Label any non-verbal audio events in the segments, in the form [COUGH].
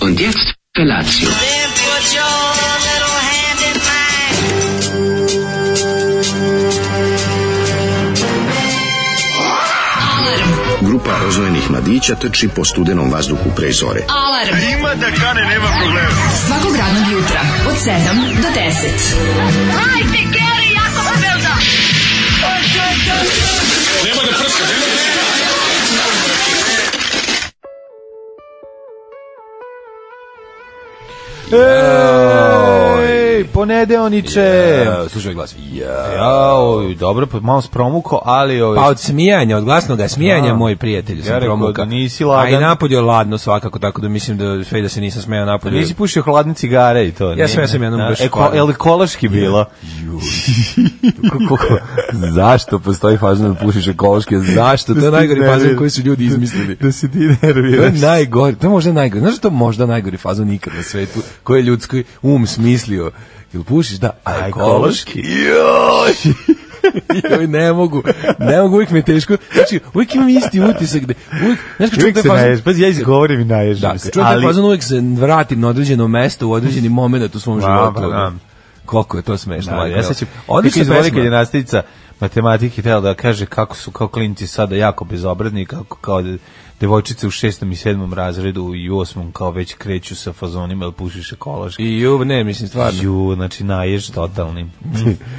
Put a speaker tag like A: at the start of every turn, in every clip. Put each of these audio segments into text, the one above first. A: Und jetzt Felatio.
B: Then put your little hand in mine.
C: Grupa rozvojenih mladića trči po studenom vazduhu pre zore.
D: Alarm. Ima da kane, nema problema. Svakog radnog jutra, od 7 do 10.
E: Ej, ponedeoniče.
F: E, slušaj glas. Ja.
E: Jao, dobro, pa malo spromuko, ali ovaj
F: Pa od smijanja, od glasnog smijanja,
E: Da.
F: moj prijatelj,
E: Ja
F: sam
E: rekao
F: promuka.
E: da nisi lagan.
F: A i napolju je ladno svakako, tako da mislim da sve i da se nisam smejao napolju.
E: Pa, nisi pušio hladne cigare i to. e,
F: Ja sam, ja sam jednom baš
E: baš. Eko,
F: hladno.
E: el ekološki bilo.
F: Kako- [LAUGHS] zašto postoji fazon da pušiš ekološki? Zašto? To je najgori fazon koji su ljudi izmislili.
E: [LAUGHS] Da se ti
F: To je
E: nerviraš.
F: najgori, to je možda najgori. Znaš što je možda najgori fazon ikad na svetu? Koji je ljudski um smislio? Jel pušiš? Da, a ekološki.
E: Joj.
F: [LAUGHS] Joj, ne mogu, ne mogu, uvijek mi je teško. Znači, uvijek imam isti utisak. Gde, uvijek, znaš, kad čujem
E: Uvijek
F: taj
E: se
F: fazon,
E: naješ, pazi, ja izgovorim i naješ.
F: Da, kad čujem taj fazon, uvijek se vratim na određeno mesto u određeni moment u svom
E: Da,
F: životu. ono.
E: pa, da.
F: Koliko je to smešno.
E: Da,
F: majko,
E: ja sad ću,
F: jel?
E: odlično
F: Odlična
E: izvoli
F: pesma.
E: kad je nastavica matematike htjela da kaže kako su kao klinci sada jako bezobrazni i kako kao de- devojčice u šestom i sedmom razredu i u osmom kao već kreću sa fazonima ili pušiš ekološki.
F: I ju, ne, mislim, stvarno.
E: Ju, znači naješ totalni.
F: [LAUGHS]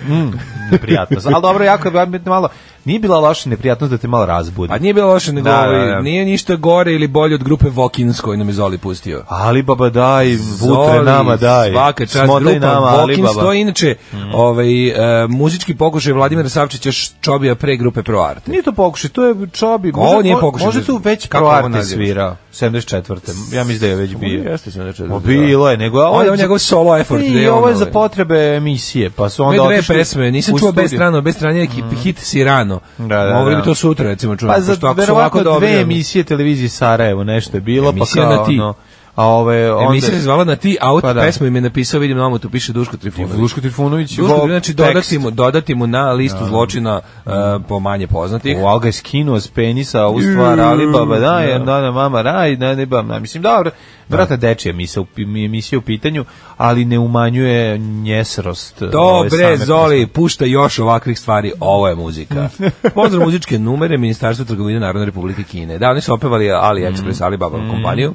E: Mm, mm, neprijatnost. Ali dobro, jako je bar- malo, nije bila loša neprijatnost da te malo razbudi.
F: A Pa nije bilo loše, nego
E: Da,
F: ovaj,
E: da, da.
F: nije ništa gore ili bolje od grupe Vokins koju nam je Zoli pustio.
E: Ali baba daj, vutre
F: Zoli,
E: nama daj.
F: Svaka čast
E: Smotaj
F: grupa
E: nama,
F: Vokins,
E: Alibaba. Mhm.
F: to je inače ovaj, e, muzički pokušaj Vladimira Savčića Čobija pre grupe Pro Arte.
E: Nije to pokušaj, to je Čobi.
F: Ovo
E: Možda-
F: nije pokušaj.
E: Možda tu već
F: Kako
E: Pro
F: ovo
E: Arte
F: nazivaš?
E: svirao. 74. Ja mislim da je već bio.
F: Jeste se znači.
E: Ma Pa bilo je, nego
F: Ovo je
E: za-
F: njegov solo effort, da
E: I
F: je on,
E: ovo je za
F: ovaj.
E: potrebe emisije, pa su
F: Onda
E: onda
F: dve
E: otišli
F: pesme, nisam
E: u
F: čuo bez
E: studiju.
F: strano, bez strane neki hit si rano.
E: Da, da,
F: Mogli
E: da.
F: bi to sutra recimo čuti.
E: Pa za verovatno dve emisije televizije Sarajevo nešto je bilo, pa
F: Emisija
E: kao
F: na ti.
E: ono, a ove onda
F: Emisija se zvala na ti, a od
E: Pa da.
F: pesmu im je napisao, vidim na tu piše Duško Trifunović.
E: Duško Trifunović,
F: Duško
E: Bog,
F: Trifunović, znači dodati
E: tekst.
F: mu, dodati mu na listu zločina e, po manje poznatih.
E: Wow, ga je skinuo s penisa, ovu stvar, ali baba da, je, da, da, mama raj, da, ne, bam, da, mislim, dobro, vratno dečija misa, u, emisija u pitanju, ali ne umanjuje njesrost. ove,
F: Dobre,
E: same
F: Zoli, pušta još ovakvih stvari, ovo je muzika. Pozdrav muzičke numere Ministarstva trgovine Narodne republike Kine. Da, oni su opevali
E: Mm.
F: AliExpress, Alibaba kompaniju.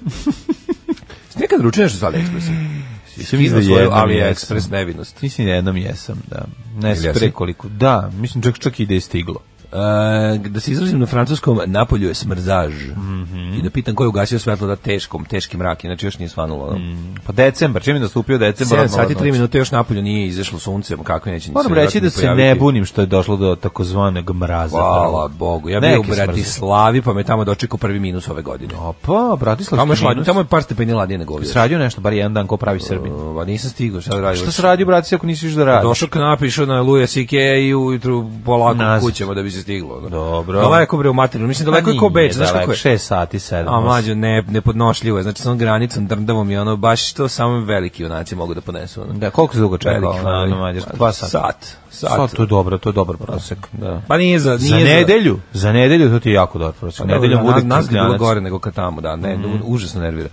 F: Ste nekad ručili nešto sa AliExpressom?
E: pesme. Mislim da
F: Skinuo svoju
E: jednom jesam.
F: AliExpress nevinost.
E: Mislim da jednom jesam, da. Ne
F: Jel
E: znam
F: jesi?
E: prekoliko. Da, mislim čak čak i da je stiglo.
F: E, da se izrazim na francuskom, napolju je smrzaž.
E: Mhm.
F: I da pitam ko je ugasio svetlo da teškom, teški mrak, inače još nije svanulo. Mm.
E: Pa decembar, čim je nastupio decembar?
F: 7
E: odmah
F: sati
E: odmah.
F: 3 minute još napolju nije izašlo sunce, kako neće ni
E: Moram
F: se
E: reći da
F: vjerojatno
E: se ne
F: pojaviti.
E: bunim što je došlo do takozvanog mraza.
F: Hvala Bogu. Ja bio u
E: Neki smrz.
F: Bratislavi, pa me tamo dočekao prvi minus ove godine.
E: Opa, pa, Bratislav.
F: Tamo je, šla, tamo je par stepeni ladnije nego ovdje.
E: sradio nešto, bar jedan dan ko pravi Srbin.
F: Pa nisam stigao, šta da radim?
E: Šta se radi, brati, ako nisi još da radi?
F: Došao knap, išao na Luja Sike i ujutru polako
E: Nazad.
F: kućama da bi se stiglo. ono.
E: Dobro.
F: Daleko bre u materinu. Mislim,
E: Pa
F: daleko je Dakle, ko
E: nije
F: beč, znaš kako
E: daleko,
F: je?
E: Šest ono. sati, sedam.
F: A mlađo, ne, nepodnošljivo je, znači sa onom granicom, drndavom i ono, baš to samo veliki junaci mogu da ponesu. Ono.
E: osam. Da, koliko se dugo čekao?
F: Veliki
E: Na,
F: fanovi.
E: na Mađarsku?
F: Pa,
E: Dva sata.
F: Sat. Sat.
E: Sat, to je dobro, to je dobar prosek. Da.
F: Pa nije za... Pa Nije
E: Za nedelju? Za nedelju to ti je jako dobar prosek.
F: Za, nedelju
E: Nedeljom
F: bude
E: bude
F: nas bi bilo
E: krzljanac.
F: gore nego kad tamo, da, ne, u- užasno nervira.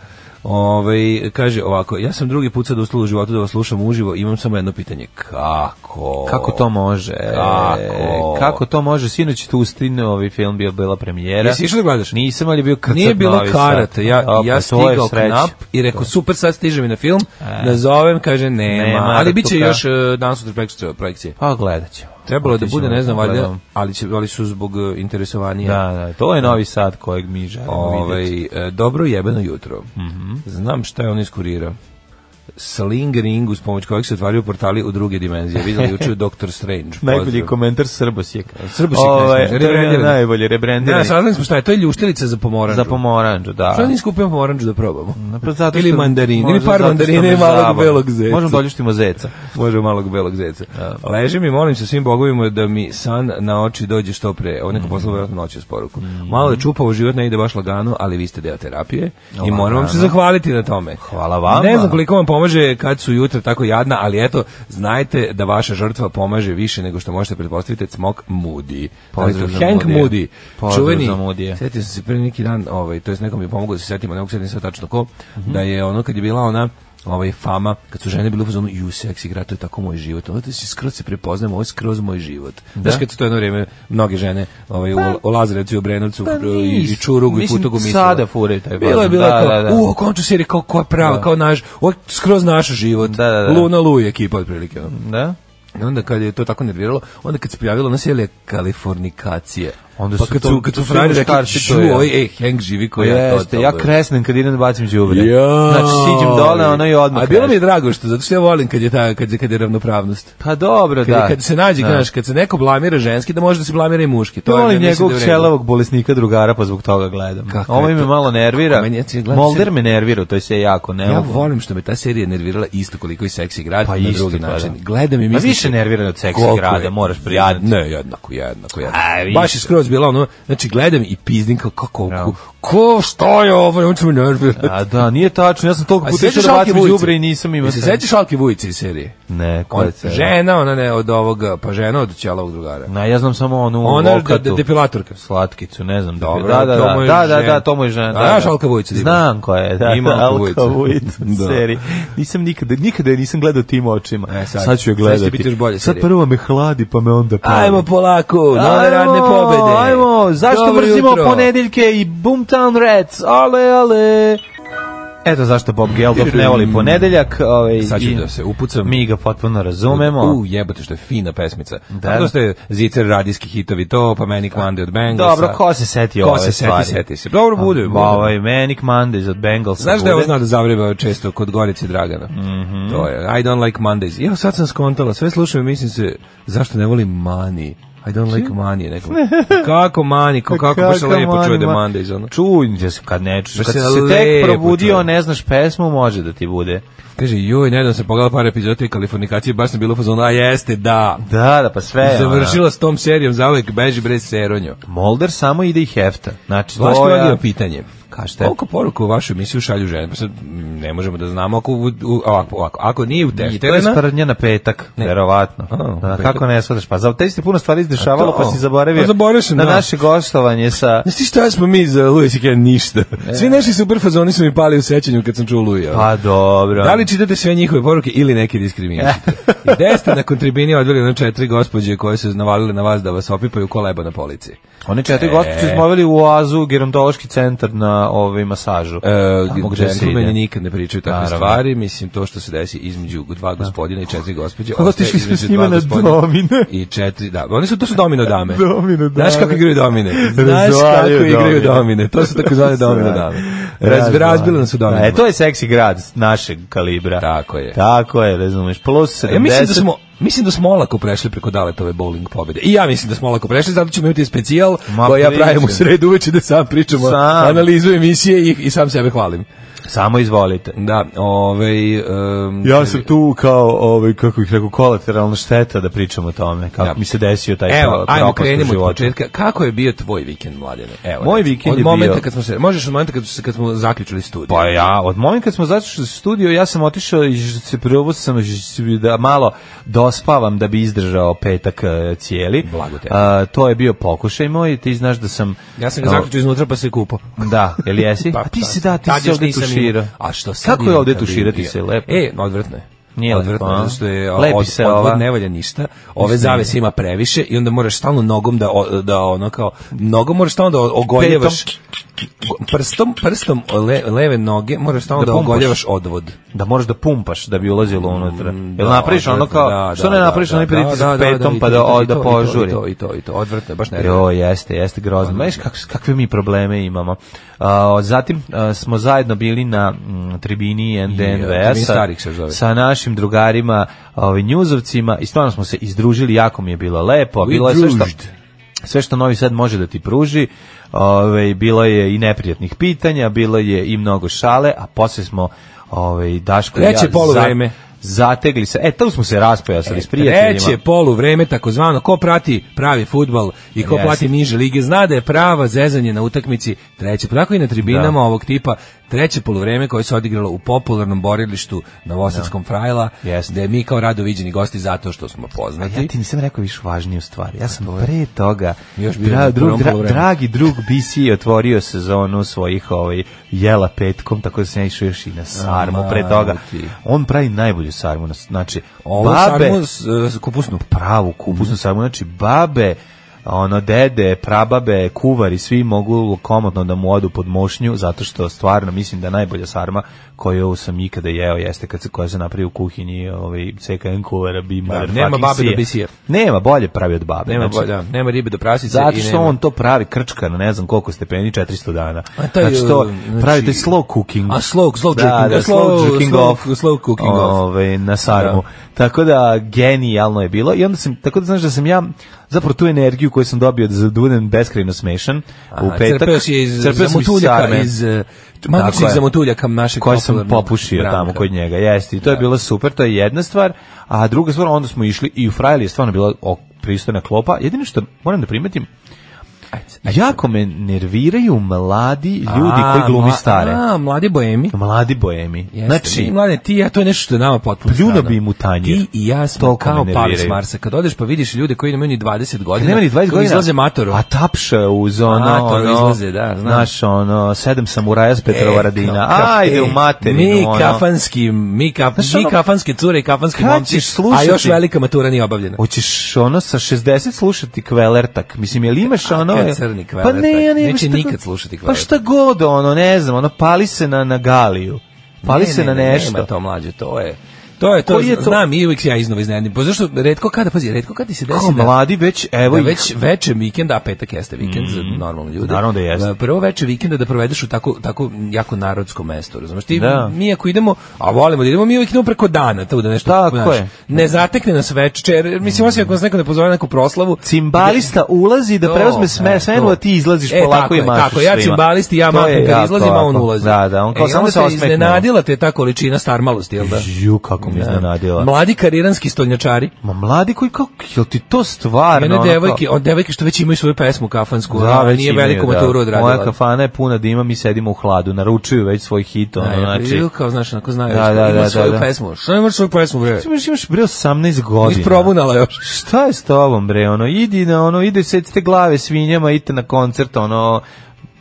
F: Ovaj kaže ovako, ja sam drugi put sad uslao u životu da vas slušam uživo, imam samo jedno pitanje. Kako?
E: Kako to može? E,
F: Kako?
E: Kako to može? Sinoć je tu ustrin, ovaj film bio bila premijera.
F: Jesi išli da gledaš?
E: Nisam, ali je bio krcat
F: Nije bilo
E: Novi Sad.
F: karata, ja,
E: A, pa
F: ja
E: to je
F: stigao
E: sreća.
F: knap i rekao super, sad stižem i na film, nazovem, kaže E. nema,
E: Nema,
F: ali bit će
E: Artuka.
F: još uh, danas sutra preksutra projekcije.
E: Pa gledat ćemo.
F: Trebalo je da
E: Otići ćemo
F: bude, ne znam,
E: da
F: valjda,
E: gledamo.
F: ali, će, ali su zbog uh, interesovanja.
E: Da, da, to je Novi Sad kojeg mi želimo vidjeti.
F: Ovaj, e, dobro jebeno jutro.
E: Mhm.
F: Znam šta je on iskurirao. Sling ring uz pomoć kojeg se otvaraju portali u druge dimenzije.
E: [LAUGHS]
F: Vidjeli juče Doctor Strange.
E: Najbolji
F: Pozdrav.
E: komentar Srbosjek. Ovaj,
F: Srbosjek, ne znam, rebrendiran.
E: Najbolje, rebrendiran.
F: Ne, saznali smo šta je, to je ljuštilica za pomoranđu.
E: Za pomoranđu, da.
F: Šta nisam kupio pomoranđu da probamo?
E: Pa zato
F: Ili
E: što-
F: mandarin, ili
E: možda
F: par
E: zato što
F: mandarina
E: me
F: i malog
E: zabava.
F: belog zeca.
E: Možemo doljuštimo zeca.
F: Može malog belog zeca. Ležim i molim se svim bogovima da mi san na oči dođe što pre. Ovo
E: Mhm.
F: neko poslao vjerojatno noću s poruku. Malo je čupavo, život ne ide baš lagano, ali vi ste deo terapije i moram vam se zahvaliti na tome.
E: Hvala vama.
F: Ne znam koliko vam pomaže kad su jutra tako jadna, ali eto, znajte da vaša žrtva pomaže više nego što možete pretpostaviti, cmok Moody.
E: Pozdrav
F: Dakle,
E: za
F: Hank
E: Moodyja.
F: Moody,
E: Pozdrav
F: čuveni,
E: za Moodyja.
F: Sjetio sam se pre neki dan, ovaj, to jest nekom je pomogao da se setim, a ne mogu setim sad tačno ko, da je ono kad je bila ona ovaj fama, kad su žene bile u fazonu ju seksi igra, to je tako moj život. Ovo da se skroz se prepoznajemo, ovo je skroz moj život. Znaš kad su to jedno vrijeme mnoge žene ovaj, u, u Lazarevcu, i u Brenovcu i, i
E: Pa- nis-
F: Čurugu i
E: mislim,
F: Putogu mislile.
E: sada furaju taj
F: Bilo je
E: fazon,
F: bilo
E: da,
F: kao,
E: da, da.
F: u, konču serije, kao, koja prava, kao naš, ovo je skroz naš život.
E: Da, da, da.
F: Luna Lu je ekipa, otprilike. ono.
E: Da?
F: I onda kad je to tako nerviralo, onda kad se prijavilo na sjele kalifornikacije.
E: Onda
F: pa
E: su
F: kad
E: to-
F: su, kad
E: to
F: su
E: su
F: frajeri rekli,
E: muškarci, to
F: "Ču,
E: je."
F: oj, ej, Hank živi ko ja to.
E: Jeste, ja
F: to-
E: kresnem kad idem da bacim đubre.
F: Jao.
E: Znači siđem dole, ono i odmah.
F: A bilo mi je
E: kresnem.
F: drago što, zato što ja volim kad je, ta, kad, je- kad je ravnopravnost.
E: Pa dobro,
F: Kad, je-
E: da.
F: kad se nađe,
E: Da.
F: znaš, kad se neko blamira ženski, da može da se blamira i muški. To
E: To
F: je,
E: volim
F: mislim
E: njegovog
F: da je u redu.
E: ćelavog bolesnika drugara, pa zbog toga gledam.
F: Kako
E: Ovo
F: je
E: me
F: to?
E: malo nervira.
F: Kako meni, ja ti gledam
E: Molder
F: sad-
E: me nervira, to je sve jako. Ne,
F: Ja
E: mogu.
F: volim što me ta serija nervirala isto koliko i seksi grad
E: Pa
F: na
E: isto,
F: drugi
E: pa
F: način.
E: da.
F: Gledam i
E: Ma
F: mislim...
E: više nerviran od seksi
F: Koliko
E: grada,
F: je?
E: moraš priznati.
F: Jad- Ne, jednako, jednako, jednako.
E: A, vi
F: Baš je
E: ste.
F: skroz bila ono, znači gledam i pizdim kao kako,
E: Bravo.
F: ko, ko šta je ovo, on će me nervirati. [LAUGHS]
E: A da, nije tačno, ja sam toliko puta išao da bacim đubre i nisam imao.
F: Se
E: sreće.
F: sećaš Alke Vujice iz serije?
E: Ne, ko
F: On,
E: je cera?
F: žena, ona ne od ovoga, pa žena od ćelavog drugara.
E: Na, ja znam samo onu
F: Ona je de-
E: lokatu.
F: de- depilatorka.
E: slatkicu, ne znam.
F: Dobro,
E: da, da, da,
F: to mu je
E: da, da,
F: žena.
E: da, to mu je žena.
F: A
E: Da,
F: znaš
E: da.
F: Alka Vujica da ima?
E: Znam koja je, da,
F: Ima
E: da,
F: Alka Vujica.
E: Alka
F: [LAUGHS]
E: Vujica u
F: Da.
E: seriji. Nisam nikada, nikada je nisam gledao tim očima.
F: E, sad.
E: ću je
F: Sad će
E: gledati.
F: biti još bolje
E: Sad
F: serije.
E: prvo me hladi, pa me onda pali.
F: Ajmo polako, nove
E: Ajmo,
F: radne pobede.
E: Ajmo, zašto
F: Dobro
E: mrzimo
F: jutro.
E: ponedeljke i Boomtown Reds? Ale, ale. Eto zašto Bob Geldof ne voli ponedeljak. Ovaj,
F: Sad ću
E: i
F: da se upucam.
E: Mi ga potpuno razumemo.
F: U, jebote, što je fina pesmica.
E: Da.
F: Da. To što je zicer radijski hitovi to, pa Manic Monday od Bengalsa.
E: Dobro, ko se setio
F: Ko
E: ove
F: se seti,
E: stvari?
F: seti se. Dobro, bude, bude.
E: Ovaj, Manic Mondays od Bengalsa.
F: Znaš da je
E: bude. Mhm.
F: ovo zna da zavreba često kod Gorice Dragana? To je, I don't like Mondays. Ja sad sam skontala, sve slušam i mislim se, zašto ne volim Mani? I don't like
E: Hm? [LAUGHS]
F: Mani. Nekom. Kako Mani, kako, kako, baš se
E: Kakav
F: lepo čuje da je
E: mani-
F: Mondays. Ono.
E: Čuj, da se kad ne čuješ,
F: Baš
E: kad
F: se
E: si se tek
F: lepo
E: probudio,
F: čuje.
E: ne znaš pesmu, može da ti bude.
F: Kaže, joj, nedavno sam pogledala par epizoda i kalifornikacije, baš sam bilo fazon, a jeste, da.
E: Da, da, pa sve. je,
F: Završila s tom serijom, zauvek beži brez seronjo.
E: ona. Molder samo ide i hefta. Znači,
F: Vaš
E: to
F: to
E: ja-
F: je pitanje.
E: Kažete.
F: Koliko poruku u vašu emisiju šalju žene? Pa sad mm, ne možemo da znamo ako, u- u- ovako, ovako, ako nije u
E: I to je
F: tešterena,
E: sprdnja na petak,
F: Ne.
E: verovatno.
F: A,
E: Da,
F: petak.
E: kako ne shvataš? Pa za te ste puno stvari izdešavalo,
F: A
E: pa
F: to?
E: si zaboravio.
F: Pa zaboravio sam,
E: na
F: da.
E: naše gostovanje sa...
F: Znaš ti šta smo mi za Luja Sikena? Ništa. Svi naši super fazoni su mi pali u sećanju kad sam čuo Luja.
E: Pa dobro.
F: Da li čitate sve njihove poruke ili neke [LAUGHS] diskriminišite? I gde ste na kontribini odveli na četiri gospođe koje su navalile na vas da vas opipaju ko leba na polici?
E: One
F: E.
E: četiri gospođe smo oveli u Oazu, gerontološki centar na ovaj masažu. Tamo
F: E,
E: gde se
F: džentlmeni
E: ide.
F: nikad ne pričaju takve
E: Naravno.
F: stvari, mislim to što se desi između dva gospodina i četiri gospođe.
E: Otišli
F: ostaje
E: smo
F: između
E: s njima
F: dva
E: na
F: gospodina
E: domine. [LAUGHS]
F: I četiri, da, oni su, to su [LAUGHS] domino dame.
E: Domino
F: Znaš
E: dame.
F: kako igraju domine? Znaš kako
E: Razvaljuju
F: igraju
E: domine.
F: domine? [LAUGHS] To su takozvane domino dame. Raz,
E: Razbila
F: razbile nas u domine.
E: E, to je seksi grad našeg kalibra.
F: Tako je.
E: Tako je, razumeš. Plus 70.
F: Ja mislim da smo Mislim da smo olako prešli preko daletove bowling pobjede. I ja mislim da smo olako prešli, zato ćemo imati specijal
E: Ma,
F: koji ja
E: priče.
F: pravim u sredu uveče da sam pričam o
E: Sam.
F: analizu emisije i, i sam sebe hvalim.
E: Samo izvolite.
F: Da, ovaj... em,
E: Ja sam tu kao, ovaj, kako ih rekao, kolateralna šteta da pričam o tome. Kako
F: Da.
E: mi se desio taj
F: Evo,
E: pro-
F: ajmo
E: propast u
F: krenemo od
E: životu.
F: početka. Kako je bio tvoj vikend, mladene? Evo,
E: Moj
F: recimo,
E: vikend
F: od
E: je
F: momenta
E: bio-
F: kad smo se, možeš od momenta kad, se- kad smo zaključili studij.
E: Pa ja, od momenta kad smo zašli u studio, ja sam otišao i ž- se probao sam ž- da malo dospavam da bi izdržao petak e, cijeli.
F: Blago te.
E: A, to je bio pokušaj moj, ti znaš da sam...
F: ja sam ga
E: o,
F: zaključio iznutra pa se kupao.
E: Da, jel jesi?
F: Pa,
E: A ti
F: tad-
E: si da, ti
F: tad
E: si
F: još
E: ovdje
F: nisam
E: tuširao.
F: imao. A što sad
E: Kako je
F: imam
E: ovdje
F: kad bi
E: tuširati
F: bio?
E: se? Lepo?
F: E, odvrtno je.
E: Nije lepo,
F: odvrtno,
E: a?
F: zato što je
E: Lepi
F: od,
E: se
F: od,
E: ova.
F: od ne valja ništa. Ove zavese ima previše i onda moraš stalno nogom da o- da ono kao nogom moraš stalno da o- ogoljevaš prstom prstom le, leve noge moraš stalno
E: Da
F: da,
E: pumpaš.
F: ogoljevaš odvod.
E: Da moraš da pumpaš da bi ulazilo unutra.
F: Mm,
E: Jel
F: da,
E: napraviš ono
F: odvratno,
E: kao,
F: da,
E: što
F: da,
E: ne
F: da,
E: napraviš
F: da,
E: onaj
F: da, da,
E: pritisak
F: da, da,
E: petom
F: i
E: pa
F: to,
E: da,
F: i to,
E: o,
F: i to,
E: da
F: i to,
E: požuri?
F: I to, i to, i to, odvrtno, je, baš ne.
E: Jo, jeste, jeste grozno. Znaš kak, kakve mi probleme imamo. A, zatim a, smo zajedno bili na mm, tribini
F: e, tribini
E: NDNVS
F: starih se zove.
E: sa našim drugarima, ovaj njuzovcima i stvarno smo se izdružili, jako mi je bilo lepo,
F: We
E: bilo je sve što
F: družd.
E: sve što Novi Sad može da ti pruži. Ove, bilo je i neprijatnih pitanja, bilo je i mnogo šale, a posle smo ove, Daško i ja
F: Treće poluvreme. E,
E: za- zategli se. E, tu smo se raspojasali s prijateljima.
F: Treće polu vreme, takozvano, ko prati pravi futbal i ko
E: Jeste.
F: plati niže lige, zna da je prava zezanje na utakmici treće. Pa tako i na tribinama
E: Da.
F: ovog tipa treće polovreme koje se odigralo u popularnom borilištu na Vosadskom frajla,
E: Jeste.
F: gde mi kao rado viđeni gosti zato što smo poznati.
E: Ja ti nisam rekao više važniju stvar. Ja sam pre toga,
F: Još bio
E: dra,
F: u prvom
E: drug, dra,
F: poluvremenu.
E: dragi drug BC je otvorio sezonu svojih ovaj, jela petkom, tako da sam ja išao još i na sarmu
F: Ama,
E: pre toga.
F: ti.
E: On pravi najbolju sarmu. na- Znači,
F: Ovo
E: babe,
F: sarmu s, s kupusnu. Mhm.
E: pravu kupusnu sarmu, znači babe, ono dede, prababe, kuvari, svi mogu komotno da mu odu pod mošnju, zato što stvarno mislim da najbolja sarma koju sam ikada jeo jeste kad se koja se napravi u kuhinji, ovaj CKN kuvara bi da,
F: nema babe do bisije.
E: Nema bolje pravi od babe.
F: Nema,
E: znači,
F: bo- da, nema ribe do prasice.
E: Zato
F: i
E: što
F: nema-
E: on to pravi krčka na ne znam koliko stepeni, 400 dana.
F: A taj,
E: znači to
F: znači-
E: pravi taj slow cooking.
F: A slow- slow
E: Da,
F: jerking,
E: da,
F: a
E: slow,
F: slow-
E: jerking
F: slow-
E: off.
F: slow cooking off.
E: Ove, na sarmu. Tako da, genijalno je bilo. I onda sam, tako da znaš da sam ja zapravo tu energiju koju sam dobio da budem beskrajno smešan u
F: Aha,
E: petak.
F: crpeo si je iz
E: crpeo sam
F: zamutuljaka,
E: sarme.
F: iz eh, magičnih
E: je.
F: zamutuljaka našeg
E: koje sam
F: popularnog
E: popušio
F: Branka.
E: tamo kod njega, jeste, i to je bilo super, to je jedna stvar, a druga stvar, onda smo išli i u Frajli je stvarno bila ok- pristojna klopa, jedino što moram da primetim, jako me nerviraju mladi ljudi
F: A,
E: koji glumi
F: mla-
E: stare,
F: A, mladi boemi.
E: mladi boemi,
F: Jeste,
E: znači,
F: mi, mlade, ti i ja, to je nešto što je nama potpuno
E: Pljuno
F: strano.
E: bi im u tanjir.
F: Ti i ja smo
E: Toliko me
F: kao pali s
E: nerviraju.
F: Marsa. Kad odeš pa vidiš ljude koji imaju ni 20 godina,
E: nema ni 20
F: koji
E: godina,
F: izlaze matoro.
E: a tapša uz ono,
F: Matoro
E: ono,
F: izlaze, da, znam. E,
E: znaš, ono, sedam samuraja s Petrova Radina,
F: kao- ka-
E: ajde
F: e,
E: u materinu,
F: Mi
E: ono.
F: kafanski, mi, kaf,
E: Znaš,
F: mi
E: ono,
F: kafanske cure i kafanski
E: kad
F: momci,
E: ćeš slušati-
F: a još velika matura nije obavljena.
E: Hoćeš ono sa 60 slušati kvelertak. Mislim, jel imaš ono...
F: kad crni Kvelertak?
E: Pa ne, ja ne,
F: Neće
E: šta
F: nikad
E: god-
F: slušati
E: Pa
F: Kvelertak.
E: šta god, ono, ne znam, ono, pali se na, na galiju. Pali
F: Ne,
E: se
F: ne,
E: na
F: ne,
E: nešto.
F: Nema to mlađe, to je. To je to,
E: Koji je to?
F: znam, i uvijek se ja iznova iznenadim. Pa zašto, redko kada, pazi, redko kada ti se desi
E: Kao
F: da-
E: mladi već, evo
F: da
E: ih.
F: već veče vikenda, a petak jeste vikend za normalne ljude.
E: Naravno da jeste.
F: Da, Prvo veče vikenda da provedeš u tako, tako jako narodskom mestu, razumeš? Ti,
E: Da.
F: Mi ako idemo, a volimo da idemo, mi uvijek idemo preko dana, tu da nešto,
E: Tako
F: znaš,
E: je.
F: ne zatekne nas večer, mislim, osim ako nas neko ne pozove na neku proslavu,
E: Cimbalista ulazi da
F: To,
E: preuzme
F: e,
E: sme smenu,
F: to.
E: a ti izlaziš
F: E,
E: polako
F: tako
E: i
F: je,
E: mašaš
F: Tako, ja
E: svima.
F: cimbalist i ja
E: To je
F: maham kad
E: jako
F: izlazim, a on
E: ovako.
F: ulazi.
E: Da, da, on kao
F: E, i
E: samo
F: onda
E: se
F: te
E: osmehne. ono.
F: Iznenadila te ta količina starmalosti, jel da?
E: Ju, kako mi iznenadila.
F: Mladi kariranski stolnjačari.
E: Ma mladi koji, kako, jel ti to stvarno?
F: Mene
E: ono,
F: devojke,
E: kao-
F: od devojke što već imaju svoju pesmu kafansku,
E: Da,
F: da,
E: već
F: nije
E: imaju,
F: veliku
E: da.
F: maturu odradila.
E: Moja kafana je puna dima, mi sedimo u hladu, naručuju već svoj hit, ono,
F: Da, je,
E: znači...
F: znači, kao znaš, onako znaju,
E: Da,
F: da,
E: da, da,
F: ima
E: da,
F: svoju
E: da.
F: pesmu. Što imaš svoju pesmu, bre?
E: Ti imaš, imaš bre 18 godina.
F: Nisi probunala još.
E: Šta je s tobom bre, ono, idi na ono, ide secite glave svinjama, idite na koncert, ono,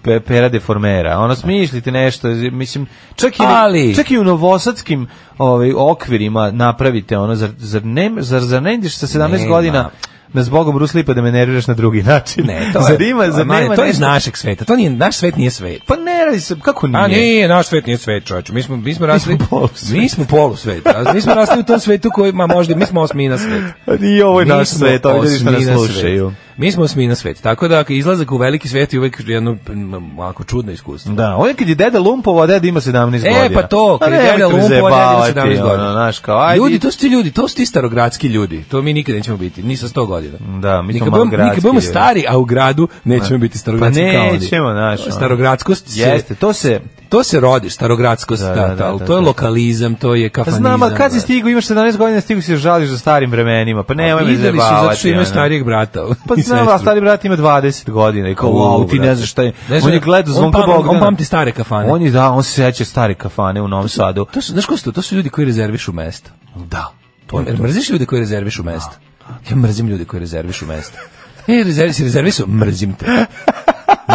E: pe, pera deformera, ono, smišljite nešto, mislim, čak i,
F: Ali-
E: čak i u novosadskim ovaj, okvirima napravite, ono, zar, zar, ne, zar, zar ne ideš sa 17
F: Nema.
E: godina na zbogom ruslipa da me nerviraš na drugi način?
F: Ne, to je,
E: zar ima, zar
F: mane,
E: nema
F: to je iz
E: nešto-
F: našeg sveta, to nije, naš svet nije svet.
E: Pa ne radi se, kako nije?
F: A nije, naš svet nije svet, čovječe. Mi smo, mi smo rasli...
E: polusvet.
F: Mi smo polusvet. a Mi smo rasli u tom svetu koji, ma možda, mi smo osmina svet.
E: Nije ovo je
F: Mi
E: naš
F: smo
E: svet, ovdje ljudi što nas
F: osmina
E: slušaju.
F: svet. Mi smo osmina svet. Tako da, izlazak u veliki svet je uvek jedno, m, ovako, čudno iskustvo.
E: Da, on je kad je deda lumpovo, a deda ima 17
F: E,
E: godina.
F: pa to, kad
E: A
F: je
E: nemojte
F: Deda
E: me
F: Lumpo,
E: zajebavati,
F: on je 17 godina.
E: Ono, znaš, kao, ajde,
F: Ljudi, to su ti ljudi, to su ti starogradski ljudi. To mi nikad nećemo biti, ni sa 100 godina.
E: Da, mi smo
F: nikad
E: malo
F: budemo-
E: gradski
F: Nikad budemo
E: ljudi.
F: stari, a u gradu nećemo biti starogradski
E: Pa
F: kao oni.
E: nećemo, znaš, ono.
F: Starogradskost se-
E: Jeste, to se...
F: To se rodiš, starogradskost, da,
E: Da,
F: da,
E: da, da,
F: ali
E: da,
F: to je
E: da.
F: lokalizam, to je kafanizam.
E: Znam, a kad si
F: da.
E: stigu, imaš 17 godina, stigu si se žališ za starim vremenima, pa nemoj me
F: Videli su zato
E: zajebavati.
F: što ima
E: ono.
F: starijeg brata. [LAUGHS]
E: [LAUGHS] Pa
F: i
E: znam, a
F: sestru.
E: stari brat ima 20 godina i kao,
F: Cool,
E: wow, ti ne
F: brate.
E: znaš šta je.
F: Ne znam,
E: On je gledao
F: on
E: zvonka
F: pam- on
E: Bogdana.
F: pamti stare kafane.
E: On je, da, on se seća stare kafane u Novom Sadu.
F: To su, znaš ko su to? To su ljudi koji rezervišu mesto.
E: Da.
F: To je, mrziš ljude koji rezervišu mesto? Ja mrzim ljude koji rezervišu mesto. E, rezervi, si rezervisu, mrzim te.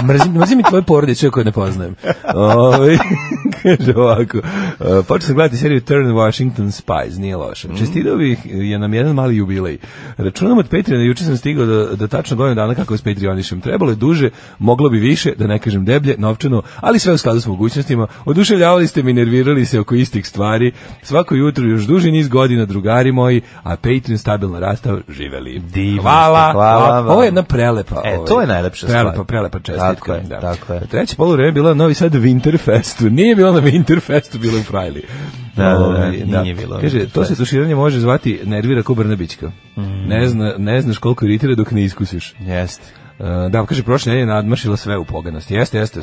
F: Mrzim, mrzim i tvoju porodicu koju ne poznajem. Ovi, [LAUGHS] kaže ovako, e, počeo sam gledati seriju Turn Washington Spies, nije loše. Čestitao bih je nam jedan mali jubilej. Računam od Patreona, juče sam stigao do, do tačno godinu dana kako s Patreonišem. Trebalo je duže, moglo bi više, da ne kažem deblje, novčano, ali sve u skladu s mogućnostima. Oduševljavali ste mi, nervirali se oko istih stvari. Svako jutro još duži niz godina, drugari moji, a Patreon stabilno rastao, živeli.
E: Divno
F: hvala,
E: ste, hvala
F: hvala.
E: vam.
F: Ovo je jedna prelepa.
E: E,
F: ovaj,
E: to je najlepša stvar.
F: Prelepa, prelepa čestitka.
E: Tako je,
F: da.
E: tako je.
F: Treće polovreme bilo na Novi Sad Winterfestu. Nije bilo na Winterfestu, bilo je u Frajli.
E: Da, da, da,
F: Ovaj,
E: nije bilo na
F: Kaže, to
E: Winterfestu.
F: se tuširanje može zvati nervira ko Brnabićka. Ne, zna, ne znaš koliko iritira dok ne iskusiš.
E: Jeste.
F: E, Da, kaže, prošle nedelje nadmašila sve u poganosti. Jeste, jeste.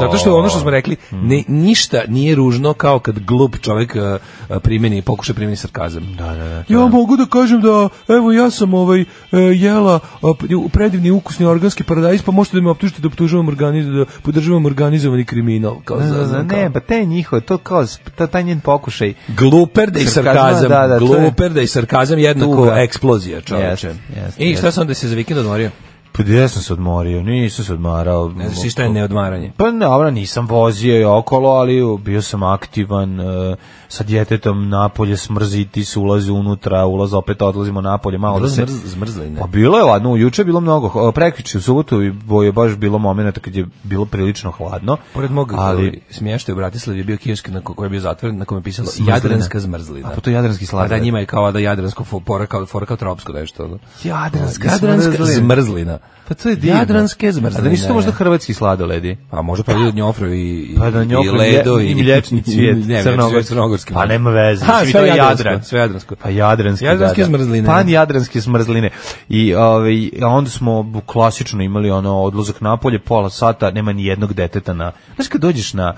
F: Zato što ono što smo rekli, ne, ništa nije ružno kao kad glup čovjek e, e, primeni, pokuša primeni sarkazam. Da, da, da. Ja mogu da kažem da, evo, ja sam ovaj, e, jela a, p- u- predivni ukusni organski paradajz, pa možete da me optužite da optužujem organiz- da podržavam organizovani kriminal. Kao,
E: Da, da,
F: za-
E: da,
F: za-
E: ne, pa te njihove, to kao, sp- ta, taj njen pokušaj.
F: Gluper da i
E: Sarkazma,
F: sarkazam,
E: da, da, to je-
F: gluper da i sarkazam jednako
E: Tuga.
F: eksplozija, čoveče.
E: Jest, jest,
F: I šta
E: jest.
F: sam da se za vikend odmorio?
E: Pa gdje sam se odmorio, nisam se odmarao.
F: Ne znaš ti šta je neodmaranje.
E: Pa dobro, nisam vozio i okolo, ali uh, bio sam aktivan, e, sa djetetom napolje smrziti se, ulazi unutra, ulaz opet odlazimo napolje, malo da se...
F: Zmrz- zmrzline.
E: Pa bilo je ladno, juče je bilo mnogo, prekriče u subotu i bo- je baš bilo momenata kad je bilo prilično hladno.
F: Pored mog ali
E: ali
F: smještaja u Bratislavi je bio kiosk na ko- koji je bio zatvoren, na kojem je pisalo
E: Smrzlina.
F: Jadranska zmrzlina.
E: A pa to je jadranski
F: A da
E: sladoled.
F: njima je kao da Jadransko fo- fora kao fora kao tropsko nešto. ono.
E: Jadranska
F: Jadranska
E: smrzlina.
F: zmrzlina.
E: pa to je divno.
F: Jadranske zmrzline.
E: A da nisu to možda hrvatski sladoledi?
F: Pa možda pa od njofra i,
E: Pa da
F: i
E: njofra i
F: ledo
E: mlje- i
F: [LAUGHS]
E: mlječni cvijet,
F: Ne, mlječni
E: crnogorski.
F: cvijet, crnogorski.
E: Pa nema veze,
F: Ha,
E: mislim,
F: sve
E: to je
F: jadransko,
E: Jadran.
F: Sve jadransko.
E: Pa jadranske,
F: Jadranske zmrzline.
E: Pan jadranske zmrzline. I ovaj, a onda smo bu- klasično imali ono odlazak napolje, pola sata, nema ni jednog deteta na... Znaš kad dođeš na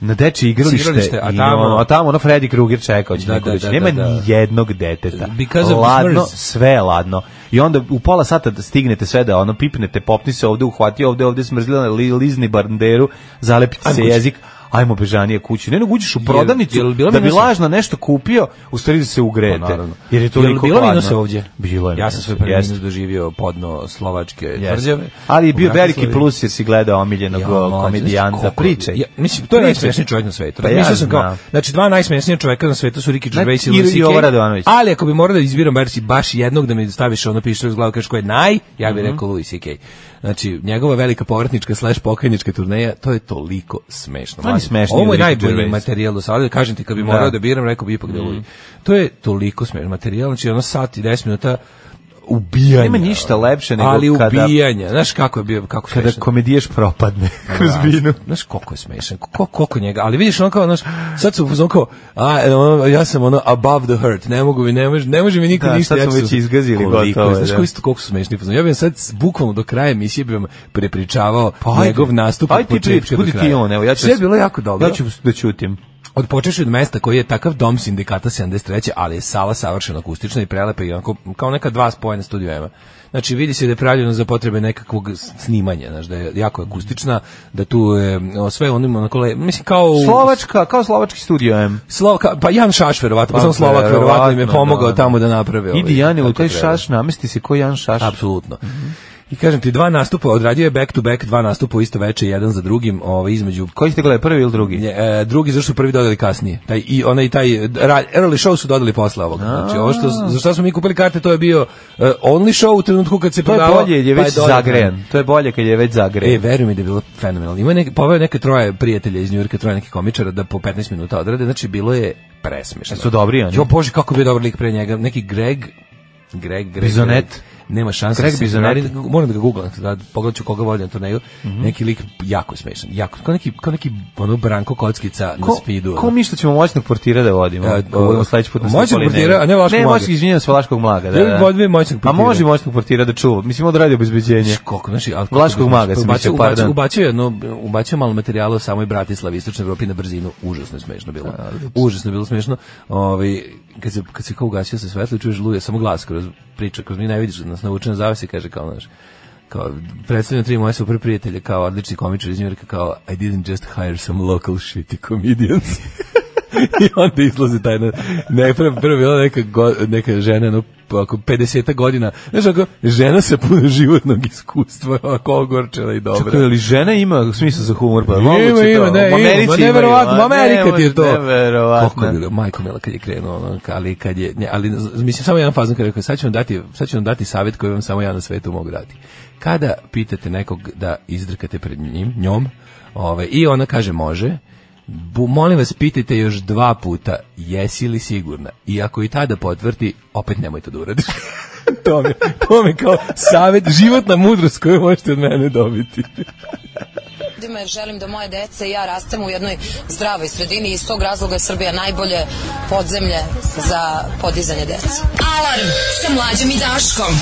E: na dečije igralište,
F: Igralište, a
E: i
F: tamo-
E: ono, a tamo ono Freddy Krueger čekao će
F: Da,
E: neko
F: da,
E: doći.
F: da,
E: nema
F: da, da.
E: ni jednog deteta
F: Because of
E: ladno,
F: Smrz.
E: sve je ladno i onda u pola sata da stignete sve da ono pipnete, popni se ovde, uhvati ovde, ovde smrzlila li, lizni banderu zalepite se
F: kući.
E: jezik ajmo bežanije kući, ne nego uđeš u prodavnicu
F: jel bila
E: da bi
F: minus-
E: lažno nešto kupio, u stvari da se ugrejete.
F: Pa, naravno.
E: jer je to
F: Jel bilo minuse ovdje?
E: Bilo je
F: Ja sam
E: minusa,
F: svoj prvi
E: jeste,
F: minus doživio podno slovačke
E: jeste.
F: tvrđave.
E: Ali je bio
F: U
E: veliki
F: Bratislavi.
E: plus jer si gledao omiljenog
F: Ja,
E: o,
F: mlađe,
E: komedijanta
F: znaš koliko-
E: priče.
F: Ja, mislim, to je
E: Pričaj.
F: najsmešniji čovjek na svetu.
E: Pa
F: Pa
E: ja
F: sam kao,
E: znam.
F: znači, dva najsmešnija čovjeka na svetu su Ricky Gervais i
E: i-
F: Louis
E: i Jovo
F: C.K.
E: Radovanović.
F: Ali ako bi morao da izbiram bar si baš jednog da mi staviš ono pištolj iz glavu, kažeš ko je naj, ja
E: Mhm.
F: bih rekao Louis C.K. Znači, njegova velika povratnička slash pokajnička turneja, to je toliko smešno.
E: On je
F: mlađe.
E: smešniji
F: Ovo
E: Pa od
F: je
E: Ricky
F: najbolji
E: Gervais. Mhm.
F: materijal do sada, kažem ti, kad bi morao da biram, rekao bi ipak da je Louis. To je toliko smešno materijal, znači ono sat i 10 minuta ubijanja.
E: Nema ništa lepše nego
F: ali
E: kada-
F: ubijanja. Znaš kako je bio, kako
E: Kada
F: smešno.
E: komedijaš propadne kroz
F: Da.
E: vinu.
F: Znaš koliko je smešan, ko, koliko njega, ali vidiš on kao, znaš, sad su u fazonu kao, a, e, ono, ja sam ono above the hurt, ne mogu mi, ne može, ne može mi niko
E: Da,
F: ništa.
E: sad
F: ja
E: smo
F: ću
E: već
F: se-
E: izgazili,
F: koliko je,
E: gotovo je,
F: Znaš
E: da.
F: koji su, koliko su smešni u fazonu. Ja bih vam sad s- bukvalno do kraja emisije bih vam prepričavao njegov nastup
E: Aj
F: od
E: Pa ti
F: početka
E: priči,
F: do
E: budi ti
F: kraja.
E: on, evo, ja ću...
F: Sve je bilo jako dobro.
E: Ja ću da ćutim.
F: Od počeši od mesta koji je takav dom sindikata 73. ali je sala savršeno akustična i prelepa i onako, kao neka dva spojena studio ema. Znači vidi se da je pravljeno za potrebe nekakvog s- snimanja, znači da je jako akustična, da tu je o, sve onim onako, le- mislim kao u-
E: Slovačka, kao slovački studio M.
F: Slovaka, pa Jan Šaš verovatno,
E: Pa,
F: pa, sam Slovak verovatno im je
E: verovatno,
F: pomogao
E: da.
F: tamo da naprave. ovaj,
E: Idi Jani, u
F: kako
E: taj Mhm.
F: treba.
E: šaš, namesti se ko Jan Šaš.
F: Apsolutno. I kažem ti, dva nastupa, odradio je back to back, dva nastupa u isto veče, jedan za drugim, ovaj, između
E: Koji ste gledali, prvi ili drugi?
F: Nje, e, drugi zašto su prvi dodali kasnije. Taj i onaj taj ra- early show su dodali posle ovoga. Znači ovo što za šta smo mi kupili karte to je bio e, only show u trenutku kad se
E: To je
F: prodavao.
E: bolje, jer je
F: pa
E: već
F: dodan.
E: zagrejan. To je bolje kad je već
F: E,
E: zagrejan.
F: veruj mi da je bilo fenomenalno. Ima neke, poveo neke troje prijatelja iz Njujorka, troje nekih komičara da po 15 minuta odrade, znači bilo je presmešno.
E: Jesu dobri oni?
F: Jo, bože, kako bi dobar lik pre njega. Neki Greg, Greg, Greg.
E: Bizonet.
F: Greg. Nema šanse.
E: Greg
F: da se-
E: Bizonet.
F: ali Moram da ga googlam, da pogledat ću koga volim na turneju.
E: Mhm.
F: Neki lik jako je smešan. Jako, kao neki, kao neki ono Branko Kockica na
E: Ko,
F: speedu. ono.
E: ko mi što ćemo moćnog portira da vodimo?
F: E,
E: Ako budemo ono. sledeći put na
F: moćnog
E: Stopoli
F: portira,
E: negde.
F: a ne Vlaškog
E: Ne,
F: mlaga.
E: moćnog, izvinjam se, Vlaškog mlaga. Da,
F: Ja bih
E: da.
F: vodio moćnog portira.
E: A može moćnog portira da čuva. Mislim, on radi obezbeđenje.
F: Koliko, znači, ali
E: Vlaškog
F: koliko-
E: maga sam
F: ubacio-
E: mislio,
F: ubacio-
E: pardon.
F: Ubacio je jedno, ubacio malo materijala o samoj Bratislavi, istočnoj Evropi na brzinu, užasno je smešno bilo. Užasno je bilo smešno. Ovaj kad se kad se kao ugasio se svetlo, i čuješ luje, samo glas kroz priča, kroz mi ne vidiš, nas naučena zavisi kaže kao znaš kao predstavljam tri moje super prijatelje kao odlični komičar iz Njujorka kao I didn't just hire some local shitty comedians [LAUGHS] I onda izlazi taj na, ne, prvo, prvo je bila neka, go, neka žena, no, oko 50 godina, znaš, ako, žena sa puno životnog iskustva, onako ogorčena i dobra.
E: Čekaj, ali žena ima smisla za humor, pa
F: Ima,
E: moguće to.
F: ima, ne,
E: U
F: ima,
E: Americi
F: ma
E: imaju,
F: neverovatno,
E: a?
F: Amerika ti je to.
E: Neverovatno.
F: Kako je bilo, majko mila kad je krenuo, ono, ka- ali kad je, ne, ali z- mislim samo jedan fazon kad je rekao, sad ću vam dati, sad ću vam dati savjet koji vam samo ja na svetu mogu dati. Kada pitate nekog da izdrkate pred njim, njom, ove, i ona kaže može, bu, molim vas pitajte još dva puta jesi li sigurna i ako i tada potvrdi, opet nemoj to da uradiš. [LAUGHS] to, mi, to mi kao savjet, životna mudrost koju možete od mene dobiti.
A: ljudima jer želim da moje dece i ja rastemo u jednoj zdravoj sredini i iz tog razloga je Srbija najbolje podzemlje za podizanje dece.
D: Alarm sa mlađom i Daškom.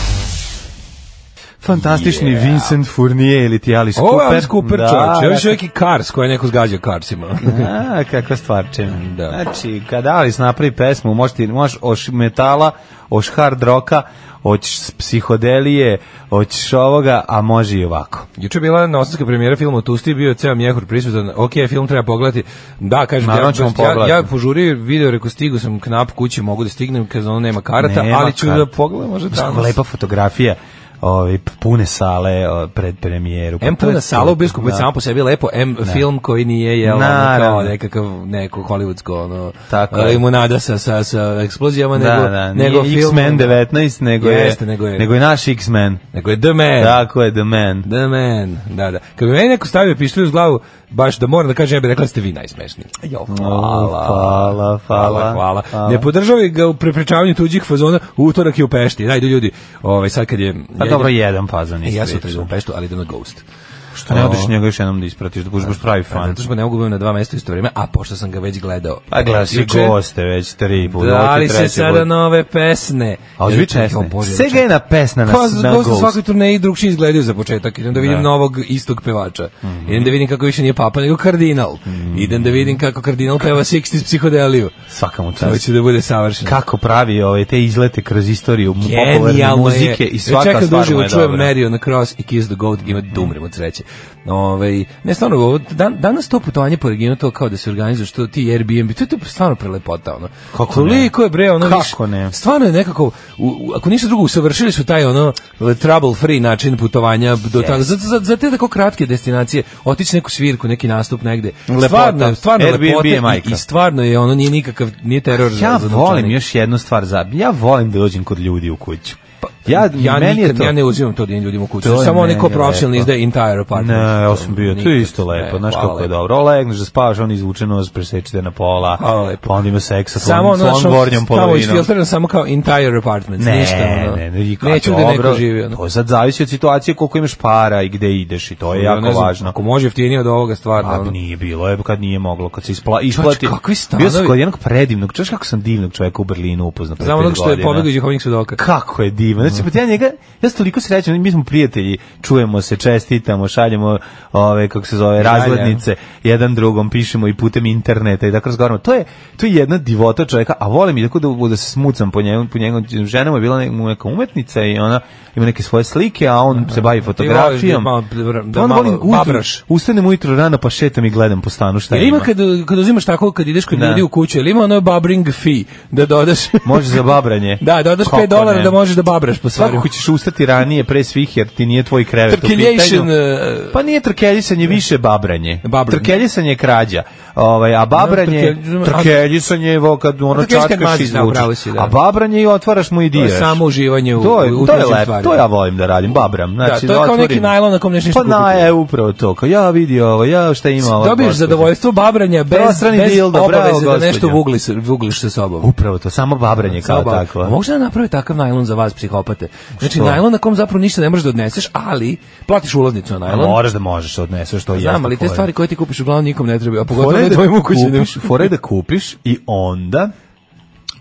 E: Fantastični
F: Yeah.
E: Vincent Fournier ili ti Alice
F: Ovo
E: Cooper.
F: je Alice Cooper
E: Da,
F: čovječe, ovo je
E: da,
F: čovjek i Cars koji je neko zgađao Carsima. [LAUGHS]
E: [LAUGHS] A, kakva stvarče.
F: Da.
E: Znači, kada Alice napravi pesmu, možeš, ti, možeš oš metala, oš hard roka, oć s psihodelije, oć ovoga, a može i ovako.
F: Juče je bila novosadska premijera filma Tusti, bio je ceo mjehur prisutan. Ok, film treba pogledati. Da, kažem,
E: Naravno ćemo
F: ja,
E: pogledati.
F: ja, ja požurio video, rekao, stigu sam knap kući, mogu da stignem, kad ono nema karata,
E: Nema
F: ali ću
E: kar-
F: da pogledam, možda
E: Samo
F: tamo.
E: lepa fotografija, ovaj, p- pune sale o, pred premijeru. Pa
F: M
E: to je
F: puna sala u
E: to,
F: Biskupu,
E: da.
F: samo po sebi je lepo, M film koji nije jel, ono, kao
E: Naravno.
F: nekakav, neko hollywoodsko, ono,
E: Tako
F: e,
E: je.
F: limunada sa, sa, sa eksplozijama,
E: Da,
F: nego,
E: da,
F: nego
E: nije X-Men 19, nego je,
F: Jeste, nego je-
E: naš X-Men.
F: Nego je The Man.
E: Tako je, The Man.
F: The Man, da, da. Kad bi meni neko stavio pištolj uz glavu, baš da moram da kažem, ja bih rekla da ste vi najsmešniji. Jo,
E: O, hvala,
F: Hvala,
E: hvala,
F: hvala.
E: hvala.
F: Ne podržavaj ga u prepričavanju tuđih fazona, u utorak je u Pešti. Ajde ljudi, ovaj, sad kad je...
E: Pa
F: ja
E: dobro,
F: idem-
E: jedan fazon
F: E, Ja
E: ispričao.
F: sutra idem u Peštu, ali idem na Ghost.
E: Što Pa ne odiš njega još jednom da ispratiš, da budeš baš pravi
F: Pa,
E: fan.
F: zato što ne mogu biti na dva mesta u isto vrijeme, a pošto sam ga već gledao.
E: Pa gledaj, si
F: juče,
E: goste već tri put. ovo ti
F: Da li se
E: treći
F: sada
E: put.
F: nove pesne?
E: A
F: Ja
E: ođe
F: čekam,
E: pesne.
F: Bože, ja
E: Sega je na pesna na,
F: Pa,
E: na
F: gost na
E: Ghost.
F: svakoj turneji drugčije izgledaju za početak. Idem da vidim
E: Da. Mhm.
F: novog istog pevača. Idem da vidim kako više nije papa, nego kardinal. Idem da vidim kako kardinal peva 60s psihodeliju.
E: Svaka mu
F: To
E: čast.
F: će da bude savršeno.
E: Kako pravi ove te izlete kroz istoriju popularne
F: Genijalno je. E,
E: muzike i svaka
F: Čekam da
E: stvar mu
F: uživo
E: je
F: čujem
E: dobra.
F: Mary on the Cross i Kiss the Goat, ima da umrem od sreće. Ovaj, ne, stvarno, ovo, dan, danas to putovanje po regionu, to kao da se organizuje, što ti Airbnb, to je to stvarno prelepota, ono.
E: Kako ne?
F: Koliko je bre, ono,
E: Kako
F: viš-
E: ne?
F: Stvarno je nekako, u, u- ako ništa drugo, usavršili su taj, ono, trouble free način putovanja do tada. Za, za, za te tako kratke destinacije, otići neku svirku, neki nastup negde.
E: Lepota.
F: Stvarno, stvarno
E: Airbnb
F: lepote
E: je
F: i-
E: majka.
F: i, stvarno je, ono, nije nikakav, nije teror za-
E: Ja
F: za
E: volim
F: novčanik.
E: još jednu stvar za. Ja volim da dođem kod ljudi u kuću. Ja,
F: Pa, ja
E: meni je
F: nikad,
E: to.
F: ja ne uzimam to da idem ljudima u kuću.
E: To je
F: Samo oni ko
E: meni
F: profesionalni
E: lepo.
F: izdaje entire apartment.
E: Ne, ja sam bio, to je
F: Nikad.
E: isto lepo,
F: E,
E: znaš
F: hvala
E: kako je
F: lepo.
E: dobro. Legneš da spavaš, on izvuče nos, presečete na pola,
F: Hvala lepo.
E: pa onda ima seksa sa
F: Samo
E: tvojom
F: ono
E: tvojom gornjom
F: što tamo
E: polovinom.
F: isfiltriram samo kao entire apartment,
E: Ne,
F: ništa. ono.
E: ne, ne, i kako
F: Neću da neko
E: dobro,
F: živi. Ono.
E: To sad zavisi od situacije koliko imaš para i gde ideš i to je jako
F: Ne znam,
E: važno.
F: Ako može jeftinije od ovoga stvarno.
E: Pa
F: ono.
E: nije bilo, je kad nije moglo, kad se ispla, isplati. Bio
F: kakvi
E: sam
F: stanovi?
E: kod jednog predivnog, čuješ kako sam divnog čovjeka u Berlinu upoznao pre
F: Znamo
E: pet
F: onog što je
E: godina.
F: pobegao iz Jehovnih svedoka.
E: Kako je divan. Znači, pa ja njega, ja sam toliko srećan, mi smo prijatelji, čujemo se, čestitamo, šaljemo ove, kako se zove, razglednice, jedan drugom, pišemo i putem interneta i tako razgovaramo. To je, to je jedna divota čovjeka, a volim i tako da, da se smucam po njemu, po njegovom ženama je bila ne- mu neka umetnica i ona ima neke svoje slike, a on se bavi fotografijom.
F: da malo- da
E: Pa onda
F: malo
E: volim ujutru-
F: babraš.
E: Ustanem ujutro rano pa šetam i gledam po stanu šta
F: Jel
E: ima.
F: ima kad, kad uzimaš tako, kad ideš kod
E: Da.
F: ljudi u kuću, jel ima ono babring fee da dodaš...
E: [LAUGHS] Može za babranje.
F: da, dodaš 5
E: Kako
F: dolara
E: ne?
F: da možeš da babraš po stvari.
E: Svakako ćeš ustati ranije pre svih jer ti nije tvoj krevet u
F: Trkeljation,
E: pitanju.
F: e,
E: Pa nije trkeljisanje, više babranje.
F: Babranje.
E: Trkeljisanje je krađa. Ovaj, a babranje,
F: No, trkelj-
E: trkeljisanje je vo- kad ono
F: Trkeljisanje kad
E: čatkaš i
F: maziš, da,
E: izvučeš.
F: upravo si, da.
E: A babranje i otvaraš mu i
F: To je
E: diraš.
F: samo uživanje u,
E: To je,
F: u
E: to je
F: tuđim
E: lepo,
F: stvarima.
E: to ja volim da radim, babram. Znači,
F: Da, to je kao
E: otvorim.
F: neki najlon na kom neš ništa
E: Pa na,
F: kupiti.
E: je upravo to, kao ja vidi ovo, ja šta ima ovo.
F: Dobiješ zadovoljstvo babranja bez,
E: Prostrani
F: bez
E: dildo, bravo,
F: obaveze da nešto
E: gospođo.
F: vugliš, vugliš sa sobom.
E: Upravo to, samo babranje kao
F: Samo bab-
E: takvo.
F: Možda napravi takav najlon za vas psihopate. Znači
E: Što?
F: najlon na kom zapravo ništa ne možeš da odneseš, ali platiš ulaznicu na
E: A
F: najlon.
E: E, moraš da možeš da odneseš, to je
F: Pa Znam,
E: jasno
F: ali te
E: fora.
F: stvari koje ti kupiš uglavnom nikom ne treba, a pogotovo
E: Fora
F: ne
E: je
F: tvojim
E: da
F: ukućenim. [LAUGHS]
E: kupiš, fora je da kupiš i onda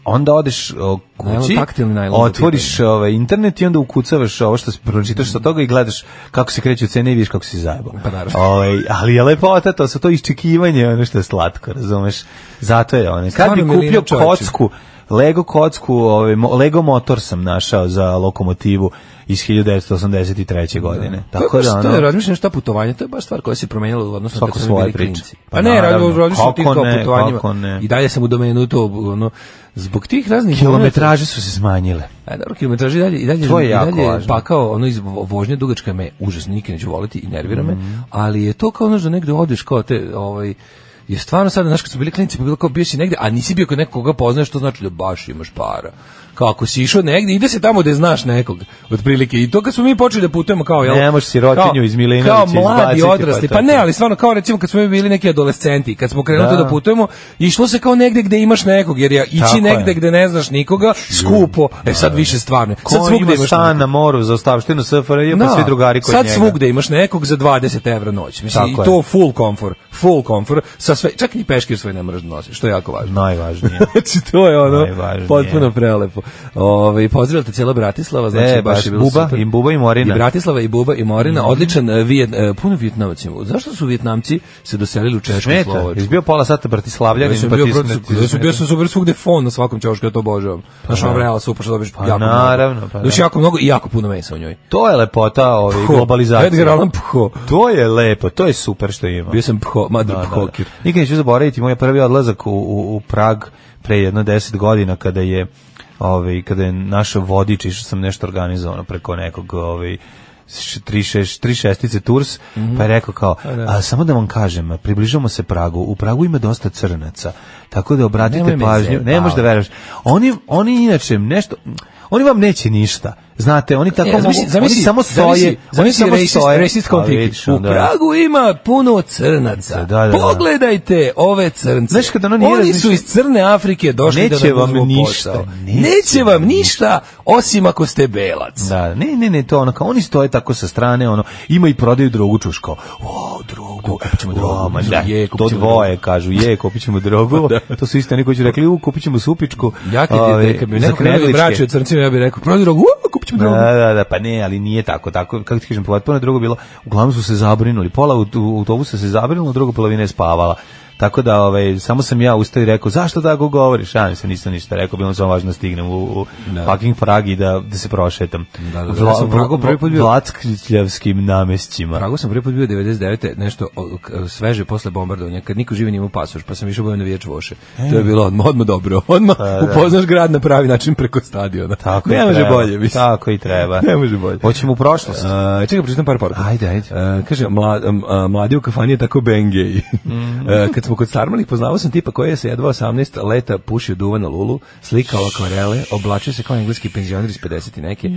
E: onda odeš o, kući,
F: Najlon, taktilni najlon za
E: otvoriš ovaj, internet i onda ukucavaš ovo što si- pročitaš sa toga i gledaš kako se kreću cene i vidiš kako si zajebao.
F: Pa naravno.
E: Ovaj, ali je lepota, to su to iščekivanje, ono što je slatko, razumeš? Zato je ono. Kad bi
F: Stvarno, Milina,
E: kupio
F: čoveče.
E: kocku, Lego kocku, ovaj, mo- Lego motor sam našao za lokomotivu iz 1983. godine.
F: Tako da,
E: ono,
F: ono... Razmišljam šta putovanje, to je baš stvar koja se promenila u odnosu na
E: Svako
F: kad smo
E: svoje
F: bili
E: priče.
F: klinci. Pa,
E: Pa
F: ne,
E: naravno,
F: razmišljam o tim
E: kako
F: kao
E: ne, kako
F: putovanjima.
E: ne.
F: I dalje sam u domenu to, ono, zbog tih raznih...
E: kilometraže su se smanjile.
F: E, dobro, kilometraži i dalje, i dalje,
E: To je
F: i
E: jako
F: dalje
E: važno.
F: pakao, ono iz vo- vožnje dugačka me užasno nikad neću voliti i nervira me,
E: Mhm.
F: ali je to kao ono da negde odeš kao te, ovaj, je stvarno sada, znaš, kad su bili klinici, pa bilo kao bio si negde, a nisi bio kod nekoga koga poznaš, to znači da baš imaš para. Kao ako si išao negde, ide se tamo gde znaš nekog, otprilike. I to kad smo mi počeli da putujemo kao, jel?
E: Ne možeš sirotinju iz Milinovića
F: Kao mladi
E: izbaciti, pa
F: odrasli,
E: to
F: pa
E: je
F: ne,
E: to.
F: ali stvarno kao recimo kad smo mi bili neki adolescenti, kad smo krenuli
E: Da.
F: da. da putujemo, išlo se kao negde gde imaš nekog, jer ja ići
E: Tako je.
F: negde gde ne znaš nikoga, skupo, e sad više stvarno.
E: Ko
F: Sad svugde
E: ima
F: imaš
E: stan na moru za ostavštinu SFRJ, pa
F: Da.
E: svi drugari kod
F: Sad
E: njega.
F: svugde imaš nekog za 20 evra noć. Mislim,
E: Tako
F: i
E: je.
F: to full komfor. Full komfor sa sa sve, čak ni peškir svoj ne moraš da nosiš, što je jako važno. [LAUGHS]
E: Najvažnije.
F: Znači, to je ono,
E: Najvažnije.
F: potpuno prelepo. Ove, pozdravljate cijela Bratislava, znači
E: E, baš
F: baš je bilo
E: Buba,
F: super.
E: i Mhm. Buba i Morina.
F: I Bratislava, i Buba, i Morina, odličan, e, Vijet, e, puno Vjetnamaca ima. Zašto su Vjetnamci se doselili u Češku i
E: Smeta,
F: Slovačku?
E: jesi bio pola sata
F: Ja
E: Bratislavljanin,
F: sam
E: pa
F: bio
E: ti
F: protiv,
E: smeta-
F: ja sam bio sam super svugde fon na svakom ćošku, ja to obožavam. Znaš, ono
E: Pa da.
F: vrela super što dobiješ
E: Pa
F: jako mnogo.
E: naravno, pa
F: Dobiješ
E: da.
F: jako mnogo i jako puno mesa u njoj.
E: To je lepota ove
F: Pho,
E: globalizacije.
F: Edgar Allan Poe.
E: To je lepo, to je super što ima.
F: Bio sam pho,
E: Da,
F: mother
E: da, da.
F: phoker.
E: Nikad neću zaboraviti moj prvi odlazak u, u, u Prag pre jedno deset godina kada je ovaj kada je naš vodič išao sam nešto organizovano preko nekog ovaj š- tri, šeš, tri šestice turs,
F: Mhm.
E: pa je rekao kao, a, samo da vam kažem, približamo se Pragu, u Pragu ima dosta crnaca, tako da obratite
F: Nemoj me
E: pažnju, ne možeš da
F: zajebavati.
E: veraš, oni, oni inače nešto, oni vam neće ništa, znate, oni tako
F: E,
E: mogu,
F: zamisli, zamisli,
E: oni samo stoje,
F: zamisli,
E: oni
F: zamisli
E: samo
F: racist,
E: stoje,
F: racist
E: A,
F: konflikt.
E: vidiš,
F: U
E: onda-
F: Pragu ima puno crnaca.
E: Da, da, da.
F: Pogledajte ove crnce.
E: Znaš, kad ono nije
F: Oni su
E: razmišlja-
F: iz crne Afrike došli
E: Neće
F: da nam
E: vam
F: uzmu
E: ništa,
F: posao.
E: neće
F: Neće vam
E: vam
F: ništa, osim ako ste belac.
E: Da, ne, ne, ne, to ono kao oni stoje tako sa strane, ono ima i prodaju drogu čuško. O, drogu, kupićemo drogu. ma da,
F: Je,
E: to
F: kupit ćemo
E: dvoje kažu, je,
F: [LAUGHS]
E: kupićemo drogu. To su isto oni koji su rekli, u, kupićemo supičku.
F: Ja kad je
E: ovaj,
F: da, kad bi
E: za
F: neko krenuo da
E: knedličke.
F: braće od crncima, ja bih rekao, prodaj drogu, u, kupit ćemo drogu.
E: Da, da, da, pa ne, ali nije tako, tako, kako ti kažem, potpuno je drugo bilo, uglavnom su se zabrinuli, pola aut- autobusa se zabrinulo, druga polovina je spavala. Tako da, ovaj, samo sam ja ustao i rekao, zašto tako govoriš? Ja se nisam ništa rekao, bilo mi samo važno da stignem u, u
F: Da.
E: fucking Prag i da, da se prošetam.
F: Da, da, da.
E: Vla-
F: Ja sam u Pragu
E: vla-
F: prvi put bio-
E: Vlackljavskim namesćima.
F: Pragu sam prvi put bio 99. nešto o, k- sveže posle bombardovanja, kad niko živi nije imao pasoš, pa sam išao bojem navijač Voše. To je bilo odmah, odmah dobro. [LAUGHS] Odmah upoznaš grad na pravi način preko stadiona.
E: Tako i
F: ne može
E: treba.
F: bolje, mislim.
E: Tako i treba.
F: Ne može bolje.
E: Hoćemo u prošlost.
F: Uh, čekaj, pročitam par poruka.
E: Ajde, ajde.
F: E, kaže, mla, m, a, mladi u kafani je tako bengej.
E: Mhm.
F: E, kad smo kod starmalih, poznavao sam tipa koji je sa jedva 18 leta pušio duva na lulu, slikao akvarele, oblačio se kao engleski penzioner iz 50 i neke.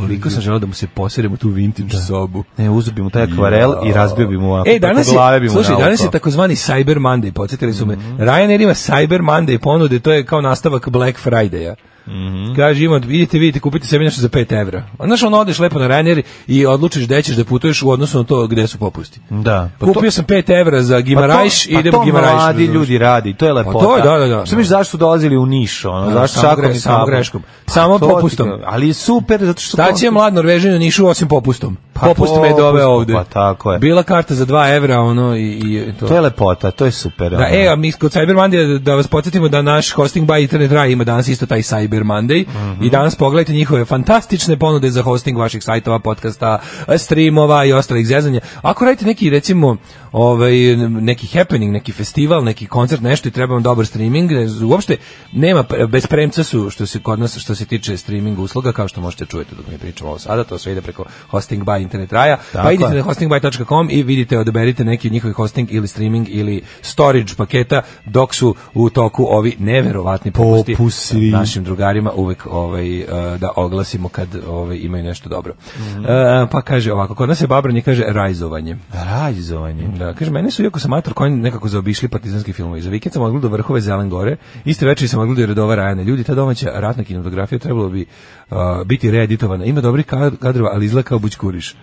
F: Koliko sam želeo da mu se posjedem u tu vintage sobu.
E: Ne, uzeo bi mu taj akvarel i razbio bi mu ovako.
F: E, danas
E: preko
F: je,
E: glave bi mu
F: slušaj, danas
E: naukao.
F: je takozvani Cyber Monday, podsjetili su me.
E: Mhm.
F: Ryanair ima Cyber Monday ponude, to je kao nastavak Black Friday-a.
E: Mhm.
F: Kaže, ima, idite, vidite, kupite sebi nešto za 5 evra. A znaš, ono, odeš lepo na Ryanair i odlučiš gde ćeš da putuješ u odnosu na to gde su popusti.
E: Da. Pa
F: Kupio sam 5 evra za Gimarajš,
E: pa
F: idem
E: to
F: u Gimarajš.
E: mladi
F: razumeš? Pa
E: ljudi radi, to je lepota.
F: to je, da, da, da.
E: Što misliš zašto su dolazili u Niš, ono,
F: Da,
E: zašto
F: samo
E: šakom
F: gre-
E: i
F: samo
E: kapom?
F: greškom. Samo
E: to ti
F: popustom.
E: kažem, Ali je super, zato što...
F: Šta
E: to-
F: će mlad Norvežan u Nišu osim popustom?
E: Pa
F: Popust me je doveo
E: popust,
F: ovde.
E: pa tako je.
F: Bila karta za 2 evra, ono, i, i to.
E: To je lepota, to je super.
F: Da,
E: ono.
F: e, a mi kod Cyber Monday, da- da vas podsjetimo da naš hosting by Internet Rai ima danas isto taj Cyber Monday i danas pogledajte njihove fantastične ponude za hosting vaših sajtova, podcasta, streamova i ostalih zezanja. Ako radite neki, recimo, ovaj, neki happening, neki festival, neki koncert, nešto i treba vam dobar streaming, ne- uopšte nema, pre- bez premca su što se kod nas, što se tiče streaming usluga, kao što možete čujete dok mi pričamo ovo sada, to sve ide preko hosting by Internet Raja,
E: Tako
F: pa
E: je.
F: idite na hostingby.com i vidite, odaberite neki od njihovih hosting ili streaming ili storage paketa dok su u toku ovi neverovatni popusti.
E: Popusti.
F: Našim drugarima uvek ovaj, eh, da oglasimo kad ovaj, imaju nešto dobro. Eh, pa kaže ovako, kod nas je babranje, kaže rajzovanje.
E: Rajzovanje.
F: Da, kaže, mene su, iako sam mator, koji nekako zaobišli partizanski filmovi. Za vikend sam odgledao vrhove Zelen gore, iste večeri sam odgledao i redova Rajane. Ljudi, ta domaća ratna kinematografija trebalo bi uh, biti reeditovana. Ima dobrih kad- kadrova, ali izgleda kao bućkuriš.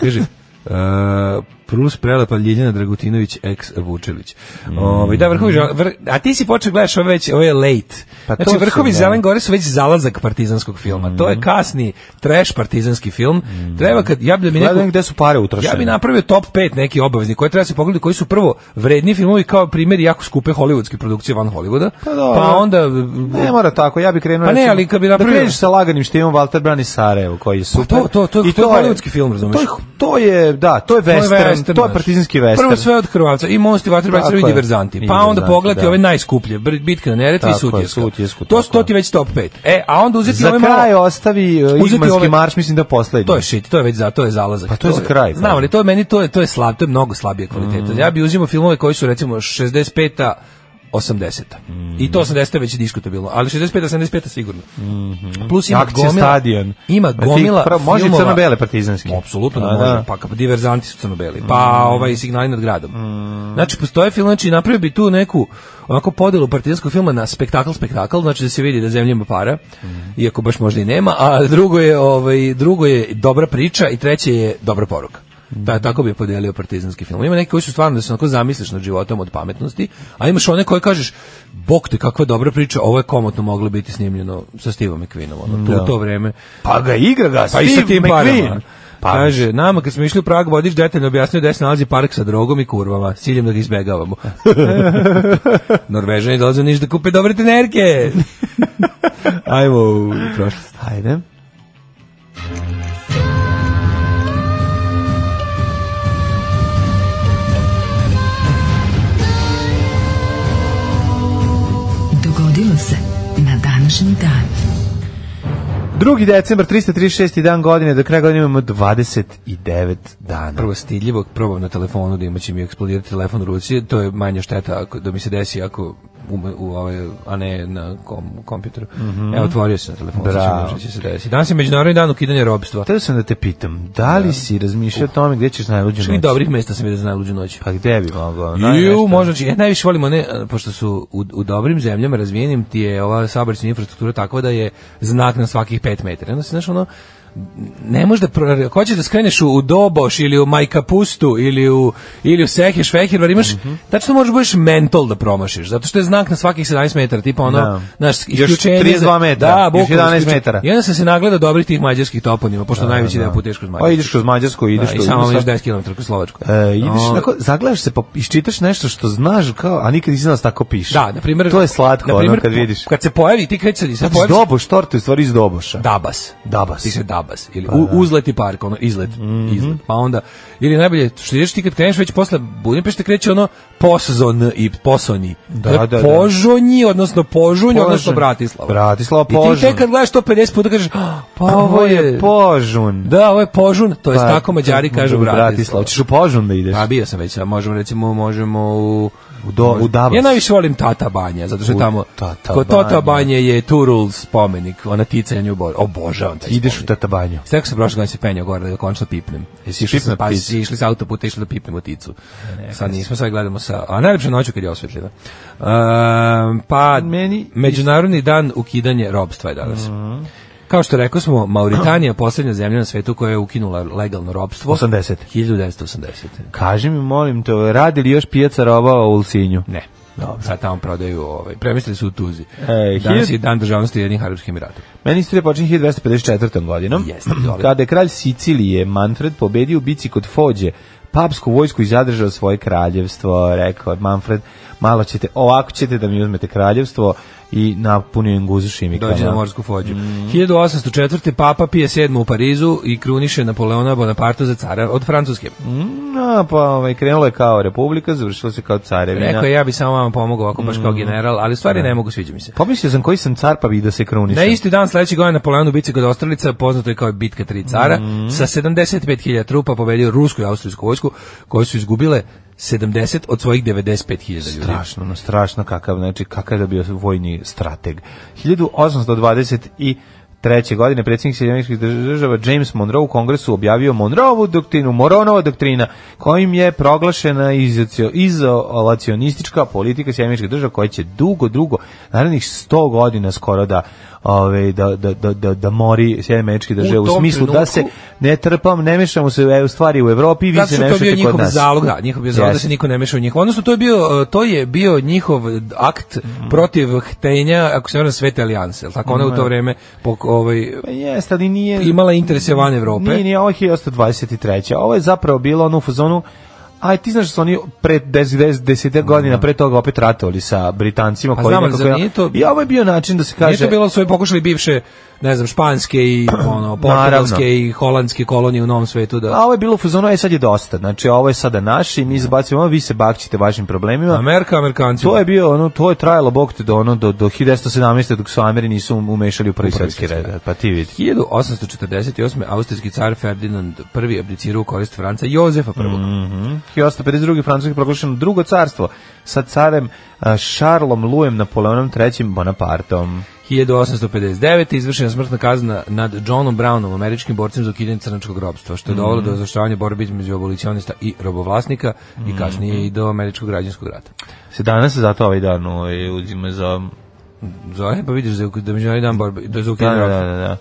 F: Kaže, Uh, plus prelepa Ljiljana Dragutinović ex Vučević.
E: Mm.
F: Ovaj da vrhovi ža- vr, a ti si počeo gledaš ove već ove late.
E: Pa to
F: znači
E: su,
F: vrhovi
E: da. Mm.
F: Zelen Crne Gore su već zalazak partizanskog filma. To je kasni trash partizanski film. Treba kad ja bi da mi neko-
E: Gledam gde su pare utrošene.
F: ja bi napravio top 5 neki obavezni koje treba se pogledati koji su prvo vredni filmovi kao primjeri jako skupe hollywoodske produkcije van Hollywooda. Pa,
E: dobro.
F: onda
E: Ne mora tako, ja bih krenuo
F: Pa ne,
E: recimo,
F: ali kad bi
E: Da
F: napravio- Pa
E: kreneš sa laganim štimom Walter Brani Sarajevo koji je super.
F: to- to- to-
E: I
F: to je hollywoodski film, razumeš?
E: To je, to je, da, to je
F: to je
E: western, to je,
F: western, znaš.
E: partizanski western.
F: Prvo sve od Hrvatska i Mosti
E: Tako
F: Vatrbaca i
E: je.
F: diverzanti. Pa
E: Diverzanti,
F: onda pogledati
E: da.
F: ove najskuplje, Br- Bitka na Neretvi i
E: Tako je,
F: Sutjeska.
E: Sutjesku,
F: to,
E: tako
F: to ti
E: je.
F: je već top 5. E, a onda uzeti
E: Za
F: ove malo-
E: kraj ostavi uh,
F: Uzeti
E: Igmanski
F: ove-
E: marš, mislim da je poslednji.
F: To je shit, to je već za, to je zalazak.
E: Pa to je za kraj,
F: Znam,
E: pa. Mm.
F: ali to je meni to je to je slab, to je mnogo slabije kvaliteta. Ja bi uzimao filmove koji su recimo 65-a 80-a. I to 80-a već je diskutabilno, ali 65-a 75-a sigurno. Plus Znači, ima
E: Mhm. Akcija
F: gomila.
E: stadion.
F: Ima
E: Znači,
F: gomila.
E: pravo, može i
F: filmova-
E: crno-bele partizanske.
F: Apsolutno
E: A,
F: da
E: da.
F: može. Pa ka- diverzanti su crno-beli. Pa ovaj signali nad gradom. Znači postoje film, znači napravio bi tu neku onako podelu partizanskog filma na spektakl spektakl, znači da se vidi da zemlja ima para, iako baš možda i nema, a drugo je ovaj drugo je dobra priča i treće je dobra poruka. Ta, tako bi podelio partizanski film. Ima neki koji su stvarno da se onako zamisliš nad životom od pametnosti, a imaš one koje kažeš, bok te kakva dobra priča, ovo je komotno moglo biti snimljeno sa Steve'om McQueenom, ono, tu, u to vreme.
E: Pa ga igra ga,
F: Pa i sa tim parama.
E: Pa,
F: Kaže, nama kad smo išli u Prag, vodič detaljno objasnio gde se nalazi park sa drogom i kurvama, s ciljem da ga izbegavamo. [LAUGHS] Norvežani dolaze u Niš da kupe dobre tenerke. Ajmo u prošlost.
E: Ajde.
D: Dogodilo se na današnji dan.
E: 2. decembar, 336. dan godine, do kraja godine imamo 29 dana.
F: Prvo stidljivo, probam na telefonu da imaće mi eksplodirati telefon u ruci, to je manja šteta ako, da mi se desi ako u, u ovaj, a ne na kom, kompjuteru. Evo, otvorio se na telefon, sad ćemo
E: Bravo.
F: vidjeti šta će se desiti. Danas je međunarodni dan ukidanja robstva.
E: Htio sam da te pitam, da li si razmišljao o tome gdje ćeš najluđu
F: Što i
E: noć?
F: dobrih mesta sam vidio za najluđu noć.
E: Pa gde bi mogao?
F: Ju,
E: Najnešta.
F: možda će. Ja najviše volim one, e, pošto su u, u dobrim zemljama razvijenim ti je ova saobraćajna infrastruktura takva da je znak na svakih 5 metara. Onda se, znaš, ono, ne možeš da pro- ako hoćeš da skreneš u, u Doboš ili u Majkapustu ili u ili u Sehe Švehervar imaš
E: Mhm.
F: tačno možeš da budeš mental da promašiš zato što je znak na svakih 17 metara tipa ono
E: Da.
F: naš
E: Još
F: isključenje za-
E: 32 metra,
F: da,
E: još
F: bukvalno
E: 11
F: isključenje.
E: metara.
F: i onda sam se nagleda dobrih tih mađarskih toponima pošto najveći deo puta ideš kroz Mađarsku
E: Pa ideš kroz Mađarsku, ideš
F: da, i
E: kroz-
F: samo ideš 10 km kroz Slovačku
E: E, ideš,
F: O,
E: onako, zagledaš se, pa iščitaš nešto što znaš, kao, a nikad nisi znao da se tako piše.
F: Da, na primjer.
E: To je slatko,
F: na
E: ono,
F: primjer,
E: kad vidiš.
F: Kad se pojavi, ti kad se, se
E: Zato iz
F: pojavi
E: Znači, Doboš, torte u stvari iz Doboša.
F: Dabas.
E: Dabas. Pa Mhm.
F: Ti se Dabas. Ili u, uzlet i park, ono, izlet. izlet. Pa onda, ili najbolje, što ideš ti kad kreneš već posle Budimpešte kreće ono posozon i posoni.
E: Da,
F: To
E: da,
F: je
E: da.
F: Požonji, odnosno požunj,
E: Požunj.
F: odnosno Bratislava.
E: Bratislava,
F: I ti tek
E: Požunj.
F: kad gledaš to 50 puta kažeš, "Ah, pa ovo je...
E: Požun.
F: Da, ovo je požun, to je
E: Pa,
F: tako mađari kažu Bratislava. Pa
E: Hoćeš u Požun da ideš?
F: A bio sam već, a možemo recimo možemo u
E: U Do- u Dabas.
F: Ja najviše volim Tata Banja, zato što je
E: U
F: tamo
E: Tata
F: kod
E: Banje.
F: Tata Banje je Turul spomenik, ona ticanje u Boru. Obožavam taj.
E: Ideš u
F: spomenik.
E: Tatabanju.
F: Stekao sam prošle godine se penjao gore da ga končno pipnem.
E: Jesi
F: Išli sam-
E: pipnuo
F: pa,
E: pticu?
F: išli sa autoputa, išli da pipnemo ticu. Sad nismo, sad gledamo sa... A najlepše noću kad je osvetljena. Ehm, pa,
E: Meni-
F: Međunarodni dan ukidanje robstva je danas. Kao što rekao smo, Mauritanija je posljednja zemlja na svetu koja je ukinula legalno robstvo.
E: 80.
F: 1980.
E: Kaži mi, molim te, radi li još pijaca roba u Ulcinju?
F: Ne. Dobro. Sad tamo prodaju, ovaj, premislili su u Tuzi.
E: E,
F: Danas
E: hiljad-
F: je dan državnosti jednih arapskih emirata.
E: Meni istorija počinje 1254. godinom,
F: Jeste, izvoli.
E: kada je kralj Sicilije Manfred pobedio u bici kod Fođe, papsku vojsku i zadržao svoje kraljevstvo, rekao je Manfred, malo ćete, ovako ćete da mi uzmete kraljevstvo i napunio im guzu šimikama.
F: Dođe na morsku fođu.
E: Mm.
F: 1804. Papa pije sedmu u Parizu i kruniše Napoleona Bonaparta za cara od Francuske.
E: A, pa ovaj, krenulo je kao republika, završilo se kao carevina.
F: Rekao je, ja bi samo vama pomogao ovako baš
E: Mm.
F: kao general, ali u stvari ne mogu, sviđa mi se.
E: Pomislio sam koji sam car pa bi da se krunišem.
F: Na isti dan sledećeg godina Napoleon u bici kod Ostralica, poznato je kao bitka tri cara,
E: Mm.
F: sa 75.000 trupa pobedio rusku i austrijsku vojsku, koje su izgubile 70 od svojih 95.000 ljudi.
E: strašno, no strašno kakav, znači kakav je bio vojni strateg. 1823. godine predsjednik Sjedinjenih država James Monroe u kongresu objavio Monroevu doktrinu, Moronova doktrina, kojim je proglašena izocio- izolacionistička politika Sjedinjenih država koja će dugo, dugo, narednih 100 godina skoro da ove, da, da, da, da, da mori Sjedinjeničke države
F: U
E: u,
F: tom
E: smislu da se
F: trenutku-
E: ne trpam, ne mešamo se u EU stvari u Evropi, vi
F: Zato
E: se
F: što
E: ne
F: je to bio
E: mešate kod
F: njihov
E: nas.
F: zalog, da, njihov bio zalog da
E: Jeste.
F: se niko ne meša u njih. Odnosno to je bio uh, to je bio njihov akt protiv htenja, ako se ne varam Svete alijanse, jel tako ona je u to vreme pok, ovaj
E: Pa jeste, ali nije...
F: imala interese van Evrope.
E: Nije, nije, ovo je 1823. Ovo je zapravo bilo ono u fazonu Aj, ti znaš da su oni pre 10, 10, 10
F: Mhm.
E: godina pre toga opet ratovali sa Britancima.
F: Pa
E: koji
F: znam, ali
E: nekako-
F: zar nije to-
E: I ovo je bio način da se kaže...
F: Nije to bilo svoje pokušali bivše, ne znam, španske i ono
E: Naravno.
F: portugalske i holandske kolonije u Novom svetu da
E: A ovo je bilo u fazonu, aj sad je dosta. Znači, ovo je sada naši, mi izbacimo, vi se bakćite vašim problemima.
F: Amerika, Amerikanci.
E: To je bio ono, to je trajalo bog te do ono do do 1917 dok su Ameri nisu umešali u prvi svetski
F: svjetski
E: red. Pa ti vidi.
F: 1848. austrijski car Ferdinand I abdicirao u korist Franca Jozefa I.
E: 1852. Francuski proglašeno drugo carstvo sa carem a, Šarlom Lujem Napoleonom III Bonapartom.
F: 1859. izvršena smrtna kazna nad Johnom Brownom, američkim borcem za ukidanje crnačkog robstva, što je dovelo
E: Mhm.
F: do zastrašavanja borbe između abolicionista i robovlasnika i
E: Mhm.
F: kasnije i do američkog građanskog rata.
E: Se danas se zato ovaj dan ovaj, uzima za...
F: Zove, pa vidiš da je da je međunarodni dan borbe, da je za
E: Da,
F: ukidanje
E: da, da,
F: robstva.
E: da. da.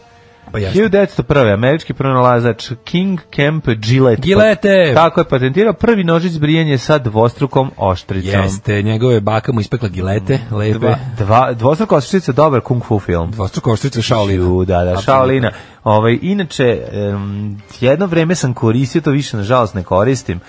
F: Pa jasno.
E: 1901. američki pronalazač King Kemp Gillette.
F: Gillette!
E: tako je patentirao prvi nožić za brijanje sa dvostrukom oštricom.
F: Jeste, njegove baka mu ispekla gilete,
E: Mhm.
F: lepe.
E: Dva, dva, dvostruka oštrica, dobar kung fu film.
F: Dvostruko oštrica Shaolina.
E: U, da, da,
F: Apsolutno.
E: Shaolina. Ovaj, inače, em, jedno vreme sam koristio, to više nažalost ne koristim,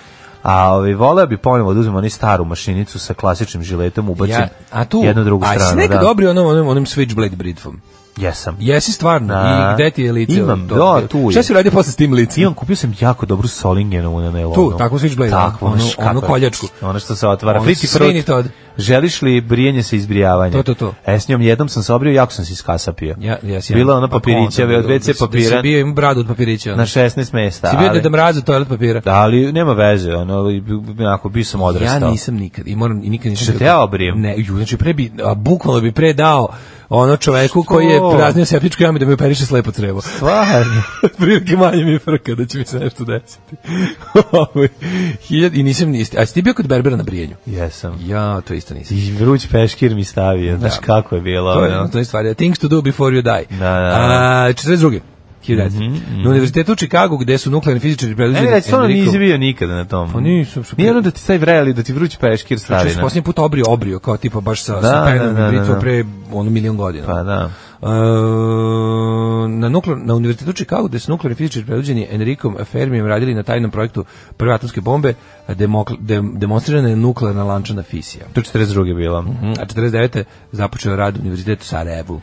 E: a ovaj, voleo bi ponovo da uzmem onu staru mašinicu sa klasičnim žiletom, ubacim
F: Ja, a tu,
E: jednu drugu
F: a jesi
E: stranu.
F: nekad
E: da.
F: dobri onom, onom, onom Switchblade bridvom?
E: Jesam.
F: Jesi stvarno?
E: Da.
F: I gde ti je lice?
E: Imam,
F: od-
E: da, tu je.
F: Šta si uradio posle s tim licem?
E: Imam, kupio sam jako dobru Solingenovu na melonu.
F: Tu, takvu Switchblade,
E: Takvu,
F: ono-
E: znaš,
F: ono
E: kako je.
F: koljačku.
E: Ono što se otvara.
F: Ono
E: Friti
F: svini
E: frut.
F: to od-
E: Želiš li brijanje sa izbrijavanjem?
F: To, to, to.
E: E, s njom jednom sam se obrio, jako sam se iskasapio.
F: Ja, ja si
E: Bila
F: jedan-
E: ona
F: pa
E: papirićeve
F: onda,
E: od WC
F: da si- Da
E: papira
F: si bio im bradu od papirića.
E: na
F: Znaš,
E: 16 mesta.
F: si bio
E: ali-
F: da mrazu toalet papira.
E: Da, ali nema veze, ono, ali bi- bi- onako, bio sam odrastao.
F: Ja nisam nikad i moram i nikad nisam.
E: Što
F: bio-
E: te ja obrijem?
F: Ne, ju, znači pre bi a, bukvalno bi pre dao ono čoveku koji je praznio septičku jamu da mi operiše slepo crevo.
E: Stvarno.
F: [LAUGHS] Prilike manje mi je frka da će mi se nešto desiti. [LAUGHS] Ovaj, Hiljad, I nisam niste. A si ti bio kod Berbera na brijenju?
E: Jesam.
F: Ja, to isto nisam.
E: I vruć peškir mi stavio, znaš kako je bilo.
F: To je,
E: ono.
F: to je stvar. Things to do before you die.
E: Da, da, Mhm, da.
F: A, 42. 1900. Na univerzitetu u Čikagu gde su nuklearni fizičari
E: Ne,
F: preduzeli
E: ne, stvarno
F: Enrico-
E: nisi bio nikada na tom.
F: Pa nisam, što-
E: Nije ono da ti stavi vreli, da ti vruć peškir stavi.
F: Znači,
E: na-
F: posljednji put obrio, obrio, kao tipa baš sa,
E: Da,
F: sa penom
E: da, da,
F: i britvom
E: da.
F: pre ono milion godina.
E: Pa da.
F: E, na, nukle, na univerzitetu u Čikagu gde su nuklearni fizičari predvođeni Enrikom Fermijem radili na tajnom projektu prve atomske bombe, demokl, dem, demonstrirana je nuklearna lančana fisija.
E: To je 42. bilo.
F: A 49. započeo rad u univerzitetu u Sarajevu.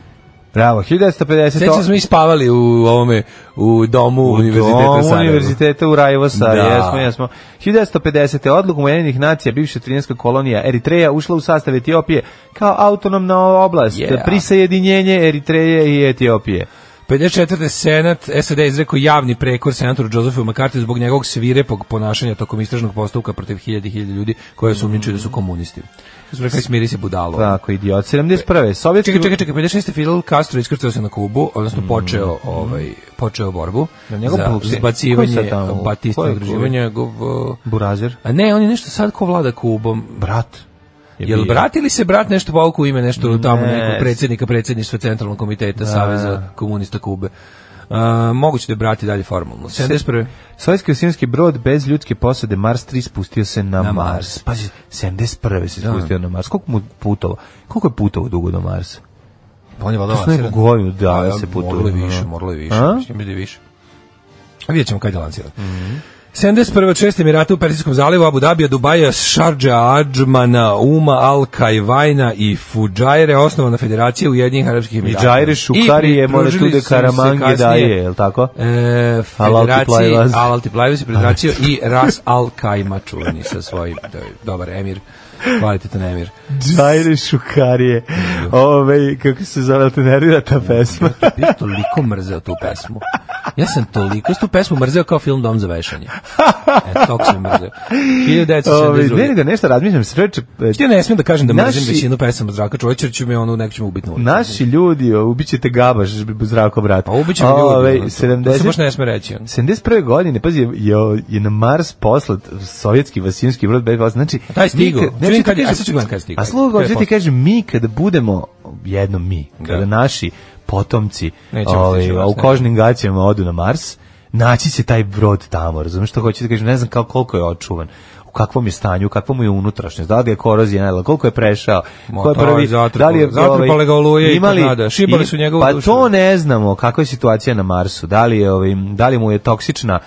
E: Bravo, 1950.
F: Sećam smo i spavali u ovome u domu
E: U
F: univerziteta
E: domu
F: u Sarajevu.
E: univerziteta u Rajevo Sarajevo,
F: Da.
E: jesmo, jesmo. 1950. odlukom Ujedinjenih nacija, bivša trijanska kolonija Eritreja, ušla u sastav Etiopije kao autonomna oblast,
F: Yeah.
E: prisajedinjenje Eritreje i Etiopije.
F: 54. senat SAD izrekao javni prekor senatoru Josephu McCarthy zbog njegovog svirepog ponašanja tokom istražnog postupka protiv hiljadi i hiljadi ljudi koje su umničili da su komunisti. Su rekli, smiri se budalo.
E: Tako, idiot. 71. Sovjetski...
F: Čekaj, čekaj, čekaj, 56. Fidel Castro iskrcao se na Kubu, odnosno počeo, ovaj, počeo borbu
E: Jel Mm. njegov
F: za
E: Buksi? Koji sad
F: zbacivanje
E: tamo? Koji je
F: Batistnog režima,
E: Kubi?
F: njegov... uh,
E: Burazer.
F: A ne, on je nešto sad ko vlada Kubom.
E: Brat.
F: Je Jel
E: bio.
F: brat ili se brat nešto pauku u ime nešto tamo
E: Ne.
F: nekog predsjednika predsjedništva Centralnog komiteta Saveza komunista Kube? Uh, moguće da je brat i dalje formalno. 71.
E: Sovjetski osinski brod bez ljudske posade Mars 3 spustio se na,
F: Na
E: Mars.
F: Mars.
E: Pazi, 71. se spustio na Mars. Koliko mu putovo? Koliko je putovo dugo do Marsa?
F: On je valjda
E: To su neku
F: lansiran.
E: godinu
F: A,
E: dana se putuje.
F: Moralo je više,
E: ono.
F: moralo je više.
E: A?
F: Mislim da je više. Mhm. A vidjet ćemo kad je lanciran. 71. od šest Emirata u Persijskom zalivu, Abu Dhabija, Dubaja, Sharđa, Adžmana, Uma, Al Kajvajna i Fujaire, osnovana federacija Ujedinjenih Arabskih Emirata.
E: Džajre Šukarije,
F: Dakle, I
E: more
F: pridružili
E: tude
F: su se
E: Karamangi
F: kasnije,
E: daje, je li tako?
F: E,
E: Al-Altiplaj
F: federaciji
E: vas.
F: Al-Altiplajvas je federacija i Ras Al-Kajma čuveni sa svojim do- dobar emir, kvalitetan emir.
E: Džajre Šukarije. Ove, kako se zove, te nervira ta
F: [LAUGHS]
E: pesma?
F: Bio toliko mrzeo tu pesmu. Ja sam toliko tu pesmu mrzeo kao film Dom za vešanje. E, toliko sam mrzeo.
E: Ove, ne,
F: 1972.
E: ne, Ovaj, nešto razmišljam, sreće, e,
F: Ja ne smijem da kažem da mrzim
E: Naši-
F: većinu pesama Zdravka Čovića, jer ću me ono, neko će me ubiti na ulici.
E: Naši ljudi, o, ubićete gabaš, zrako brat. Ovaj,
F: Pa ubit će me ljudi.
E: Ove,
F: ono, to- To se baš
E: 70,
F: ne sme reći. ono.
E: 71. godine, pazi, je, je na Mars poslat sovjetski vasinski brod bez vas, znači...
F: taj je stigao.
E: mi kad-
F: Čujem
E: ja ću ti
F: kad je-
E: kažem-
F: a sad ću gledam kad je stigao.
E: A sluga,
F: Kad je
E: hoću ti
F: poslat.
E: kažem, mi kada budemo, jedno mi, kada
F: Da.
E: naši potomci
F: Nećemo
E: ovaj,
F: stići na Mars,
E: u
F: ne.
E: kožnim gaćama odu na Mars, naći se taj brod tamo, razumiješ što hoću ti kažem, ne znam kao koliko je očuvan u kakvom je stanju, u kakvom je unutrašnjost, da li ga je korozija najela, koliko je prešao,
F: Ma,
E: ko je
F: taj
E: prvi,
F: zatrpao- zatrpale ga oluje i tornada, šibali su njegovu
E: pa
F: dušu.
E: to ne znamo kakva je situacija na Marsu, da li, je, ovaj, da li mu je toksična,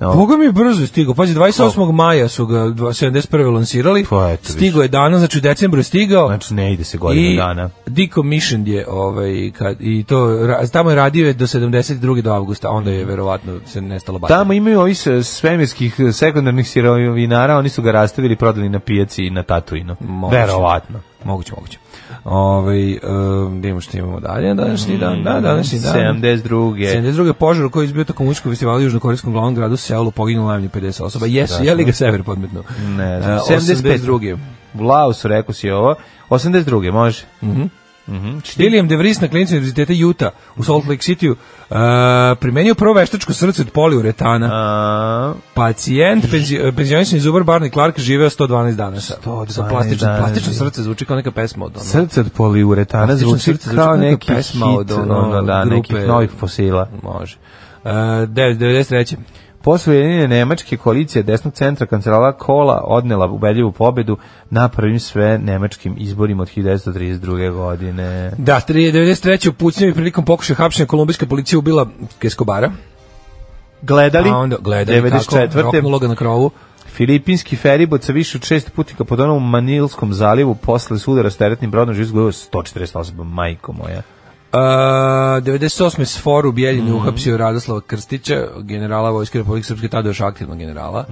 E: o,
F: Boga mi je brzo je stigao. Pazi, 28. maja su ga dva- 71. lansirali.
E: Pa, eto,
F: Stigao je danas, znači u decembru je stigao.
E: znači ne ide se godinu dana.
F: decommissioned je ovaj kad i to ra- tamo je radio je do 72. do avgusta, onda je verovatno se nestalo baš.
E: Tamo imaju ovi s- svemirskih eh, sekundarnih sirovinara, oni su ga rastavili i prodali na pijaci i na Tatuinu.
F: Moguće.
E: Verovatno.
F: Moguće, moguće. Ovaj um, da imamo što imamo dalje, današnji dan,
E: Mm,
F: da, današnji dan.
E: 72.
F: 72. požar koji je izbio tokom muzičkog festivala u južnokorejskom glavnom gradu Seulu poginulo najmanje 50 osoba. Jesu, je li ga sever podmetno? e,
E: Ne znam,
F: 72.
E: 75.
F: Mm.
E: U Laosu, rekao si ovo. 82. može.
F: William De Vries na klinici univerziteta Utah u Salt Lake City uh, primenio prvo veštačko srce od poliuretana.
E: A,
F: Pacijent, penzi, penzionisni zubar Barney Clark, živeo 112 dana sa,
E: 112
F: sa plastično,
E: dana.
F: plastično srce zvuči kao neka pesma od ono. onog.
E: srce od poliuretana
F: Plastično
E: zvuči
F: srce zvuči
E: kao
F: kao neka
E: neki
F: pesma
E: hit,
F: od ono,
E: ono, da,
F: grupe-
E: nekih novih fosila.
F: Može. Uh, 93.
E: Posle jedine nemačke koalicije desnog centra kancelara Kola odnela ubedljivu pobedu na prvim sve nemačkim izborima od 1932. godine.
F: Da, tri- 93. u pucnjevi prilikom pokušaja hapšenja kolumbijska policija ubila Keskobara,
E: Gledali?
F: a onda gledali 94. kako
E: 94.
F: roknula ga na krovu.
E: Filipinski feribot sa više od šest putnika pod onom u Manilskom zalivu posle sudara s teretnim brodom živi izgledao 140 osoba, majko moja.
F: Uh, 98. s foru
E: Mhm.
F: Bijeljini uhapsio Radoslava Krstića, generala Vojske Republike Srpske, tada još aktivnog generala.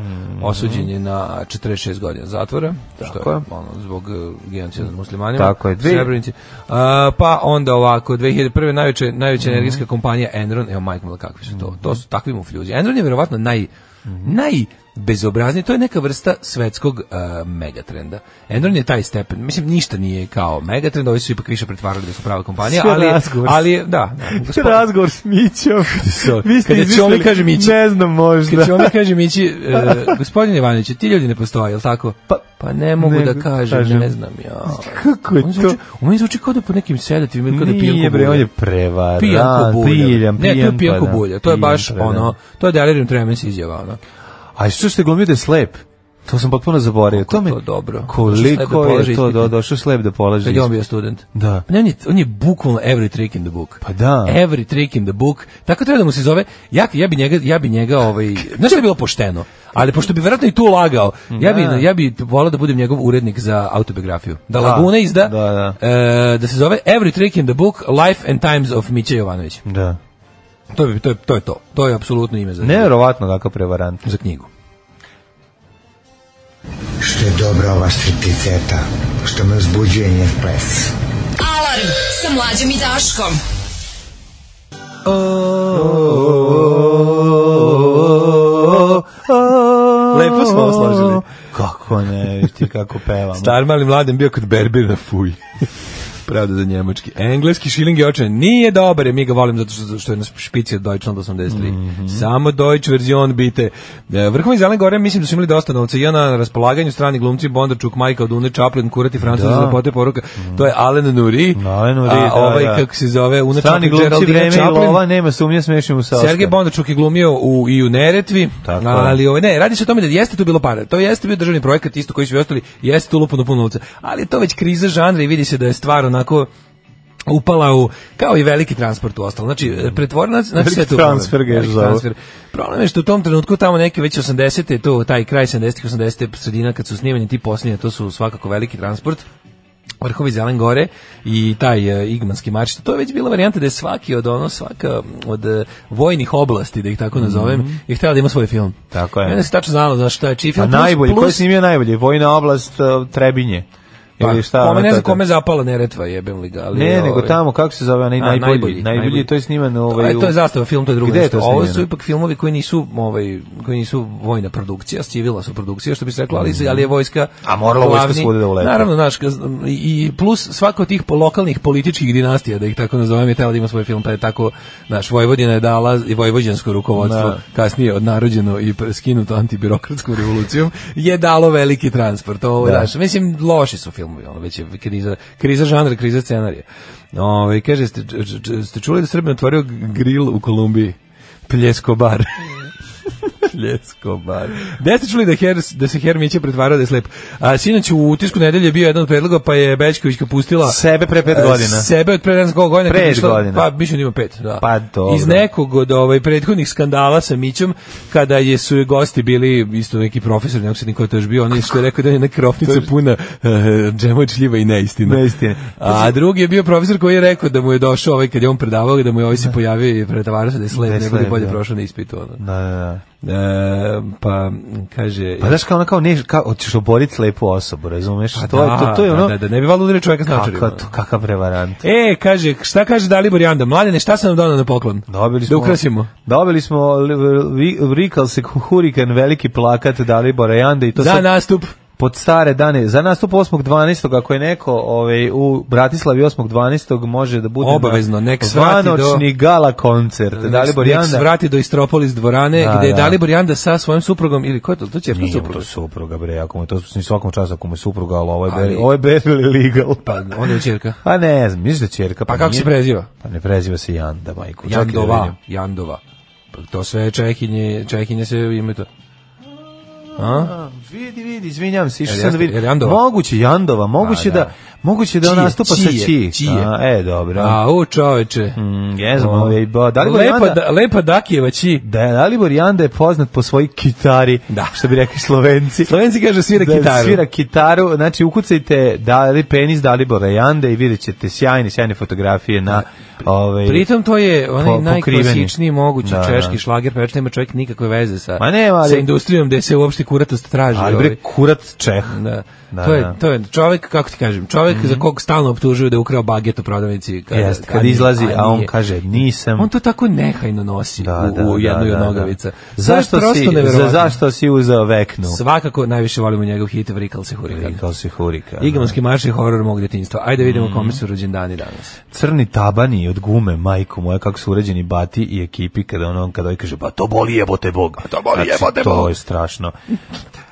F: Osuđen je na 46 godina zatvora, što
E: Mhm. Tako
F: je
E: je.
F: ono, zbog uh, genocida nad muslimanima.
E: Tako je,
F: u
E: dvi-
F: Srebrenici. Uh, pa onda ovako, 2001. najveća, najveća
E: Mhm.
F: energetska kompanija Enron, evo majko mila kakvi su to, to su takvi mu fljuzi. Enron je verovatno naj,
E: Mhm.
F: naj bezobrazni, to je neka vrsta svetskog uh, megatrenda. Enron je taj stepen, mislim ništa nije kao megatrend, ovi su ipak više pretvarali da su prava kompanija,
E: Sve
F: ali,
E: razgovor.
F: ali da. da
E: Razgovor s [LAUGHS] Mićom.
F: Vi ste Kada će on mi izmislili- kaže Mića.
E: Ne znam, možda.
F: Kad ćemo mi kažem ići, e, gospodin Ivanović, ti ljudi ne postoje, jel tako?
E: Pa-
F: pa ne mogu
E: ne,
F: da kažem,
E: kažem.
F: ne znam ja.
E: Kako je
F: On
E: to?
F: zvuči, on meni zvuči kao da po nekim sedativima, ili kao da Pa je pijanko
E: Nije bre, on
F: bulja.
E: je prevarant.
F: pijanko bulja.
E: Piljan,
F: ne, to je
E: pijan,
F: pijanko
E: pa da.
F: bulja, to je baš
E: Pijan, pa da.
F: ono, to je delirium tremens izjava, ono.
E: A što ste glumio da je slep? To sam potpuno zaboravio.
F: Koliko
E: To mi
F: je to dobro. Došao slep da
E: Koliko
F: polaže
E: je to
F: ispit.
E: do, došao slep da polaže.
F: Kad je on
E: ispit.
F: bio student. Pa
E: Da.
F: Ne, on je, on je bukvalno every trick in the book.
E: Pa da.
F: Every trick in the book. Tako treba da mu se zove, ja, ja bi njega, ja bi njega ovaj, znaš što je bilo pošteno, ali pošto bi verovatno i tu lagao, ja bi, ja bi volao da budem njegov urednik za autobiografiju. Da,
E: Da.
F: Laguna
E: Da,
F: izda,
E: da.
F: e, da se zove Every trick in the book, Life and Times of Miće Jovanović.
E: Da.
F: To, bi, to, je, to je to. To je apsolutno ime za,
E: Neverovatno kakav prevarant.
F: za knjigu.
G: Što je dobra ova stripticeta, što me uzbuđuje njen ples.
D: Alarm sa mlađom i Daškom.
E: Lepo
F: smo ovo složili.
E: Kako ne, viš ti kako pevamo.
F: Star mali mladen bio kod Berbera fuj. [LAUGHS] Pravda za njemački. Engleski šiling je očajan. Nije dobar, je, mi ga volim zato što, što je na špici od Deutschland 83.
E: Mhm.
F: Samo Deutsch verzion bite. E, Vrhovi Zelene Gore mislim da su imali dosta novca. I ona na raspolaganju strani glumci Bondarčuk, Majka od Une, Chaplin, Kurati, Francuza,
E: Da.
F: da. Lepote poruka. To je Alen Nuri.
E: Alen Nuri,
F: a
E: da,
F: ovaj,
E: da.
F: kako se zove, Una
E: Strani
F: Chaplin,
E: glumci
F: Geraldina
E: vreme i
F: Chaplin.
E: lova, nema sumnje, smešim u sa Oskar.
F: Sergej Bondarčuk je glumio u, i u Neretvi,
E: Tako je.
F: ali ovaj, ne, radi se o tome da jeste tu bilo para. To jeste bio državni projekat, isto koji su i ostali, jeste tu lupano puno novca. Ali je to već kriza žanra i vidi se da je stvar onako upala u, kao i veliki transport u ostalo. Znači, pretvorena, znači
E: Veliki
F: sve tu.
E: transfer ga je
F: Veliki
E: zovu.
F: transfer. Problem je što u tom trenutku tamo neke već 80-te, to taj kraj 70-ih, 80-te sredina kad su snimanje ti posljednje, to su svakako veliki transport. Vrhovi Zelen Gore i taj e, Igmanski mač. To je već bila varijanta da je svaki od ono, svaka od e, vojnih oblasti, da ih tako nazovem, je htjela da ima svoj film.
E: Mhm. Tako je.
F: Mene se tačno znalo za šta je čiji
E: Pa
F: film. Plus-
E: najbolji, ko je
F: plus-
E: snimio najbolji? Vojna oblast uh, Trebinje.
F: pa,
E: Ili šta?
F: kome
E: ono,
F: ne
E: to-
F: znam
E: to-
F: kome je zapala Neretva, jebem li ga. Ali,
E: Ne, nego
F: ovaj,
E: tamo, kako se zove, onaj
F: a,
E: najbolji, najbolji, to je sniman ovaj,
F: To je, to je zastava film, to je drugo
E: Gde je
F: nešto.
E: to
F: Ovo su
E: snimljeno?
F: ipak filmovi koji nisu, ovaj, koji nisu vojna produkcija, civila su produkcija, što bi se reklo, ali, ali je vojska
E: Mhm. A morala vojska svuda da uleti.
F: Naravno, znaš, kaz- i plus svako od tih po- lokalnih političkih dinastija, da ih tako nazovem, je tela da ima svoj film, pa je tako, znaš, Vojvodina je dala i vojvođansko rukovodstvo,
E: Da.
F: kasnije odnarođeno i pre- skinuto antibirokratskom revolucijom, je dalo veliki transport. Ovo, znaš, mislim, loši su filmovi, ono, već je kriza, kriza žanra, kriza scenarija. Ove, kaže, ste, č- č- č- ste čuli da Srbin otvorio g- grill u Kolumbiji? Pljeskobar. Pljeskobar. Da ste čuli da, Her, da se Hermiće pretvarao da je slep. A, sinoć u utisku nedelje je bio jedan od predloga, pa je Bečković ga pustila
E: Sebe pre pet
F: e,
E: godina.
F: Sebe od pre ne znam koliko godina. kad je
E: Pet
F: išla-
E: godina.
F: Pa, mislim da ima pet, da.
E: Pa, dobro.
F: Iz nekog od ovaj, prethodnih skandala sa Mićom, kada je su joj gosti bili, isto neki profesor, nekog se niko je to još bio, on je što je rekao da je jedna krofnica puna uh, džema čljiva i neistine.
E: Neistine.
F: A drugi je bio profesor koji je rekao da mu je došao ovaj, kad je on predavao, da mu je ovaj se pojavio i pretavarao se da je slep,
E: Da je
F: ne bude
E: slep,
F: bolje
E: da.
F: prošao na ispitu. Ono.
E: Da, da, da.
F: E, pa, kaže...
E: Pa daš kao ono kao ne, kao hoćeš oboriti lepu osobu, razumeš?
F: Pa
E: to, je, to, to je ono,
F: Da, da, da ne bi valjda udario čovjeka s
E: kakav,
F: naočarima.
E: to, kakav prevarant.
F: E, kaže, šta kaže Dalibor Janda? Mladene, šta sam nam donao na poklon?
E: Dobili smo,
F: Da ukrasimo.
E: Dobili smo, li- vi- vikal se hurikan, veliki plakat Dalibora Janda i to
F: za
E: sad,
F: nastup.
E: pod stare dane. Za nastup 8.12. ako je neko ovaj, u Bratislavi 8.12. može da bude
F: Obavezno, nek
E: na
F: svrati do-
E: zvanočni gala koncert. Dalibor
F: Nek
E: Janda.
F: svrati do Istropolis dvorane,
E: Da,
F: gde je
E: da.
F: Dalibor Janda sa svojim suprugom, ili ko je to? To će
E: Nije mu
F: supruga.
E: to supruga, bre, ako mu je to ni svakom času, ako mu je supruga, ali ovo je,
F: Ali-
E: beri, ovo je [LAUGHS] barely legal.
F: Pa, onda je čerka.
E: Pa ne znam, misliš da je čerka?
F: Pa kako
E: nije?
F: se preziva?
E: Pa ne preziva se Janda, majko. Čekaj da
F: Jandova.
E: vidim.
F: Jandova. Pa to sve čehinje, čehinje se ime to. A?
E: A, Vidi, vidi, izvinjam se, išao
F: Jel
E: sam da
F: jeste-
E: vidim.
F: jel Jandova?
E: Moguće Jandova, moguće
F: A,
E: da,
F: da.
E: moguće da on
F: Čije,
E: nastupa sa
F: čije,
E: Čiji.
F: čije?
E: A, e, dobro.
F: A, u čoveče.
E: Mm, ne znam, ovaj, ba, Dalibor
F: lepa,
E: Janda,
F: da, lepa Dakijeva ći.
E: da, je Dalibor Janda je poznat po svojoj kitari,
F: Da.
E: što bi rekli slovenci.
F: Slovenci kaže svira
E: da
F: kitaru.
E: svira kitaru, znači ukucajte da li penis Dalibora Jande i vidjet ćete sjajne, sjajne fotografije na ovaj,
F: Pritom to je onaj
E: Po- pokriveni.
F: najklasičniji mogući
E: Da,
F: češki
E: da.
F: šlager, pevač nema čovjek nikakve veze sa,
E: Ma nema, ali-
F: sa industrijom gde se uopšte kuratost traži.
E: ali
F: ovaj.
E: bre, kurat Čeh.
F: Da.
E: Da,
F: to je
E: da. Mhm.
F: to je čovjek kako ti kažem, čovjek za kog stalno optužuju da je ukrao baget u prodavnici kada
E: Jest, kad
F: nije,
E: izlazi, a on
F: nije.
E: kaže, nisam.
F: On to tako nehajno nosi
E: Da,
F: u,
E: da,
F: u
E: da,
F: jednoj
E: da,
F: od
E: da.
F: nogavica. To je
E: Zašto
F: prosto
E: si, za,
F: neverovatno.
E: zašto si uzeo veknu?
F: Svakako najviše volimo njegov hit Vrikal se hurikan.
E: Kao si hurika.
F: Igamski marš je horor mog detinjstva. Ajde
E: Mhm.
F: vidimo kome su rođendani danas.
E: crni tabani od gume, majko moja, kako su uređeni Bati i ekipi, kada on, kada ovaj kaže, ba to boli jebote Bog. to boli jebote Bog. To je strašno.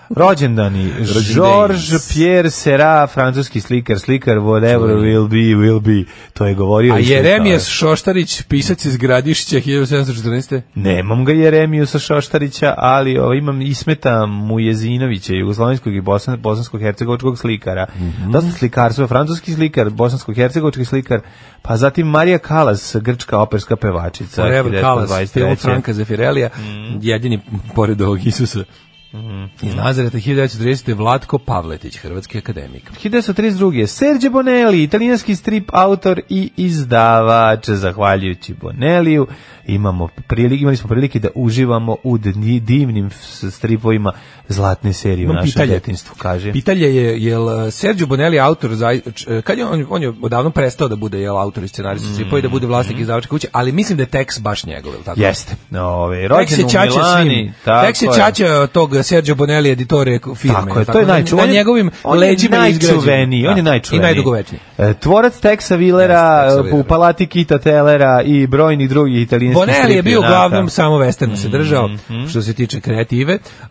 E: [LAUGHS] Rođendani, Georges Pierre Serra, francuski slikar, slikar, whatever will be, will be. To je govorio.
F: A
E: i slikao
F: Jeremije Šoštarić, pisac iz Gradišća 1714.
E: Nemam ga Jeremiju sa Šoštarića, ali ovaj, imam Ismeta Mujezinovića, jugoslovenskog i bosan, bosansko-hercegovačkog slikara.
F: Mhm.
E: Dosta slikarstva, francuski slikar, bosansko-hercegovački slikar, pa zatim Marija Kalas, grčka operska pevačica.
F: Forever Kalas, film
E: 1923.
F: Franka Zefirelija,
E: Mm.
F: jedini pored ovog Isusa.
E: Mm-hmm.
F: Iz Nazareta 1930. Vlatko Pavletić, hrvatski akademik.
E: 1932. je Sergio Bonelli, italijanski strip autor i izdavač. Zahvaljujući Bonelliju imamo prilike, imali smo prilike da uživamo u dni- divnim s- stripovima zlatne serije u
F: Imam
E: našem
F: pitanje.
E: detinjstvu, kaže.
F: Pitanje je, jel eh, Sergio Bonelli autor, za, č- eh, kad je on, on je odavno prestao da bude jel, autor i scenarista mm -hmm. da bude vlasnik izdavačke kuće, ali mislim da je tekst baš njegov, jel tako?
E: Mm-hmm. Jeste. Ove,
F: Tek se
E: rođen u
F: čače
E: Milani.
F: svim. Tek se
E: je.
F: čače tog Sergio Bonelli editore firme.
E: Tako je,
F: jel
E: to je
F: Na-
E: najčuveniji.
F: Na njegovim
E: on je
F: leđima je izgrađen.
E: najčuveniji, on je
F: Da.
E: najčuveniji.
F: I najdugovečniji.
E: E, Tvorac Texa Willera,
F: Jeste, Texa Willera.
E: u palati Kita Tellera i brojni drugi italijanski
F: Bonelli je bio
E: stripi, onaka.
F: uglavnom samo westerna se držao, što se tiče kreative. Uh,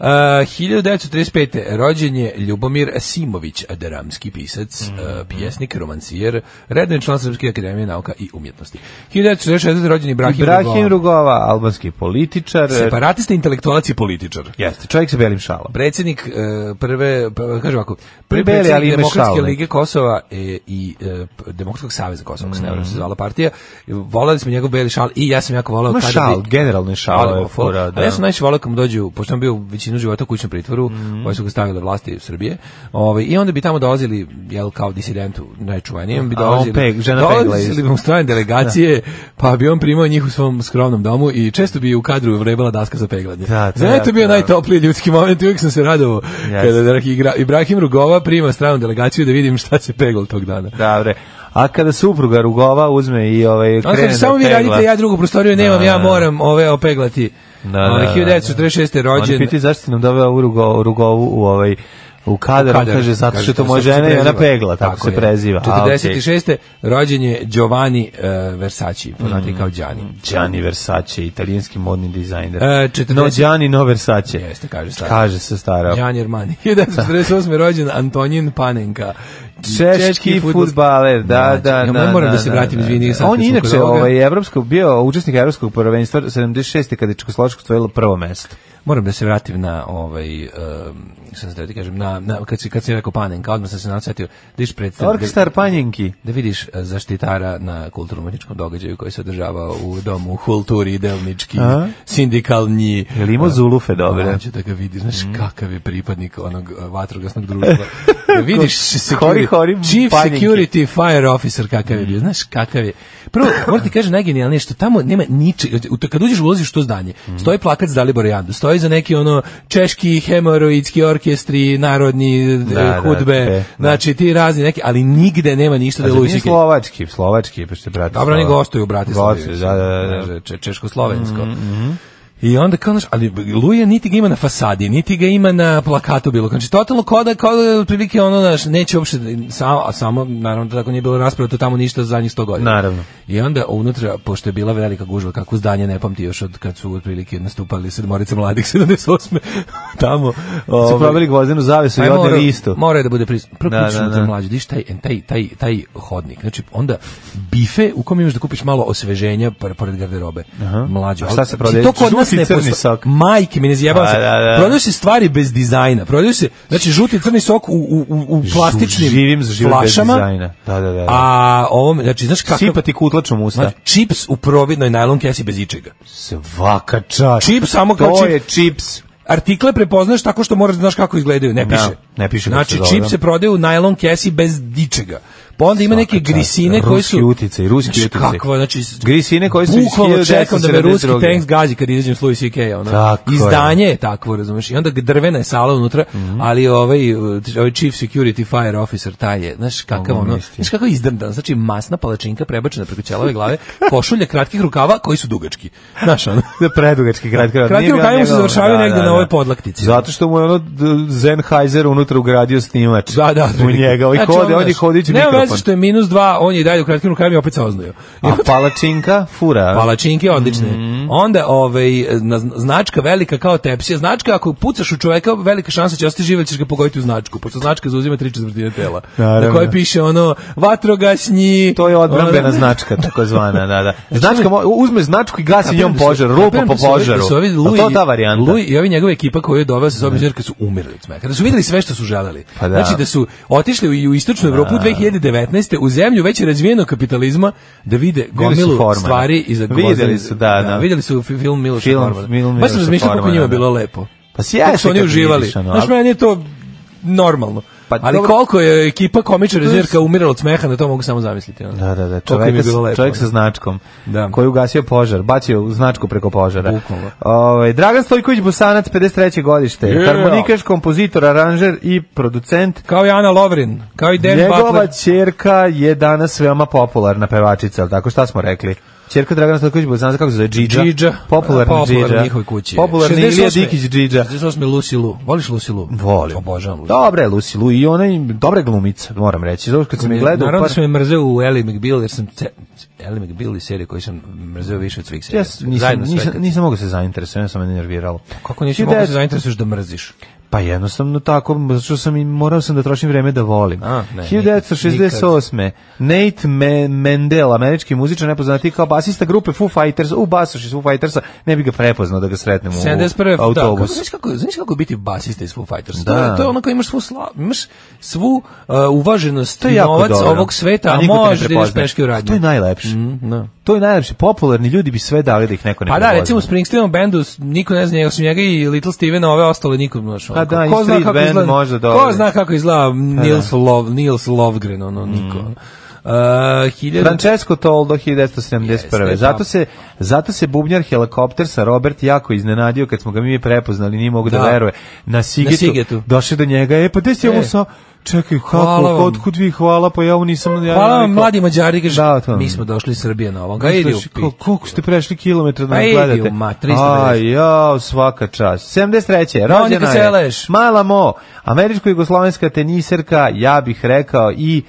F: 1935. rođen je Ljubomir Simović, dramski pisac, eh, pjesnik, romancijer, redni član Srpske akademije nauka i umjetnosti. 1966. rođen je Ibrahim,
E: Ibrahim
F: Rugova, pa-
E: Rugova, albanski političar.
F: separatista, intelektualac i političar.
E: Jeste, čovjek sa belim šalom.
F: predsjednik e, prve pa, kaže ovako prvi
E: Pribeli, ali
F: predsjednik
E: ima
F: demokratske
E: šal neki.
F: lige Kosova e, i e, p- demokratskog saveza Kosova mm. se ne varam, se zvala partija voleli smo njegov beli šal i ja sam jako voleo
E: Ima
F: kada
E: šal,
F: bi-
E: generalno je šal,
F: Voleo
E: ovo je
F: ga, ful.
E: fora, da.
F: A ja sam najviše voleo kad mu dođu pošto sam bio većinu života u kućnom pritvoru
E: Mhm.
F: koji su ga stavile vlasti Srbije ovaj i onda bi tamo dolazili jel kao disidentu najčuvenijem bi
E: A on
F: dolazili
E: peg- žena pegla iz-
F: dolazili bi mu strane delegacije pa bi on primao njih u svom skromnom domu i često bi u kadru vrebala daska za peglanje
E: Da, to je
F: Znate, to je bio
E: jako dobro.
F: najtopliji ljudski moment i uvijek sam se radovao
E: Jeste.
F: kada da igra, Ibrahim Rugova prima stranu delegaciju da vidim šta se peglo tog dana.
E: Dobre. A kada supruga Rugova uzme i ovaj,
F: On
E: krene
F: kaže,
E: da
F: Ono samo vi
E: pegla-
F: radite, ja drugu prostoriju nemam,
E: Da,
F: ja
E: da.
F: moram ove opeglati.
E: Da, da,
F: Ovaj,
E: da,
F: 1946.
E: Oni
F: rođen.
E: pitaju zašto si nam doveo ovu rugo, rugovu u ovaj u kadar,
F: Kadar.
E: on kaže zato što je to
F: se
E: moja žena i ona
F: preziva.
E: pegla, tako, se
F: je.
E: preziva. A, okej.
F: 46. rođen je Giovanni uh, Versace, poznati
E: Mm.
F: kao Gianni.
E: Gianni Versace, italijanski modni dizajner.
F: E, 40
E: No Gianni, no Versace.
F: Jeste, kaže stara.
E: Kaže se stara.
F: Gianni Armani. [LAUGHS] 1948. rođen Antonin Panenka.
E: Češki,
F: fudbalski-
E: fudbaler, da, da,
F: ja
E: da.
F: moram
E: da,
F: da se
E: da,
F: vratim,
E: da,
F: izvini.
E: da.
F: sad
E: On
F: kad
E: je
F: smo kod
E: inače
F: ovoga.
E: ovaj, evropsko, bio učesnik evropskog prvenstva 76. kada je Čekoslovačka stvojila prvo mesto.
F: Moram da se vratim na ovaj um, šta sam teo ti kažem na, na kad si kad si rekao Panenka, odmah sam se nasetio da iš predstav da,
E: Orkestar Panjenki.
F: da vidiš eh, zaštitara na kulturno-umetničkom događaju koji se održava u domu kulturi delnički
E: A?
F: sindikalni
E: Je li imao Zulufe dobre? Mm.
F: Hoće da ga vidiš, znaš kakav je pripadnik onog eh, vatrogasnog društva.
E: [LAUGHS]
F: Da vidiš security,
E: Hori, hori, Mm.
F: chief
E: Panenki.
F: security fire officer kakav je bio, znaš kakav je. Prvo, moram ti kažem najgenijalnije što tamo nema ničeg, u to- kad uđeš ulaziš u to zdanje,
E: Mm.
F: stoji plakat za Dalibor Jandu, stoji za neki ono češki hemoroidski orkestri, narodni
E: Da,
F: da,
E: da, e,
F: hudbe,
E: da.
F: znači ti razni neki, ali nigde nema ništa da je
E: Znači,
F: Louis
E: nije
F: CK.
E: slovački, slovački, pa što je bratislava.
F: Dobro, oni gostuju u Bratislavi.
E: Gostuju, da, da, da. mm,
F: Če, češko-slovensko. I onda kao, znaš, ali Luja niti ga ima na fasadi, niti ga ima na plakatu bilo. Znači, totalno kao da, kao da je otprilike ono, znaš, neće uopšte, samo, a samo, naravno, da tako nije bilo rasprava, to tamo ništa za zadnjih 100 godina.
E: Naravno.
F: I onda unutra, pošto je bila velika gužva, kako zdanje ne pamti još od kad su otprilike nastupali sedmorica mladih [LAUGHS] 78. tamo.
E: Su
F: ovaj,
E: probili gvozdenu zavesu i
F: pa je
E: odneli
F: morao-
E: isto.
F: Morao je da bude prisutno. Prvo
E: Da,
F: kupiš
E: da,
F: unutra
E: da.
F: mlađu, diš taj, taj, taj, taj hodnik. Znači, onda bife u kom imaš da kupiš malo osveženja par- pored garderobe. Mlađu.
E: A šta
F: ali-
E: se prodaje?
F: To kod nas
E: Žuti
F: ne
E: i crni
F: postoji.
E: sok.
F: Majke mi ne zjebam
E: Pa,
F: se.
E: da, da.
F: Prodaju se stvari bez dizajna. Prodaju se, znači, žuti i crni sok u, u, u, u plastičnim
E: Živim za život bez
F: flašama.
E: dizajna. Da, da, da. A,
F: A ovom, znači, znaš kakav...
E: Sipa ti kutlačom u usta.
F: Znači, čips u providnoj najlon kesi bez ičega.
E: Svaka čast.
F: Čip samo kao
E: To
F: čip.
E: je čips.
F: Artikle prepoznaš tako što moraš da znaš kako izgledaju, ne
E: Da,
F: piše.
E: ne piše kako
F: Znači,
E: se zove,
F: čip
E: da.
F: se prodaje u najlon kesi bez dičega. Pa onda ima neke
E: čast.
F: grisine
E: Ruski
F: koje su...
E: uticaj, ruski
F: Znaš
E: uticaj.
F: Kakva, znači...
E: Grisine koje su iz
F: Bukvalno čekam da me ruski
E: 1972.
F: tanks gazi kad izađem s Louis C.K. Ono.
E: Tako je.
F: Izdanje je takvo, razumeš. I onda drvena je sala unutra,
E: Mhm.
F: ali ovaj, ovaj chief security fire officer taj je, znaš kakav ono...
E: Pa isti.
F: Znaš kako je izdrndan, znači masna palačinka prebačena preko ćelave glave, [LAUGHS] košulja kratkih rukava koji su dugački. Znaš ono...
E: Da predugački grad grad.
F: Kratki
E: Nije bila
F: rukavi mu se
E: njegova-
F: završavaju negde na ovoj podlaktici.
E: Zato što mu je ono d- Sennheiser unutra ugradio snimač.
F: Da, da. Znači,
E: U njega. Ovaj kode, on je hodić
F: Ne,
E: mikrofon.
F: veze što je minus dva, on je i dalje u kratkim rukavima i opet se oznojio. I
E: A palačinka fura.
F: Palačinke odlične.
E: Mhm.
F: Onda ovaj, na- značka velika kao tepsija. Značka ako pucaš u čoveka, velika šansa će ostati živ ili ćeš ga pogoditi u značku, pošto značka zauzima tri četvrtine tela.
E: Naravno.
F: Na kojoj piše ono vatrogasnji...
E: To je odbrambena
F: ono-
E: značka takozvana, da, da. Značka, mo- uzme značku i gasi njom
F: Kapiram da su-
E: požar, rupa
F: kapiram
E: po
F: da su ovi-
E: požaru.
F: da su ovi
E: A
F: Louis-
E: to ta varijanta.
F: Louis i ovi njegova ekipa koju je doveo sa sobom iz Njujorka su umirali od smeka. Da su videli sve što su želeli.
E: Pa da.
F: Znači da su otišli u, i u istočnu Evropu 2019. u zemlju već razvijenog kapitalizma da vide
E: su
F: gomilu
E: Formana.
F: stvari i za
E: Videli su, da, da.
F: Videli su fi- film Miloša
E: Film-
F: Formana.
E: film
F: Baš
E: Miloša
F: sam razmišljao kako
E: Formana,
F: njima
E: da.
F: bilo lepo.
E: Pa sjaj
F: Kako
E: se
F: su oni
E: kad
F: uživali.
E: vidiš, ono,
F: Znaš,
E: ali-
F: meni je to normalno.
E: Pa
F: ali
E: dobro.
F: koliko je ekipa komičara iz Njujorka umirala od smeha, na to mogu samo zamisliti. ono.
E: Da, da, da.
F: Koliko im je
E: Čovjek,
F: bilo lepo.
E: čovjek sa značkom
F: Da.
E: koji je ugasio požar, bacio značku preko požara.
F: Bukvalno.
E: Ovaj, Dragan Stojković Bosanac, 53. godište.
F: Yeah.
E: Harmonikaš, kompozitor, aranžer i producent.
F: Kao i Ana Lovrin, kao i Dan
E: Njegova
F: Butler.
E: ćerka je danas veoma popularna pevačica, ali tako šta smo rekli? Ćerka Dragana Stojković Bosanac, kako se zove? Džidža.
F: Džidža.
E: Popularna
F: Popularna
E: Džidža.
F: u njihovoj kući.
E: Popularna Ilija
F: 68.
E: Dikić Džidža.
F: 68. Lucy Lu. Voliš Lucy Lu?
E: Volim.
F: Obožavam Lucy.
E: Dobra je Lucy Lou i ona je dobra glumica, moram reći. Zato kad sam je gledao... pa
F: Naravno
E: par-
F: da sam je mrzeo u Ellie McBeal, jer sam ce, Ellie McBeal i serije koju sam mrzeo više od svih serija.
E: Ja s- nisam,
F: Zajedno sve
E: nisam,
F: kad-
E: nisam mogao se zainteresujem, ja sam me nerviralo.
F: Kako nisi mogu
E: 1900
F: se zainteresuješ da mrziš?
E: Pa jednostavno tako, zato što sam i morao sam da trošim vreme da volim.
F: A, ne, nikad,
E: 1968. Nate Me- Mendel, američki muzičar nepoznati kao basista grupe Foo Fighters, u basuš iz Foo Fightersa, ne bi ga prepoznao da ga sretnem u
F: 71. Da, kako,
E: autobusu.
F: znaš, kako, znaš kako biti basista iz Foo Fighters? To,
E: Da.
F: je, to je ono kao imaš svu, sla, imaš svu uh, uvaženost
E: To
F: i
E: je jako
F: novac
E: dobro.
F: ovog sveta, a,
E: niko te ne
F: možeš da ideš
E: prepoznaje.
F: peške u radnju.
E: To je najlepše.
F: Mm, da.
E: To je najlepše. Popularni ljudi bi sve dali da ih neko ne
F: Pa da,
E: prepoznaje.
F: recimo u Springsteenovom bendu s- niko ne zna njega, osim njega i Little Stevena, ove ostale niko ne ono, zna.
E: A Pa da, i street band možda dobro.
F: Ko zna kako
E: Pa
F: izgleda Nils, Lov, Nils Lovgren, ono, niko. Uh, hiljadu...
E: Mm.
F: pa-
E: Francesco Toldo 1971.
F: Jeste,
E: zato se zato se bubnjar helikopter sa Robert jako iznenadio kad smo ga mi prepoznali, nije mogu da,
F: Da.
E: veruje. Na Sigetu,
F: Sigetu.
E: došao do njega, e pa gde si
F: E.
E: ovo sa Čekaj,
F: Hvala
E: kako,
F: vam.
E: otkud vi hvala, pa ja ovo nisam... Ja
F: Hvala
E: ja
F: vam,
E: rekao-
F: mladi mađari, kaže,
E: Da, to.
F: mi smo došli iz Srbije na ovom. Ga
E: Znaš,
F: idi u
E: znaš,
F: pi-
E: kol- Koliko ste prešli kilometra da
F: Pa
E: nas
F: idi u
E: gledate?
F: ma, 350.
E: Aj, jao, svaka čast. 73.
F: Monika
E: Rođena je.
F: Seleš.
E: Mala Mo, američko-jugoslovenska teniserka, ja bih rekao i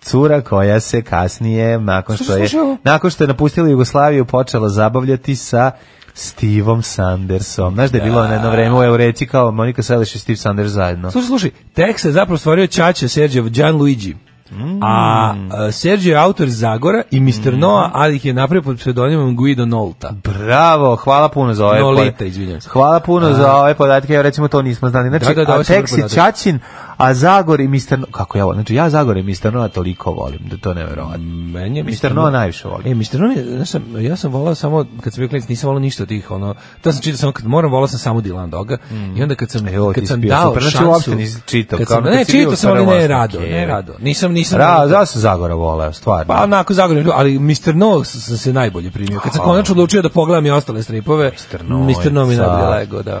E: cura koja se kasnije nakon
F: Šta
E: što je
F: slušaj ovo?
E: nakon što je napustila Jugoslaviju počela zabavljati sa Steveom Sandersom. Znaš da je bilo na jedno vreme u Eureci kao Monika Seleš i Steve Sanders zajedno.
F: Slušaj, slušaj, tekst je zapravo stvorio Čače Sergio Gianluigi.
E: Mm.
F: A e, Sergio je autor Zagora i Mr. Noah, ali ih je napravio pod pseudonimom Guido Nolta.
E: Bravo, hvala puno za ove.
F: Lolita,
E: podatke.
F: izvinjam se.
E: Hvala puno za ove podatke, ja recimo to nismo znali. Znači,
F: Da, da, da,
E: a
F: ovo su
E: tek se
F: dobar podatak.
E: Čačin, a Zagor i Mr. No- kako ja volim, znači ja Zagor i Mr. Nova toliko volim, da to neverovatno.
F: Meni je
E: Mr. Noah najviše volim.
F: E, Mr. Noah, je, znaš, šta, ja sam volao samo, kad sam bio klinic, nisam volao ništa od tih, ono, to sam čitao samo kad moram, volao sam samo Dylan Doga, i onda kad sam,
E: Ejo, Mhm. ti
F: kad sam
E: si bio
F: dao
E: super, znači,
F: šansu,
E: uopšte nisi čitao,
F: kad
E: kao
F: sam,
E: ono kad
F: ne,
E: si bio
F: čitao
E: u
F: sam, ali ne
E: Starom
F: rado, ne
E: Mostu.
F: rado, nisam, nisam,
E: Ra, ja sam Zagora voleo, stvarno.
F: Pa onako zagorim, ali Mr. No sam se najbolje primio. Kad sam konačno odlučio da pogledam i ostale stripove,
E: Mr. No je
F: Mr. No mi
E: car.
F: najbolje lego, da.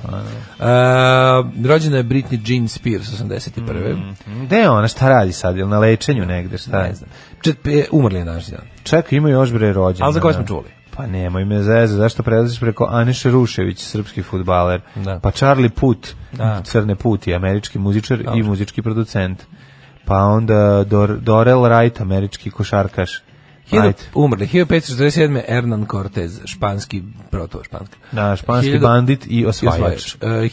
F: E, rođena je Britney Jean Spears, 81.
E: Mhm. Gde je ona, šta radi sad, jel na lečenju negde, šta je?
F: Ne znam. Čet- pe- Umrli je naš dan.
E: Čekaj, ima još bre rođendan.
F: Ali za koje smo
E: da.
F: čuli?
E: Pa nemoj me zeze, zašto prelaziš preko Aniše Rušević, srpski futbaler,
F: Da.
E: pa Charlie Put,
F: Da.
E: crne puti, američki muzičar i
F: Dobro.
E: muzički producent, pa onda Dor, Dorel Wright, američki košarkaš. Ajde.
F: Umrli. 1547. Hernan Cortez, španski, proto španski.
E: Da, španski
F: Hiljadu-
E: bandit i osvajač.
F: Osvajač. E,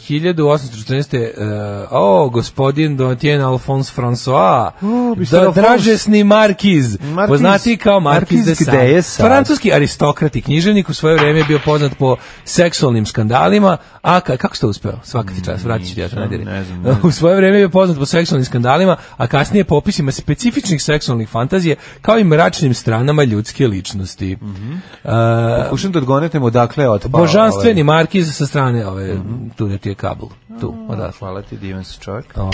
F: 1814. Uh, o, gospodin Donatien Alphonse François.
E: O, mister
F: da,
E: Alphonse.
F: dražesni Markiz.
E: Markiz-
F: Poznati kao Markiz,
E: Markiz
F: de Sade.
E: gde je sad?
F: Francuski aristokrat i književnik u svoje vreme je bio poznat po seksualnim skandalima, a ka, kako ste uspeo? Svaka ti čast, vratit ću ti ja to
E: Ne
F: nadjeri.
E: znam, ne znam.
F: [LAUGHS] U svoje vreme je bio poznat po seksualnim skandalima, a kasnije popisima specifičnih seksualnih fantazije, kao i mračnim stranama ljudske ličnosti. Mm
E: Kušam da odgonetem odakle Mhm. je otpao.
F: Božanstveni Markiz sa strane, ove, tu gde ti je kabel, tu,
E: ovaj. Da,
F: odatle.
E: hvala ti, divan si čovjek.
F: O,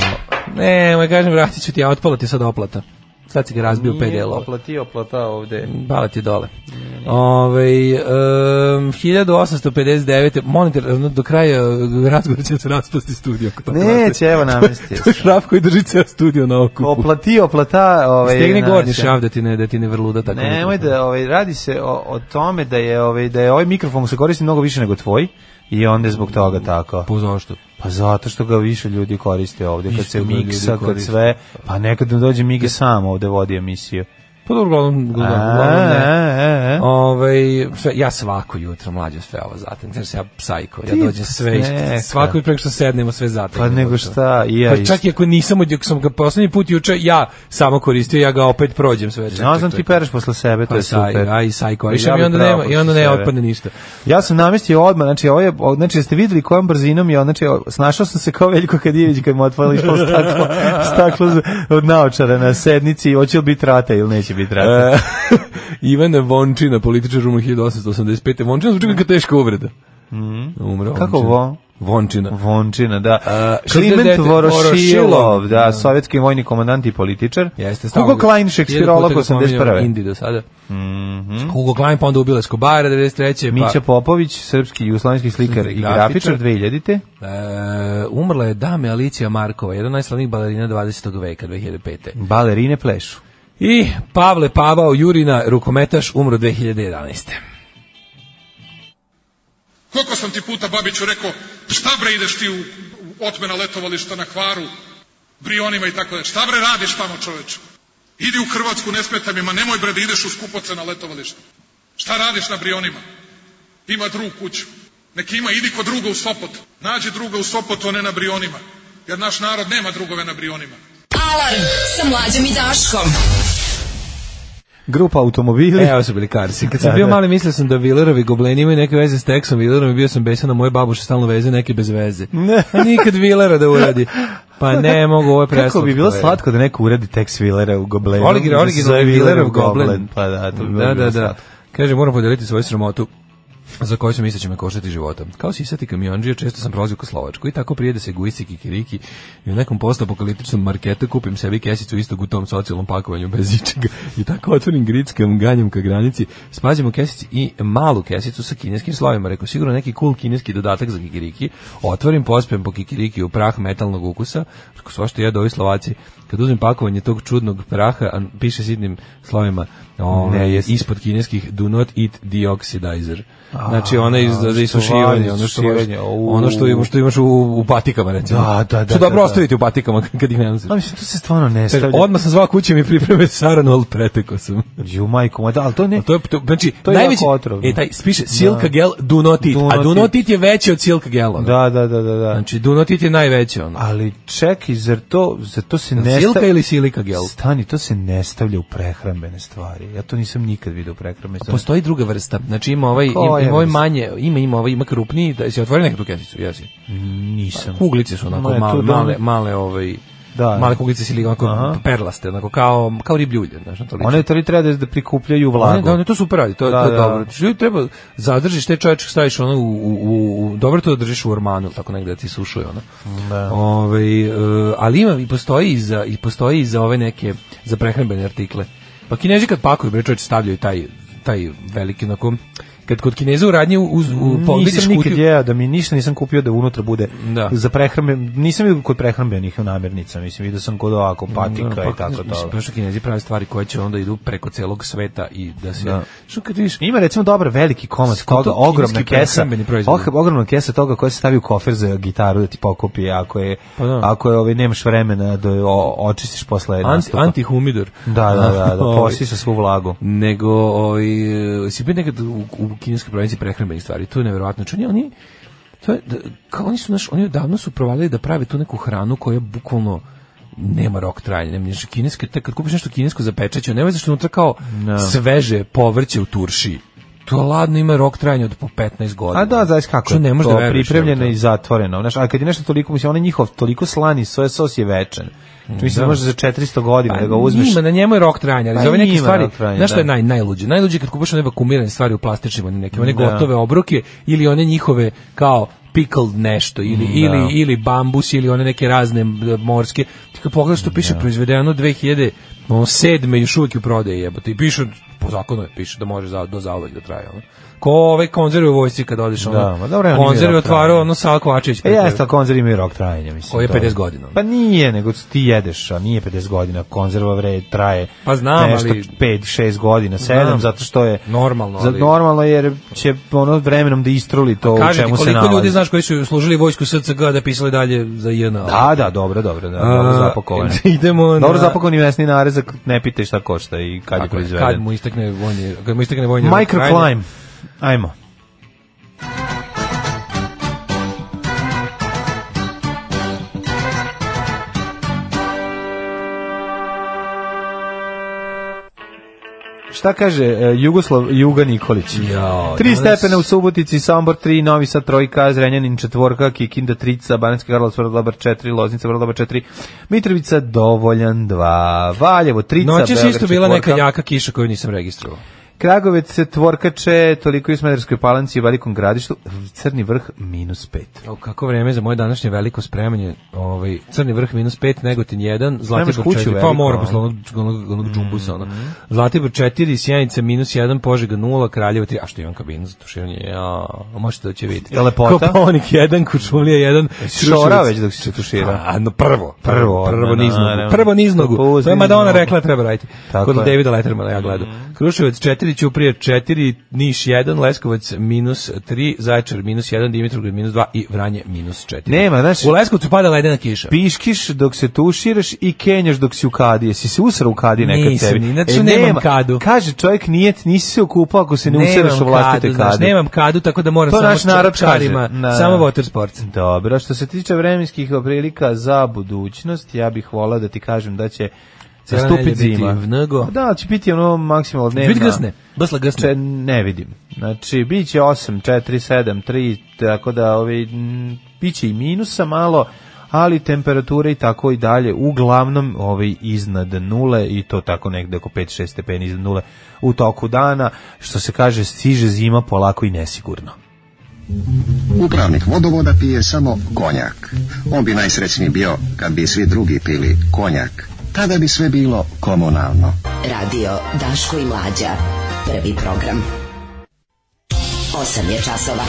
F: ne, moj kažem, vratit ću ti, a otpala ti je sad oplata. Sad si ga razbio u pet
E: Nije
F: delova.
E: oplatio plata ovde.
F: Bala ti je dole. Ove, um, 1859. Molim te, ono, do kraja e, razgovora će se raspasti studio. ako to
E: Neće, [LAUGHS] evo namestio
F: [LAUGHS] To je šraf koji drži ceo studio na okupu.
E: Oplatio plata... Ovaj,
F: Stegni gornji
E: namestio.
F: šraf da ti ne, da ti ne vrluda tako.
E: Nemoj
F: nekako.
E: da ovaj radi se o, o tome da je ovaj da je ovaj mikrofon se koristi mnogo više nego tvoj i onda je zbog toga tako.
F: Pa zašto?
E: Pa zato što ga više ljudi koriste ovde kad
F: Isto
E: se
F: ga ljudi
E: miksa, kad
F: koriste.
E: sve, pa nekad nam dođe Mige sam ovde vodi emisiju.
F: Pa dobro, uglavnom,
E: A, e,
F: uglavnom, uglavnom ne.
E: a, a.
F: Ovaj sve ja svako jutro mlađe sve ovo zatim, jer sam ja psajko, ja
E: Ti
F: dođem sve
E: neka.
F: i svako jutro preko što sednemo sve zatim.
E: Pa nego šta, i ja
F: Pa čak i ako nisam, od- ako sam ga poslednji put juče ja samo koristio, ja ga opet prođem sve. čak,
E: Znao
F: čak,
E: sam
F: čak.
E: ti pereš posle sebe, to
F: Pa
E: je
F: saj,
E: super.
F: aj sajko,
E: Ja
F: i
E: bi
F: onda
E: pravo
F: nema i
E: posle
F: onda ne
E: sebe.
F: otpadne ništa. [LAUGHS]
E: Ja sam namestio odmah, znači ovo je, o- znači jeste videli kojom brzinom je, on, znači o- snašao sam se kao Veljko Kadijević kad mu
F: [LAUGHS]
E: otvorili išlo staklo, staklo z- od naočara na sednici, hoće li biti rata ili neće biti rata.
F: E, Ivana Vončina, političar umro 1885. Vončina zvuči kao teška uvreda. Umro
E: Mhm. Kako von?
F: Vončina.
E: Vončina, da.
F: E,
E: Kliment
F: 69.
E: Vorošilov,
F: Vorošilov,
E: da,
F: da.
E: sovjetski vojni komandant i političar.
F: Jeste, stalno
E: Hugo
F: ga-
E: Klein, ono
F: jedan
E: šekspirolog
F: puta ga spominjemo,
E: 81.
F: Indi do sada. Hugo Klein, pa onda ubila Escobara 93.
E: Mhm. Mića
F: pa,
E: Popović, srpski i jugoslovenski slikar i
F: Grafičar.
E: grafičar 2000.
F: e, umrla je dame Alicija Markova, jedna od najslavnijih balerina 20. veka, 2005.
E: Balerine plešu.
F: I Pavle Pavao Jurina, rukometaš, umro 2011.
H: Koliko sam ti puta Babiću rekao, šta bre ideš ti u, u otmena letovališta na Hvaru, Brionima i tako da, šta bre radiš tamo čoveče? Idi u Hrvatsku, ne smeta mi, ma nemoj bre da ideš u skupoce na letovalište. Šta radiš na Brionima? Ima drug kuću. Neki ima, idi kod druga u Sopot. Nađi druga u Sopotu, a ne na Brionima. Jer naš narod nema drugove na Brionima.
D: Alarm sa mlađom i Daškom.
E: Grupa automobili.
F: Evo E, su bili karsi. Kad sam
E: Da,
F: bio
E: da.
F: mali, mislio sam da Villerovi gobleni imaju neke veze s Texom Villerom i bio sam besan na moje babuše stalno veze, neke bez
E: [LAUGHS]
F: veze.
E: Ne.
F: A nikad Villera da uradi. Pa ne mogu, ovo je preslatko.
E: Kako bi bilo
F: je.
E: slatko da neko uradi tekst Villera u Goblenu.
F: Origin,
E: da se
F: origin,
E: zove
F: Villerov goblen.
E: Pa da, to bi bilo
F: da, da,
E: bilo
F: da.
E: slatko.
F: Kaže, moram podeliti svoju sramotu za koju sam mislio će me koštati života. Kao sisati kamionđija, često sam prolazio ko Slovačku i tako prije da se gujsi kikiriki i u nekom postapokaliptičnom marketu kupim sebi kesicu istog u tom socijalnom pakovanju bez ičega i tako otvorim grickam, ganjam ka granici, spađam u kesici i malu kesicu sa kineskim slovima. Rekao, sigurno neki cool kineski dodatak za kikiriki. Otvorim, pospem po kikiriki u prah metalnog ukusa. Rekao, svašta jedu ovi Slovaci. Kad uzmem pakovanje tog čudnog praha, a piše sitnim slovima, ovaj, ove,
E: Ne, jeste.
F: ispod kineskih do not eat deoxidizer. Znači ona iz za
E: stvari,
F: isušivanje, ono što možeš-
E: isušivanje, au.
F: ono što imaš što imaš u, u patikama recimo.
E: Da, da, da,
F: Što
E: da,
F: dobro
E: da.
F: ostaviti u patikama [LAUGHS] kad ih ne nosiš.
E: Ali mislim, to se stvarno ne
F: Kaže,
E: stavlja.
F: Odmah sam zvao kuće mi pripreme saranu, ali preteko sam.
E: Ju, majko, moja, da, ali to ne...
F: A to je to, znači
E: To je
F: najveći
E: jako otrovno.
F: e taj piše silka gel do not eat,
E: Do
F: a
E: not
F: do
E: eat.
F: not eat je veći od silka gela. ono.
E: Da, da, da, da, da.
F: Znači do not eat je najveći ono.
E: Ali čekaj, zar to, zar to se ne
F: Silka
E: stavlja...
F: ili silika gel?
E: Stani, to se ne stavlja u prehrambene stvari. Ja to nisam nikad vidio u prehrambene stvari.
F: Postoji druga vrsta. Znači ima ovaj
E: Koja
F: ima, ima ovaj
E: vrsta?
F: manje, ima ima ovaj ima krupniji, da se otvori neka tu kesicu, jesi.
E: Nisam.
F: Kuglice su onako
E: Ma, je to
F: male,
E: da-
F: male, male, ovaj,
E: Da.
F: male kuglice ili onako
E: Aha.
F: perlaste, onako kao, kao ribljulje, znaš, na to liči.
E: One tri treba da, da prikupljaju
F: One-
E: vlagu.
F: da, one to super radi, to,
E: Da,
F: to je
E: da.
F: dobro. Znači, ljudi treba, zadržiš te čoveče, staviš ono u, u, u, u- dobro to da držiš u ormanu, ili tako negde da ti sušuje ono.
E: Da.
F: Ovaj, e, ali ima, i postoji i za, i postoji i za ove neke, za prehrambene artikle. Pa kinezi kad pakuju, bre čoveče, stavljaju taj taj veliki onako kad kod Kineza u radnji uz, u, po, vidiš
E: nisam nikad
F: kutiju,
E: jeo da mi ništa nisam kupio da unutra bude
F: Da.
E: za prehrambe, nisam vidio kod prehrambenih namirnica, mislim, vidio sam kod ovako patika
F: Da, pa,
E: i tako
F: mislim,
E: to.
F: Prošli kinezi prave stvari koje će onda idu preko celog sveta i da se...
E: Da.
F: Što kad vidiš,
E: Ima recimo dobar veliki komad
F: Skuto
E: toga, ogromna
F: kineski
E: kesa,
F: prehrambeni proizvod.
E: oh, ogromna kesa toga koja se stavi u kofer za gitaru da ti pokupi ako je,
F: Pa da.
E: ako je ovaj, nemaš vremena da je o, očistiš posle
F: anti,
E: nastupa.
F: antihumidor.
E: Da, da,
F: [LAUGHS]
E: da, da,
F: Ovaj,
E: posisa svu vlagu.
F: nego ovaj e, si bio nekad u, u kineskoj provinciji prehrambenih stvari to je neverovatno čini oni to je, da, kao oni su naš oni odavno su provalili da prave tu neku hranu koja bukvalno nema rok trajanja, nema ništa kineske, te kad kupiš nešto kinesko za pečeće, nema zašto unutra kao sveže povrće u turši. To ladno ima rok trajanja od po 15 godina.
E: A da, znaš kako
F: Što
E: je
F: ne možeš
E: to,
F: da veruješ,
E: pripremljeno
F: ono,
E: i zatvoreno. Znaš, a kad je nešto toliko, mislim, onaj njihov toliko slani, soja sos je večan. Znači, mislim, da. može za 400
F: Pa
E: godina da ga uzmeš.
F: Njima, na njemu je rok trajanja, ali
E: Pa
F: za ove neke
E: njima
F: stvari,
E: rok trajanja,
F: znaš što je
E: da.
F: naj, najluđe? Najluđe je kad kupaš one vakumirane stvari u plastičnim, one neke, one
E: Da.
F: gotove obroke ili one njihove kao pickled nešto ili, ili, ili bambus ili one neke razne m, morske. Ti kad pogledaš što piše proizvedeno 2000 ono, sedme još uvijek u prodaji jebote i piše, po zakonu je, piše da može za, do zauvek da traje. Ono. Ko ove konzerve u vojsci kad odeš, ono,
E: Da, ma dobro, oni imaju
F: konzerve
E: rok trajanja.
F: otvarao, ono, Sava Kovačević.
E: E, jeste, ali konzerv imaju rok trajanja, mislim.
F: Koji je
E: to
F: 50 godina.
E: Pa nije, nego ti jedeš, a nije 50 godina. Konzerva vre traje
F: Pa znam,
E: nešto
F: ali-
E: 5, 6 godina, 7,
F: Znam.
E: zato što je...
F: Normalno,
E: za-
F: ali-
E: Normalno, jer će ono vremenom da istruli to u
F: Kaži ti
E: čemu se
F: koliko
E: nalazi.
F: ljudi znaš koji su služili vojsku SCG a da pisali dalje za JNA.
E: Da, da, dobro, dobro, da, dobro
F: A, [LAUGHS]
E: zapakovan.
F: idemo na-
E: Dobro zapakovan i mesni narezak, ne pitaj šta košta i kad je
F: Tako je,
E: proizveden.
F: kad mu istekne vojni, kad mu istekne vojni rok trajanja.
E: Microclimb. Ajmo. Šta kaže e, Jugoslav Juga Nikolić?
F: Jao,
E: Tri
F: danas-
E: stepena u Subotici, Sombor 3, Novi Sad trojka, Zrenjanin četvorka, Kikinda trica, Banacki Karlovac vrlo dobar 4, Loznica vrlo dobar 4, Mitrovica dovoljan 2, Valjevo trica,
F: Noćas
E: Beograd
F: isto bila neka
E: četvorka.
F: jaka kiša koju nisam registrovao.
E: Kragovec, Tvorkače, toliko i u Smederskoj palanci i Velikom gradištu, Crni vrh minus pet.
F: O, kako vreme za moje današnje veliko spremanje. Ovaj, crni vrh minus 5, Negotin 1,
E: Spremaš
F: Zlatibor
E: kuću
F: 4, pa
E: veliku, Mhm.
F: mora
E: a?
F: posle onog, onog, onog džumbusa. Ono. Zlatibor 4, Sjenica minus 1, Požega 0, Kraljevo 3, a što imam kabinu za tuširanje, ja, možete da će vidjeti.
E: Je lepota?
F: Koponik 1, Kučumlija 1,
E: Šora već dok si se tušira.
F: A, no prvo,
E: Prvo,
F: prvo, prvo
E: odmah,
F: niznogu,
E: naravno. Pa
F: prvo niznogu.
E: Kupus,
F: To je Madonna
E: niznogu.
F: rekla da treba raditi.
E: Tako
F: Kod
E: je.
F: Davida Lettermana ja gledam.
E: Mhm.
F: Kruševac 4, Ćuprije 4, Niš 1, Leskovac minus 3, Zaječar minus 1, Dimitrovgrad minus 2 i Vranje minus 4.
E: Nema, znaš-
F: U Leskovcu pada ledena kiša.
E: Piškiš dok se tuširaš i kenjaš dok si u kadi. Jesi se usrao u kadi nekad
F: Nisam,
E: tebi?
F: ni- znači nemam kadu.
E: Kaže čovjek nijet, nisi se okupao ako se ne
F: Nemam
E: usiraš u vlastite
F: kadu, znaš,
E: kadi.
F: nemam kadu, tako da moram
E: To
F: samo
E: naš narod
F: čarima,
E: kaže. Da.
F: samo water sports.
E: Dobro, što se tiče vremenskih prilika za budućnost, ja bih volao da ti kažem da će
F: Cijela
E: nastupiti
F: nedelja biti
E: zima.
F: vnego.
E: Da, će biti ono maksimalno dnevna.
F: Biti gasne, basla gasne.
E: Če, ne vidim. Znači, bit će 8, 4, 7, 3, tako da ovaj, m, bit će i minusa malo, ali temperature i tako i dalje, uglavnom ovaj, iznad nule i to tako negde oko 5-6 stepeni iznad nule u toku dana, što se kaže stiže zima polako i nesigurno.
I: Upravnik vodovoda pije samo konjak. On bi najsrećniji bio kad bi svi drugi pili konjak. Tada bi sve bilo komunalno.
D: Radio Daško i Mlađa. Prvi program. 8 je časova.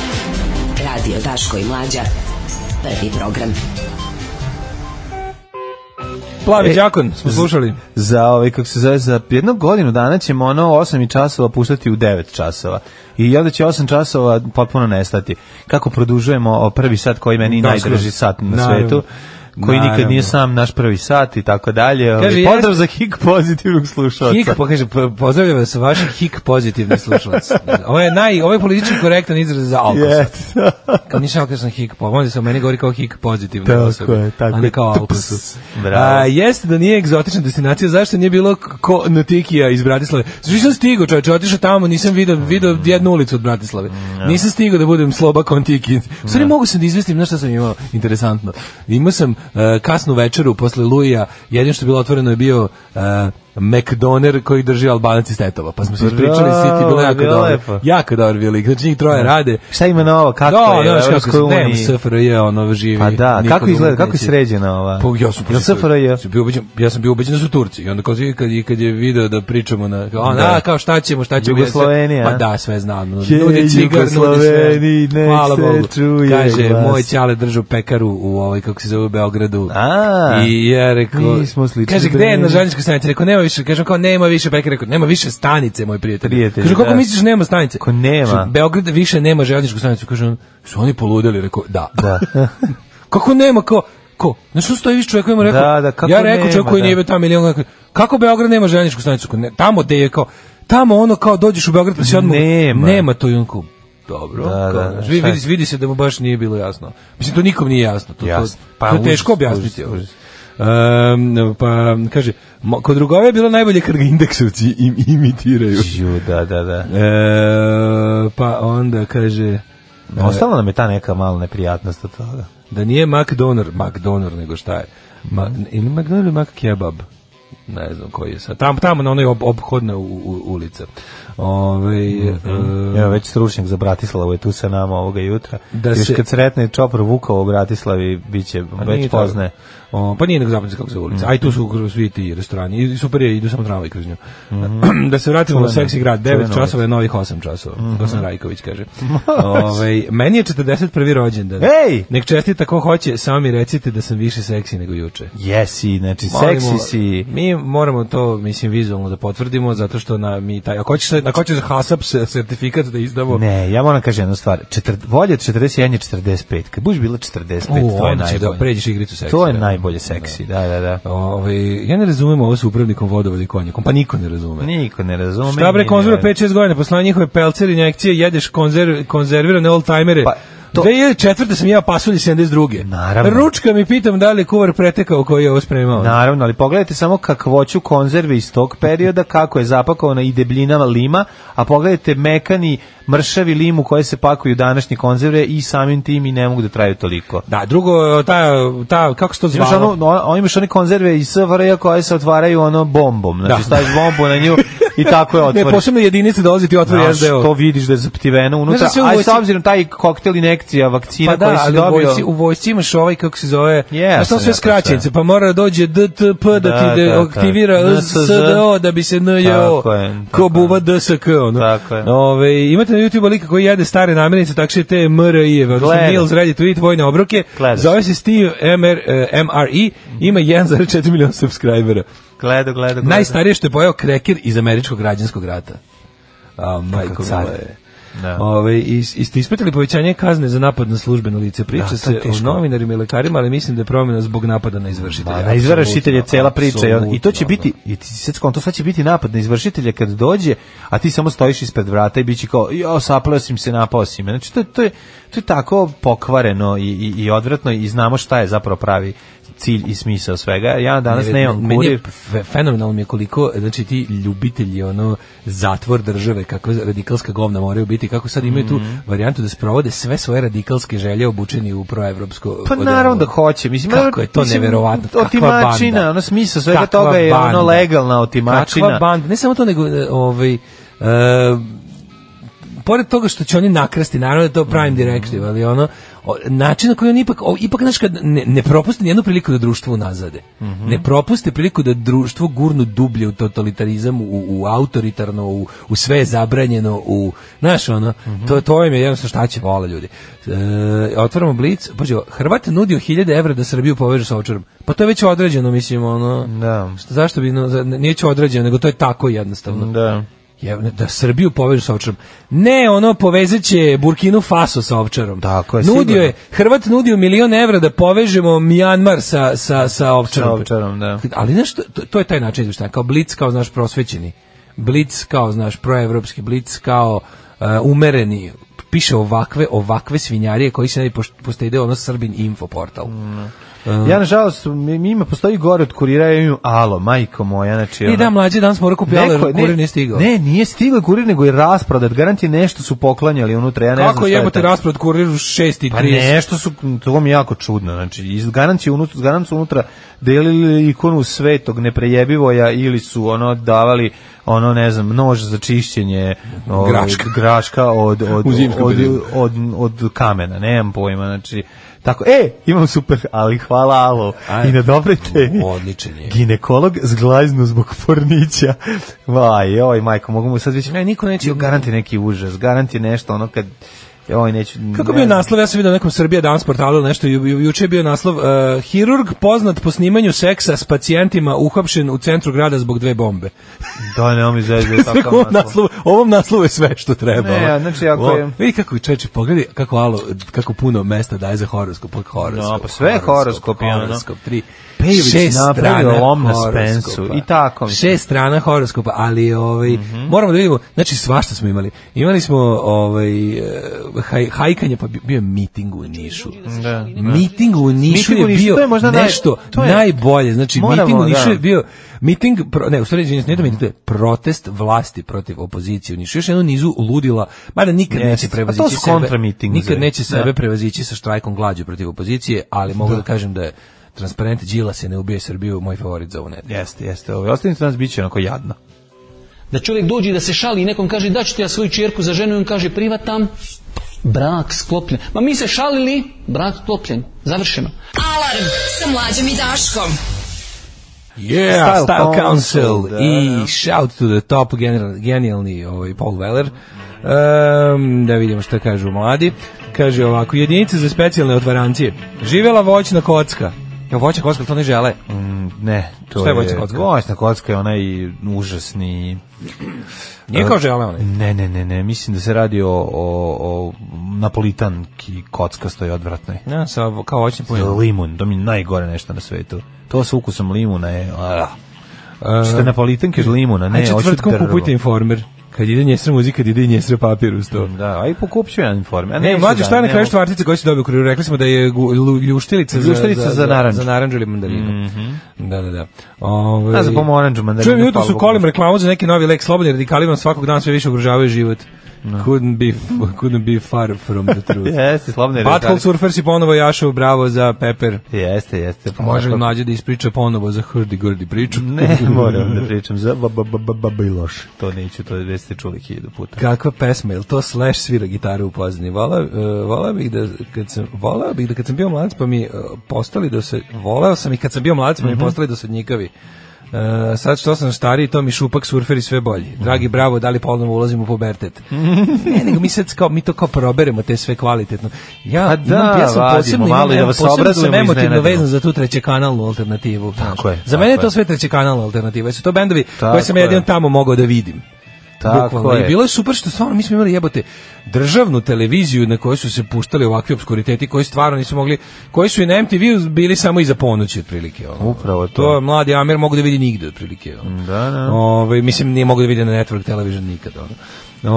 D: Radio Daško i Mlađa. Prvi program.
F: Plavi
E: E,
F: đakon, smo slušali.
E: Za, ovaj, kako se zove, za jednu godinu dana ćemo ono 8 i časova puštati u 9 časova. I onda će 8 časova potpuno nestati. Kako produžujemo o, prvi sat koji meni
F: Da,
E: najdraži
F: skroz.
E: sat na
F: Naravno.
E: svetu koji nikad
F: Naravno.
E: nije sam naš prvi sat i tako dalje.
F: Kaže,
E: Ovaj, pozdrav
F: jest-
E: za hik pozitivnog slušalca.
F: Hik, pa kaže, po- pozdravljam vas vaš hik pozitivni slušalac. Ovo je naj, ovo je politički korektan izraz za alkos.
E: Yes.
F: [LAUGHS] Kao nisam alkos na hik, pa onda se o meni govori kao hik pozitivno.
E: Tako je, tako
F: A ne
E: je.
F: kao
E: Tups.
F: alkos.
E: Bravo.
F: A, jeste da nije egzotična destinacija, zašto nije bilo ko Natikija iz Bratislave? Znači nisam stigao, čovječe, otišao tamo, nisam video, video jednu ulicu od Bratislave.
E: Mm,
F: Nisam stigao da budem sloba kontiki. U stvari mogu sam da izvestim na šta sam imao interesantno. Imao sam e, kasnu večeru posle Luija, jedino što je bilo otvoreno je bio e, McDoner koji drži Albanac iz Tetova. Pa smo se ispričali, svi ti bilo
E: Bravo,
F: jako
E: bilo
F: dobro.
E: lepo.
F: Jako dobro bio lik. Znači njih troje rade.
E: Šta ima na ovo? Kako
F: Da, znači,
E: je?
F: znaš
E: u
F: kako se
E: Evropskoj
F: ne,
E: uniji?
F: SFRJ ono živi.
E: Pa da,
F: niko
E: kako
F: ga
E: izgleda, kako je
F: neće.
E: sređena ova?
F: Pa ja sam
E: Jel SFRJ?
F: sam bio ubeđen, ja sam bio ubeđen da su Turci. I onda kao i kad i kad je video da pričamo na kao ona
E: Da.
F: da. kao šta ćemo, šta ćemo.
E: Jugoslovenija,
F: Pa
E: a?
F: da, sve znam.
E: Je,
F: Ljudi cigar, ljudi
E: Jugosloveni,
F: sve.
E: nek
F: Hvala
E: se
F: Bogu.
E: čuje
F: Kaže
E: glas.
F: moj ćale držao pekaru u ovaj kako se zove u Beogradu.
E: A,
F: I ja rekao,
E: mi smo slični
F: kaže, gde je
E: brenderi.
F: na željezničkoj stanici? Rekao, nema više, kažem kao, nema više pekare, rekao, nema više stanice, moj prijatelj.
E: Prijatelju,
F: Kažu, kako
E: da.
F: misliš, nema stanice?
E: Ko nema.
F: Kažu, Beograd više nema željezničku stanicu. Kaže, on, su oni poludeli? Rekao, da. da. [LAUGHS] kako nema, kao, ko? Znaš, što stoji više čovjek koji mu rekao,
E: Da, da, kako
F: ja rekao
E: nema,
F: čovjek koji
E: da.
F: nije bio tamo milion, godina, kako Beograd nema željezničku stanicu? Kao, Ne, tamo gde je, kao, tamo ono, kao, dođeš u Beograd, pa si odmah,
E: Nema.
F: nema to, i on kao, dobro,
E: Da,
F: kao,
E: da,
F: znaš,
E: da,
F: vidi,
E: šta je?
F: vidi, vidi se da mu baš nije bilo jasno. Mislim, to nikom nije jasno. To, to,
E: Jasno. Pa,
F: to je teško
E: užas,
F: objasniti.
E: užas, užas.
F: Um, pa, kaže, mo- kod drugove je bilo najbolje kad ga indeksovci im, imitiraju.
E: Ju, da, da, da.
F: E, pa onda kaže e,
E: Ostala nam je ta neka mala neprijatnost od toga.
F: da nije McDonor, McDonor nego šta je. Ma, ili McDonor ili McKebab? Ne znam koji je sad. Tamo, tamo na onoj ob, obhodna u, u, ulica. Ove, e,
E: Evo, već stručnjak za Bratislavu je tu sa nama ovoga jutra.
F: Da
E: Da Još
F: se-
E: kad sretne Čopor Vukova u Bratislavi, bit će
F: Pa nije
E: već
F: to-
E: poznaje. Mm.
F: O, pa nije nego zapadnica kako se zove ulica. Aj tu su kroz svi ti restorani. I super je, idu samo tramvaj kroz nju. [CLEARS THROAT] da se vratimo na
E: Mhm. Čuvena.
F: seksi grad. 9
E: Čuvena Mhm.
F: časova je novih 8 časova. Mm Rajković
E: [LAUGHS]
F: kaže. Ovaj meni je 41. rođendan.
E: Ej!
F: Nek čestita ko hoće, samo mi recite da sam više seksi nego juče.
E: Jesi, znači,
F: Molimo-
E: seksi si.
F: Mi moramo to, mislim, vizualno da potvrdimo, zato što na, mi taj, ako hoćeš, ako hoćeš HASAP se- sertifikat da izdamo,
E: Ne, ja moram kažem jednu stvar. Četir, bolje od 41 je 45. Kad budeš bila 45,
F: U,
E: to je
F: onda će da
E: najbolje.
F: pređeš igricu seksi,
E: To je
F: da.
E: najbolje seksi, da, da, da.
F: Ovaj, ja ne razumem ovo sa upravnikom vodovoda i konjakom, pa niko ne razume.
E: Niko ne razume.
F: Šta bre,
E: ni
F: konzerva
E: ne-
F: 5-6 godina, posle njihove pelcer i injekcije jedeš konzerv, konzervirane old-timere. Pa,
E: Pa,
F: to...
E: to-
F: 2004. sam ja pasulj 72.
E: Naravno.
F: Ručka mi pitam da li je kuvar pretekao koji je ovo spremao.
E: Naravno, ali pogledajte samo kakvoću konzerve iz tog perioda, kako je zapakovana i debljinama lima, a pogledajte mekani, mršavi limu koje se pakuju današnje konzerve i samim tim i ne mogu da traju toliko.
F: Da, drugo, ta, ta, kako se to
E: Imaš
F: zvalo?
E: ono, on, on imaš one konzerve iz SFRJ koje se otvaraju ono bombom, znači
F: Da.
E: staviš bombu na nju i tako je
F: [LAUGHS] ne,
E: otvoriš.
F: posebno jedinice dolazi ti otvori
E: Znaš,
F: SDO.
E: to vidiš da je zaptiveno unutra,
F: Znaš da se u
E: a i
F: vojsci-
E: sa obzirom taj koktel inekcija vakcina
F: Pa da,
E: koji si
F: ali u
E: dobio...
F: vojsci, u vojsci imaš ovaj, kako se zove,
E: Jesam
F: znaš, to
E: ja
F: sve
E: to
F: skraćenice,
E: sve.
F: pa mora da dođe DTP da,
E: Da,
F: ti de,
E: da,
F: aktivira
E: da.
F: SDO da bi se NJO,
E: Tako je, tako
F: ko
E: je.
F: buva DSK, ono.
E: Tako je.
F: Ove, imate na YouTube lika koji jede stare namirnice, tako što je te MRI-eve, odnosno
E: Gledam.
F: Nils Reddit Tweet, vojne obroke,
E: Gledaš.
F: zove se Steve MR, e, MRI, ima
E: Mhm.
F: 1,4 miliona subscribera.
E: Gledo, gledo, gledo.
F: Najstarije što je pojao kreker iz američkog građanskog rata. A, majko
E: car.
F: mila je.
E: Da.
F: Ove, i, i ste ispitali povećanje kazne za napad na službeno lice. Priča
E: Da, to je
F: se o
E: teško.
F: novinarima i lekarima, ali mislim da je promjena zbog napada na izvršitelja.
E: Ma, Pa, na izvršitelje
F: Apsolutno,
E: cela priča i on- i to će
F: apsolutno.
E: biti i ti si sad skonto, sad će biti napad na izvršitelja kad dođe, a ti samo stojiš ispred vrata i biće kao jo sapleo si mi se napao si me. Znači to, je- to je to je tako pokvareno i, i, i odvratno i znamo šta je zapravo pravi cilj i smisao svega. Ja danas
F: Ne,
E: nemam
F: meni je
E: kurir. Pa
F: fe- fenomenalno mi je koliko znači ti ljubitelji ono zatvor države kako radikalska govna moraju biti kako sad imaju tu
E: Mhm.
F: varijantu da sprovode sve svoje radikalske želje obučeni u proevropsko
E: Pa
F: odelo.
E: naravno da hoće. Mislim,
F: ono, kako je to
E: mislim,
F: neverovatno kakva
E: Otimačina,
F: banda.
E: ono smisao svega
F: Kakva
E: toga je
F: banda.
E: ono legalna otimačina.
F: Kakva banda. Ne samo to, nego e, ovaj, e, pored toga što će oni nakrasti, naravno da je to prime directive, ali ono, o, način na koji oni ipak, o, ipak znaš, kad ne, ne propuste nijednu priliku da društvo unazade. Ne propuste priliku da društvo gurnu dublje u totalitarizam, u, u autoritarno, u, u sve je zabranjeno, u, znaš, ono, to, to im je jednostavno šta će vola ljudi. E, otvaramo blic, pođe, Hrvat nudio 1000 evra da Srbiju poveže sa očarom. Pa to je već određeno, mislim, ono,
E: Da.
F: što- zašto bi, no, za- neću određeno, nego to je tako jednostavno.
E: Da.
F: Jevne, da Srbiju povežu sa ovčarom. Ne, ono povezeće Burkinu Faso sa ovčarom.
E: Tako je,
F: Nudio
E: sigurno.
F: je, Hrvat nudio milion evra da povežemo Mijanmar sa, sa, sa ovčarom.
E: Sa ovčarom, da.
F: Ali znaš, to, to- to je taj način izveštanja, kao blic, kao znaš prosvećeni. Blic, kao znaš proevropski blic, kao e, umereni
E: Mm.
F: piše ovakve ovakve svinjarije koji se ne post- postede ono Srbin info portal.
E: Ja, nažalost, mi, mi ima postoji gore od kurira, ja imam alo, majko moja, znači...
F: I
E: ono-
F: da, mlađi dan smo kupio, ali
E: Neko je-
F: kurir nije stigao.
E: Ne, nije stigao kurir, nego je rasprodat. Garanti nešto su poklanjali unutra, ja ne znam
F: Kako
E: šta je
F: jebote
E: to.
F: raspored kuriru 6 i 30?
E: Pa nešto su, to mi je jako čudno, znači, iz garanci unutra, garanci unutra delili ikonu svetog neprejebivoja ili su ono davali ono ne znam nož za čišćenje ovaj,
F: Graška.
E: graška
F: [LAUGHS]
E: od od
F: U
E: od,
F: zimskom
E: od,
F: periodu.
E: od, od kamena, nemam pojma, znači tako, e, imam super, ali hvala alo
F: Aj,
E: i na dobre temi.
F: odličan je.
E: Ginekolog zglaznu zbog fornića. Vaj, joj, majko, mogu mu sad već...
F: Ne, niko neće-
E: Joj, Garanti neki užas, garanti nešto, ono kad... Joj, neću...
F: Kako
E: ne
F: je bio
E: znam.
F: naslov, ja sam vidio na nekom Srbija danas portalu ili nešto, ju, ju, juče je bio naslov, uh, hirurg poznat po snimanju seksa s pacijentima uhapšen u centru grada zbog dve bombe.
E: Da, ne, on mi
F: [LAUGHS]
E: zezio
F: Tako,
E: tako
F: ovom, naslovu, ovom naslovu je sve što treba.
E: Ne,
F: ono.
E: a znači ako
F: O,
E: je-
F: Vidi kako, čeče, pogledaj kako, alo, kako puno mesta daje za horoskop, pa horoskop.
E: No, pa sve je horoskop, i ono.
F: Horoskop, tri.
E: Pejović
F: šest
E: napravio
F: strana
E: lom na
F: horoskopa.
E: Spensu i tako, mislim. Mhm.
F: Šest strana horoskopa, ali ovaj, moramo da vidimo, znači svašta smo imali. Imali smo ovaj, eh, haj, hajkanje, pa bi- bio je miting u Nišu.
E: Da.
F: Miting u Nišu
E: Miting u
F: je
E: Nišu,
F: bio
E: to je možda naj-
F: nešto
E: to je-
F: najbolje. Znači,
E: Moramo,
F: miting u Nišu
E: da.
F: je bio miting pro- ne, u stvari izvinite, nije to miting, to je protest vlasti protiv opozicije u Nišu. Još jednu nizu ludila, mada nikad
E: Jeste.
F: neće
E: A to
F: prevazići
E: su
F: sebe.
E: kontramitinzi.
F: Nikad neće
E: Da.
F: sebe prevazići sa štrajkom glađu protiv opozicije, ali mogu da, kažem da je transparent Đila se ne ubije Srbiju, moj favorit za ovu nedelju.
E: Jeste, jeste. Ovo ostalim nas biće onako jadno.
J: Da čovjek dođe i da se šali i nekom kaže da ću ti ja svoju čerku za ženu i on kaže privatam, brak sklopljen. Ma mi se šalili, brak sklopljen, završeno.
D: Alarm sa mlađom i Daškom.
F: Yeah, Style,
E: Style
F: Council,
E: Council, da,
F: i
E: da.
F: Shout to the Top, general, genijalni ovaj, Paul Weller. Ehm, da vidimo šta kažu mladi. Kaže ovako, jedinice za specijalne otvarancije. Živela voćna kocka. Ja, voćna kocka, to ne žele.
E: Ne, to
F: Mm, Šta je
E: je...
F: voćna kocka?
E: Voćna kocka je onaj užasni...
F: Nije kao žele one.
E: Ne, ne, ne, ne, mislim da se radi o, o, o napolitanki kocka stoji odvratnoj.
F: Pa Ja, sa, kao voćni punjak.
E: Limun, to mi je najgore nešto na svetu. To sa ukusom limuna je... A, Ste napolitanke od limuna, ne,
F: Ne,
E: hoću
F: četvrtkom
E: drvo.
F: kupujte informer. Kad ide njesra muzika, kad ide i njesra papir uz to.
E: Da, aj pokupću jedan inform. A
F: Ne, mlađe,
E: sad,
F: šta je na
E: ne
F: kraju
E: mogu.
F: štvartice koju si dobio u kuriru? Rekli smo da je gu- lu- ljuštilica,
E: Ljuštilica
F: za, Mhm.
E: za narandžu.
F: Za narandžu ili mandarinu. Da, da, Ovaj- da. Ove,
E: Da, za pomoranđu, mandarinu,
F: Čujem jutro su
E: hvala
F: kolim
E: Bogu.
F: reklamu za neki novi lek slobodni radikali vam svakog dana sve više ugrožavaju život. Couldn't be, couldn't be far from the
E: [LAUGHS]
F: truth.
E: Jeste, slobne
F: Butthole Surfers i ponovo Jašov, bravo za Pepper.
E: Jeste, jeste. pa
F: Može li
E: tako.
F: mlađe da ispriča ponovo za hrdi grdi priču? [LAUGHS]
E: Ne, moram da pričam za ba, ba, ba, ba, ba, Bajloš. To neću, to već ste čuli hiljadu puta.
F: Kakva pesma, jel to Slash svira gitaru u pozadini? Vola, uh, volao bih da kad sam volao bih da kad sam bio mladac pa mi uh, postali da se volao sam i kad sam bio mladac pa mi
E: Mhm.
F: postali dosadnjikavi. Uh, sad što sam stariji, to mi šupak surferi sve bolji.
E: Mhm.
F: Dragi, bravo, da li ponovno ulazimo u
E: [LAUGHS]
F: pubertet? ne, nego mi sad kao, mi to kao proberemo te sve kvalitetno. Ja,
E: A
F: imam,
E: Pa da,
F: ja sam
E: vadimo
F: posebno,
E: malo
F: imam,
E: i da
F: ja
E: vas
F: posebno sam
E: obrazujemo i
F: emotivno
E: iznenadimo.
F: vezan za tu treće kanalnu alternativu.
E: Tako je,
F: Za mene je
E: tako
F: to
E: je.
F: sve treće kanalna alternativa. Su to bendovi koje
E: Tako
F: sam jedino
E: je.
F: tamo mogao da vidim. Bukvalno.
E: Tako
F: I
E: je.
F: bilo je super što stvarno mi smo imali jebote državnu televiziju na kojoj su se puštali ovakvi obskuriteti koji stvarno nisu mogli, koji su i na MTV bili samo iza ponoći otprilike. Ono.
E: Upravo to.
F: je mladi Amir mogu da vidi nigde otprilike. Ono.
E: Da, da.
F: Ovaj, mislim, nije mogu da vidi na network television nikad. Ono.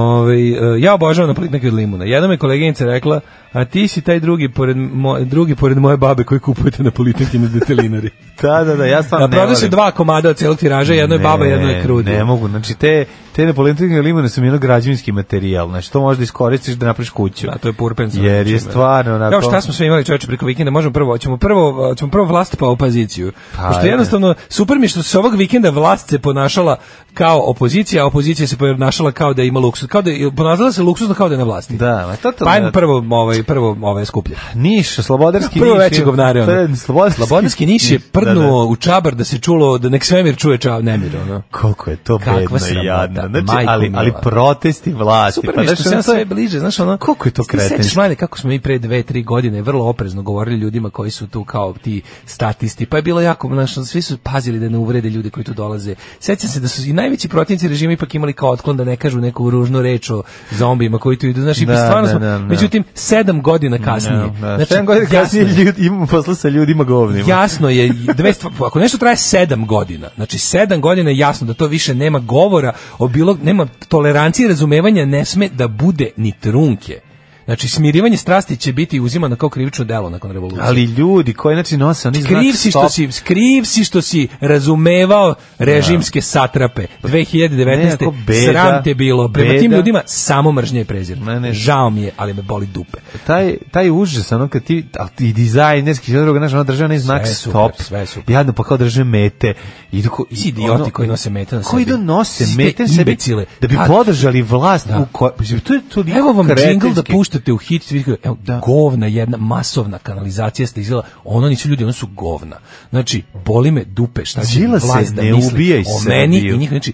F: Ovaj, eh, ja obožavam napolitnike od limuna. Jedna me koleginica rekla, a ti si taj drugi pored, moj, drugi pored moje babe koji kupujete na politinke na
E: [LAUGHS]
F: detelinari.
E: Da, da, da, ja stvarno
F: Da,
E: Pa ne volim.
F: prodaju se dva komada od celog tiraža, jedno je baba,
E: Ne,
F: jedno je krudi.
E: Ne mogu, znači te, te napolitanke limone su mi jedno građevinski materijal, znači to možeš da iskoristiš da napraviš kuću.
F: Da, to je purpen. sa
E: Jer je
F: nečim, da.
E: stvarno onako...
F: Evo šta smo sve imali čoveče preko vikenda, možemo prvo, ćemo prvo, ćemo prvo vlast pa opoziciju.
E: Pa,
F: Pošto
E: ajde.
F: jednostavno, super mi je što se ovog vikenda vlast se ponašala kao opozicija, a opozicija se ponašala kao da ima luksuz, kao da je- ponašala se luksuzno kao da je na vlasti.
E: Da, ma to to...
F: Pa ajmo prvo, ovaj, prvo ovaj skuplje.
E: Niš, Slobodarski
F: Prvo
E: Niš.
F: veće
E: je-
F: govnare.
E: To
F: Ono.
E: je Slobodarski,
F: Slobodarski Niš je
E: Da, da.
F: prdnuo u čabar da se čulo, da nek svemir čuje ča, nemir. Ono.
E: Koliko je to
F: Kakva
E: bedno i
F: sramota,
E: jadno. Znači,
F: majko
E: ali, ali
F: mila.
E: protesti vlasti.
F: Super
E: pa,
F: mi je što
E: znaš,
F: se
E: ono,
F: ja
E: to je-
F: sve bliže, znaš ono...
E: Koliko je to
F: Ti se sećaš,
E: kretenstvo?
F: mlade, kako smo mi pre dve, tri godine vrlo oprezno govorili ljudima koji su tu kao ti statisti, pa je bilo jako, znaš, ono, svi su pazili da ne uvrede ljude koji tu dolaze. Sećam se da su i najveći protivnici režima ipak imali kao otklon da ne kažu neku ružnu reč o zombijima koji tu idu, znaš, i
E: Da,
F: stvarno
E: da,
F: smo,
E: da, da.
F: međutim, sedam godina kasnije. Znači,
E: Da, da. Sedam godina kasnije
F: jasno je-
E: ljudi, imamo posla sa ljudima govnima.
F: Jasno je, dve stvari, ako nešto traje sedam godina, znači sedam godina je jasno da to više nema govora, o bilo, nema tolerancije i razumevanja, ne sme da bude ni trunke. Znači, smirivanje strasti će biti uzimano kao krivično delo nakon revolucije.
E: Ali ljudi koji znači nose oni znak
F: kriv si što
E: stop.
F: si, kriv si što si razumevao režimske satrape. 2019.
E: Nekako Pa, beda,
F: sram te bilo. Prema tim
E: beda.
F: ljudima samo mržnje i prezir.
E: Ne, ne.
F: Žao mi je, ali me boli dupe.
E: taj taj užas ono kad ti a ti dizajnerski sve drugo znači ona drži onaj znak
F: Sve je super,
E: stop
F: sve je super.
E: jadno pa kao drže mete i doko
F: Svi idioti koji nose mete na
E: koji
F: sebi.
E: da nose
F: Svi ste
E: mete na sebi
F: imbecile.
E: da bi
F: Pa-
E: podržali vlast
F: Da.
E: u ko, mislim, to je to
F: Evo vam džingl da puštate u hit, vidite, evo, govna jedna, masovna kanalizacija ste izgleda, ono nisu ljudi, ono su govna. Znači, boli me dupe, šta će
E: Đila se
F: vlast da
E: ne
F: misli
E: ubijaj
F: o meni
E: Srbiju.
F: i njih, znači,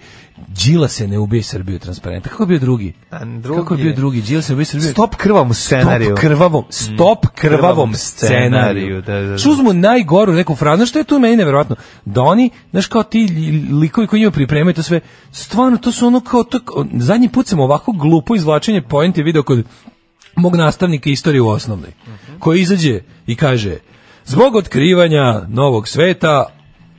F: Đila se ne ubije Srbiju transparenta. Kako je bio drugi?
E: A, drugi
F: Kako je bio
E: je-
F: drugi? Đila se ne ubije Srbiju.
E: stop krvavom scenariju Mm.
F: Stop krvavom, stop krvavom
E: krvavom
F: scenariju.
E: scenariju, da, da, da.
F: Što uzmu najgoru neku frazu, znaš što je tu meni neverovatno? Da oni, znaš kao ti li- likovi koji njima pripremaju to sve, stvarno to su ono kao, to, zadnji put sam ovako glupo izvlačenje pojente video kod mog nastavnika istorije u osnovnoj,
E: Mhm.
F: koji izađe i kaže, zbog otkrivanja novog sveta,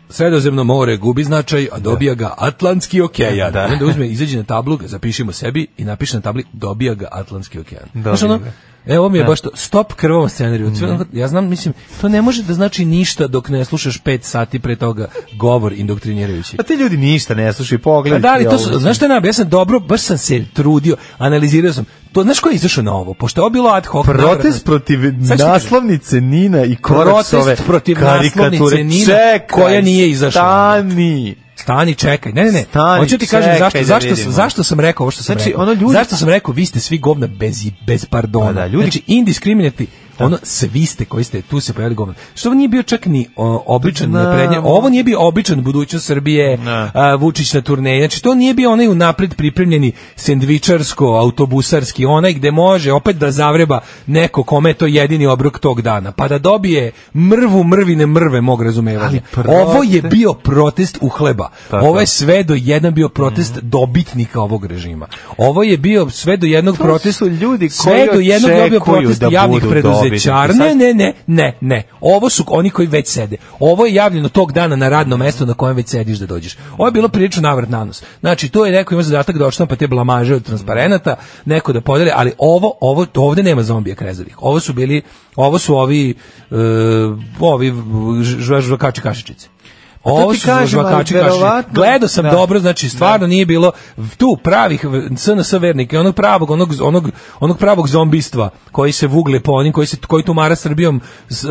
F: Sredozemno more gubi značaj, a dobija ga Atlantski okean. Da. Onda uzme, izađe na tablu, ga zapišemo sebi i napiše na tabli, dobija ga Atlantski okean. Znaš
E: Dobija
F: ono,
E: ga.
F: Evo mi je baš to, stop krvom scenariju. Sve onako- Ja znam, mislim, to ne može da znači ništa dok ne slušaš pet sati pre toga govor indoktrinirajući.
E: a Pa ti ljudi ništa ne slušaju pogledaj
F: A Pa da li to su, znaš šta je najbolje? Ja sam dobro, baš sam se trudio, analizirao sam. To, znaš ko je izašao na ovo? Pošto je ovo bilo ad hoc. navratno-
E: Protest protiv
F: Sad ću ti kažem.
E: naslovnice Nina i Koraksove
F: Protest protiv
E: karikature.
F: naslovnice Nina
E: Čekaj,
F: koja nije izašla.
E: Stani.
F: Stani, čekaj. Ne, ne, ne.
E: Stani,
F: Hoću ti kažem
E: čekaj
F: zašto,
E: da
F: zašto,
E: vidimo.
F: zašto sam rekao ovo što sam
E: Znači,
F: rekao.
E: ono, ljudi-
F: Zašto sam rekao vi ste svi govna bez, i- bez pardona.
E: Pa da, ljudi-
F: Znači, indiskriminati ono svi ste koji ste tu se pojavili govna. Što ovo nije bio čak ni o, običan
E: Znam.
F: naprednja, ovo nije bio običan budućnost Srbije,
E: Ne.
F: a, Vučić na turneji. Znači, to nije bio onaj unapred pripremljeni sendvičarsko, autobusarski, onaj gde može opet da zavreba neko kome je to jedini obrok tog dana, pa da dobije mrvu mrvine mrve mog razumevanja.
E: Ali
F: Ovo je
E: protest-
F: bio bio protest u hleba.
E: Tako. Mhm.
F: Ovo je sve do jedan bio protest dobitnika ovog režima. Ovo je bio sve do jednog
E: To
F: protesta
E: su ljudi
F: sve
E: koji
F: do jednog
E: očekuju
F: bio protest
E: da
F: javnih
E: budu
F: preduzećara.
E: dobitnici.
F: Ne,
E: Sad-
F: ne, ne, ne, ne. Ovo su oni koji već sede. Ovo je javljeno tog dana na radno mesto na kojem već sediš da dođeš. Ovo je bilo prilično navrat na nos. Znači, to je neko ima zadatak da odštampa te blamaže od transparenata, neko da podele, ali ovo, ovo, to ovde nema zombija krezovih. Ovo su bili, ovo su ovi, e, ovi ž- ž- žvakači kašičice. Ovo
E: ti
F: su
E: kažem,
F: žvakači
E: ali
F: kašičice.
E: verovatno-
F: Gledao sam
E: da.
F: dobro, znači stvarno nije bilo tu pravih v- SNS vernika, onog pravog, onog, onog, onog pravog zombistva koji se vugle po onim, koji, se, koji tumara Srbijom s- e,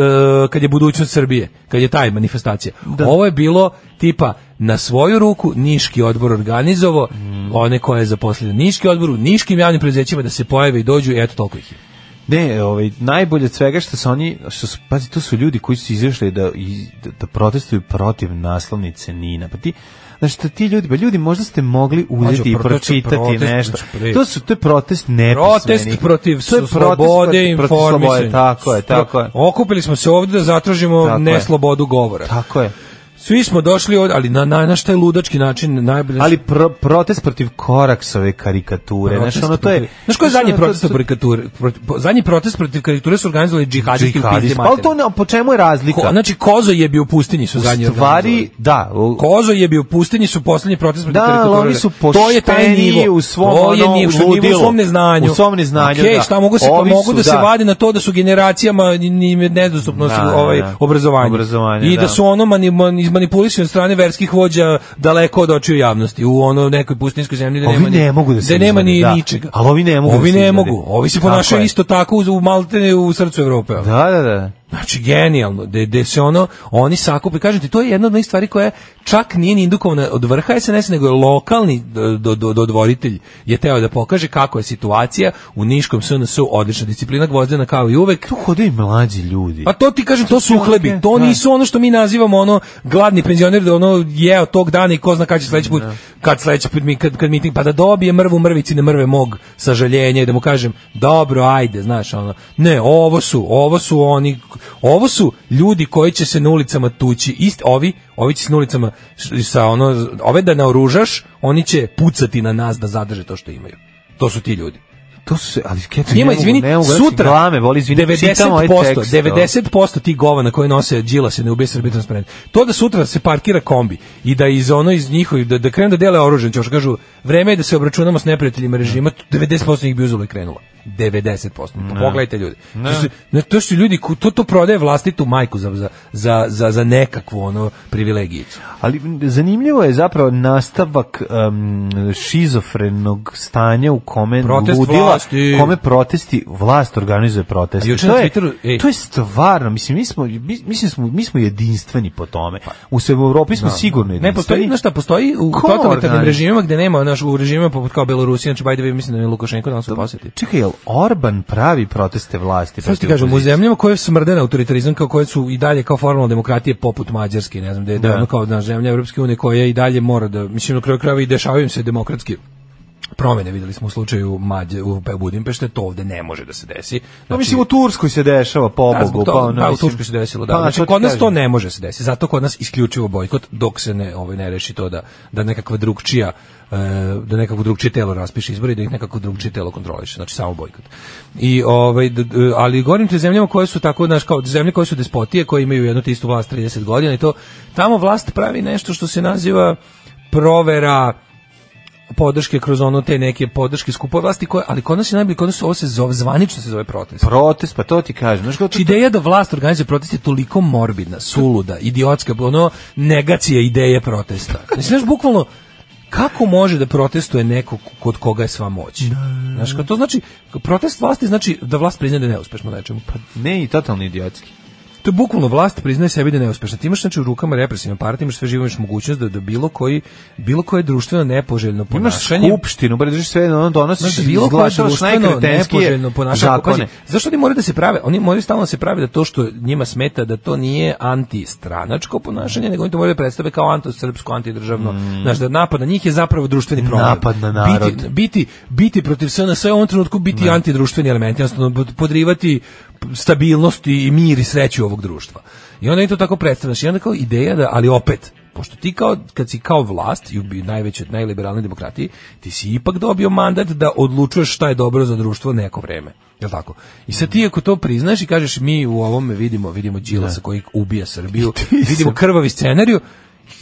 F: kad je budućnost Srbije, kad je taj manifestacija. Ovo je bilo tipa na svoju ruku Niški odbor organizovao
E: Mm.
F: one koje je zaposlio Niški odbor u Niškim javnim preduzećima da se pojave i dođu i eto toliko ih je.
E: Ne, ovaj, najbolje od svega što su oni, što su, pazi, to su ljudi koji su izašli da, i- da, da protestuju protiv naslovnice Nina. Pa ti, Znači, to ti ljudi, pa ljudi možda ste mogli uzeti i
F: protest-
E: pročitati
F: protest-
E: nešto.
F: protest-
E: to su, to je protest nepismeni.
F: Protest protiv
E: To je protest
F: slobode
E: protiv- protiv slobode,
F: informisanja.
E: Tako je, tako je.
F: Okupili smo se ovdje da zatražimo
E: Tako je.
F: neslobodu govora.
E: Tako je.
F: Svi smo došli od, ali na, na, na šta je ludački način najbolje.
E: Ali pro, protest protiv Koraksove karikature. Znaš, ono to je...
F: Znaš koji je zadnji
E: ono, to-
F: protest
E: to-
F: protiv karikature? Proti- po- Zadnji protest protiv karikature su organizovali džihadisti, u
E: Džihadisti.
F: Pizdi
E: Pa ali to
F: materinu.
E: ne, po čemu je razlika?
F: Ko, znači, Kozo je bio u pustinji su zadnji
E: u stvari,
F: organizovali.
E: da, u-
F: Kozo je bio u pustinji su poslednji protest protiv
E: Da, ali
F: karikature.
E: oni su
F: to je taj
E: pošteniji
F: nivo.
E: u svom,
F: to je
E: ono,
F: nivo, što nivo u
E: ludilu.
F: svom neznanju.
E: U svom neznanju,
F: Okej,
E: da.
F: šta mogu se pa
E: Ovi
F: mogu
E: su,
F: da se
E: da.
F: vade na to da su generacijama im je nedostupno su,
E: Da, da,
F: ovaj
E: da.
F: obrazovanje.
E: Obrazovanje,
F: I da
E: da.
F: su ono mani, man, izmanipulisani od strane verskih vođa daleko od očiju javnosti u ono nekoj pustinjskoj zemlji da
E: Ovi
F: nema ni-
E: ne mogu da se
F: nema ni
E: izvade, da.
F: ničega.
E: Ali ovi ne mogu
F: Ovi
E: da se
F: ne
E: izvade.
F: mogu. Ovi se
E: Tako
F: ponašaju
E: je.
F: isto tako u, u Maltene u srcu Evrope. ono.
E: Da, da, da.
F: Znači, genijalno, de, de se ono, oni sakupe, kažem ti, to je jedna od onih stvari koja čak nije ni indukovana od vrha SNS, nego je lokalni do, do, do- dodvoritelj je teo da pokaže kako je situacija u Niškom SNS-u odlična disciplina gvozdena kao i uvek.
E: Tu hodaju i mlađi ljudi.
F: Pa to ti kažem, to su uhlebi, to
E: Da.
F: nisu ono što mi nazivamo ono gladni penzioner da ono jeo tog dana i ko zna kad će sledeći put, kad sledeći put, mi- kad, kad miting, pa da dobije mrvu mrvici ne mrve mog sažaljenja i da mu kažem, dobro, ajde, znaš, ono, ne, ovo su, ovo su oni, ovo su ljudi koji će se na ulicama tući, isti, ovi, ovi će se na ulicama š- sa ono, ove da naoružaš, oni će pucati na nas da zadrže to što imaju. To su ti ljudi.
E: To su se, ali keto,
F: Njima, izvini, sutra
E: glame, boli, znači, izvini,
F: 90%,
E: čitam ovaj tekst, ono.
F: 90% tih govana koje nose Đila se ne ubije Srbije transparent. To da sutra se parkira kombi i da iz ono iz njihovih, da, da krenu da dele oružje, ćeš kažu, vreme je da se obračunamo s neprijateljima režima, 90% njih bi uzelo i krenulo. 90%. Pa pogledajte ljudi. To su, ne, to su ljudi, ko- to, to prodaje vlastitu majku za, za, za, za, za nekakvu ono, privilegijicu.
E: Ali zanimljivo je zapravo nastavak em, šizofrenog stanja u kome
F: Protest
E: ludila,
F: vlasti.
E: kome protesti vlast organizuje proteste.
F: A juče
E: to,
F: na
E: je,
F: Twitteru, ej.
E: to je stvarno, mislim, mi smo, mi, mislim smo, mi smo jedinstveni po tome. U svemu Evropi smo sigurno jedinstveni.
F: Pa, Ne, postoji, znaš šta, postoji u
E: Ko
F: totalitarnim
E: organizuje?
F: režimima gde nema, znaš, u režimima poput kao Belorusija, znači, by the way, mislim da je Lukašenko danas u posjeti.
E: Čekaj, jel Orban pravi proteste vlasti?
F: Sad ti
E: protiv
F: kažem, u
E: opozicije?
F: zemljama koje smrde na autoritarizam, kao koje su i dalje kao formalna demokratije poput Mađarske, ne znam, da je da. je
E: Da.
F: ono kao naš zemlja Evropske unije koja i dalje mora da, mislim, na kraju krajeva i dešavaju im se demokratski promene, videli smo u slučaju Mađe, u Budimpešte, to ovde ne može da se desi.
E: Pa
F: Znači,
E: mislim, u Turskoj se dešava
F: da,
E: pobogu.
F: zbog toga,
E: ono,
F: pa, u
E: mislim-
F: Turskoj se desilo, da.
E: Pa,
F: znači,
E: to ti
F: kod nas to
E: kažem.
F: ne može se desiti. Zato kod nas isključivo bojkot dok se ne ovaj ne reši to da da nekakva drugčija e, da nekako drugčije telo raspiše izbore i da ih nekako drugčije telo kontroliše, znači samo bojkot. I ovaj d- d- ali govorim te o zemljama koje su tako znaš kao zemlje koje su despotije, koje imaju jednu te istu vlast 30 godina i to tamo vlast pravi nešto što se naziva provera podrške kroz ono te neke podrške skupova vlasti koje, ali kod nas je najbolje, kod nas ovo se zove, zvanično se zove protest.
E: Protest, pa to ti kažem. Znaš, kao to-
F: Znači, ideja da vlast organizuje protest je toliko morbidna, suluda, idiotska, ono negacija ideje protesta. Znači, znaš, bukvalno, kako može da protestuje neko kod koga je sva moć? Znaš, kao to znači, protest vlasti znači da vlast priznaje da je neuspešna u nečemu. Pa
E: Ne, i totalni idiotski.
F: to je bukvalno vlast priznaje sebi da je neuspešna. Ti imaš znači u rukama represivne partije, imaš sve živo, imaš mogućnost da, da bilo koji bilo koje društveno nepoželjno
E: Imaš
F: ponašanje
E: skupštinu, bre, držiš sve, ono donosiš,
F: Znači,
E: znači,
F: bilo koje
E: izglašavaš
F: društveno
E: najkretenskije
F: nepoželjno ponašanje.
E: zakone.
F: Pazi, zašto oni moraju da se prave? Oni moraju stalno da se prave da to što njima smeta da to nije antistranačko ponašanje, nego oni to moraju da predstave kao antisrpsko, antidržavno. Znaš, da napad na njih je zapravo društveni problem.
E: Mm. Napad na narod.
F: Biti, Znači, biti, biti protiv SNS u ovom trenutku biti antidruštveni element, jednostavno pod- podrivati stabilnost i mir i sreću ovog društva. I onda je to tako predstavljaš. I onda kao ideja da, ali opet, pošto ti kao, kad si kao vlast i u bi- najvećoj, najliberalnoj demokratiji, ti si ipak dobio mandat da odlučuješ šta je dobro za društvo neko vreme. Jel tako? I sad ti ako to priznaš i kažeš mi u ovome vidimo, vidimo Đilasa koji ubija Srbiju, vidimo krvavi scenariju,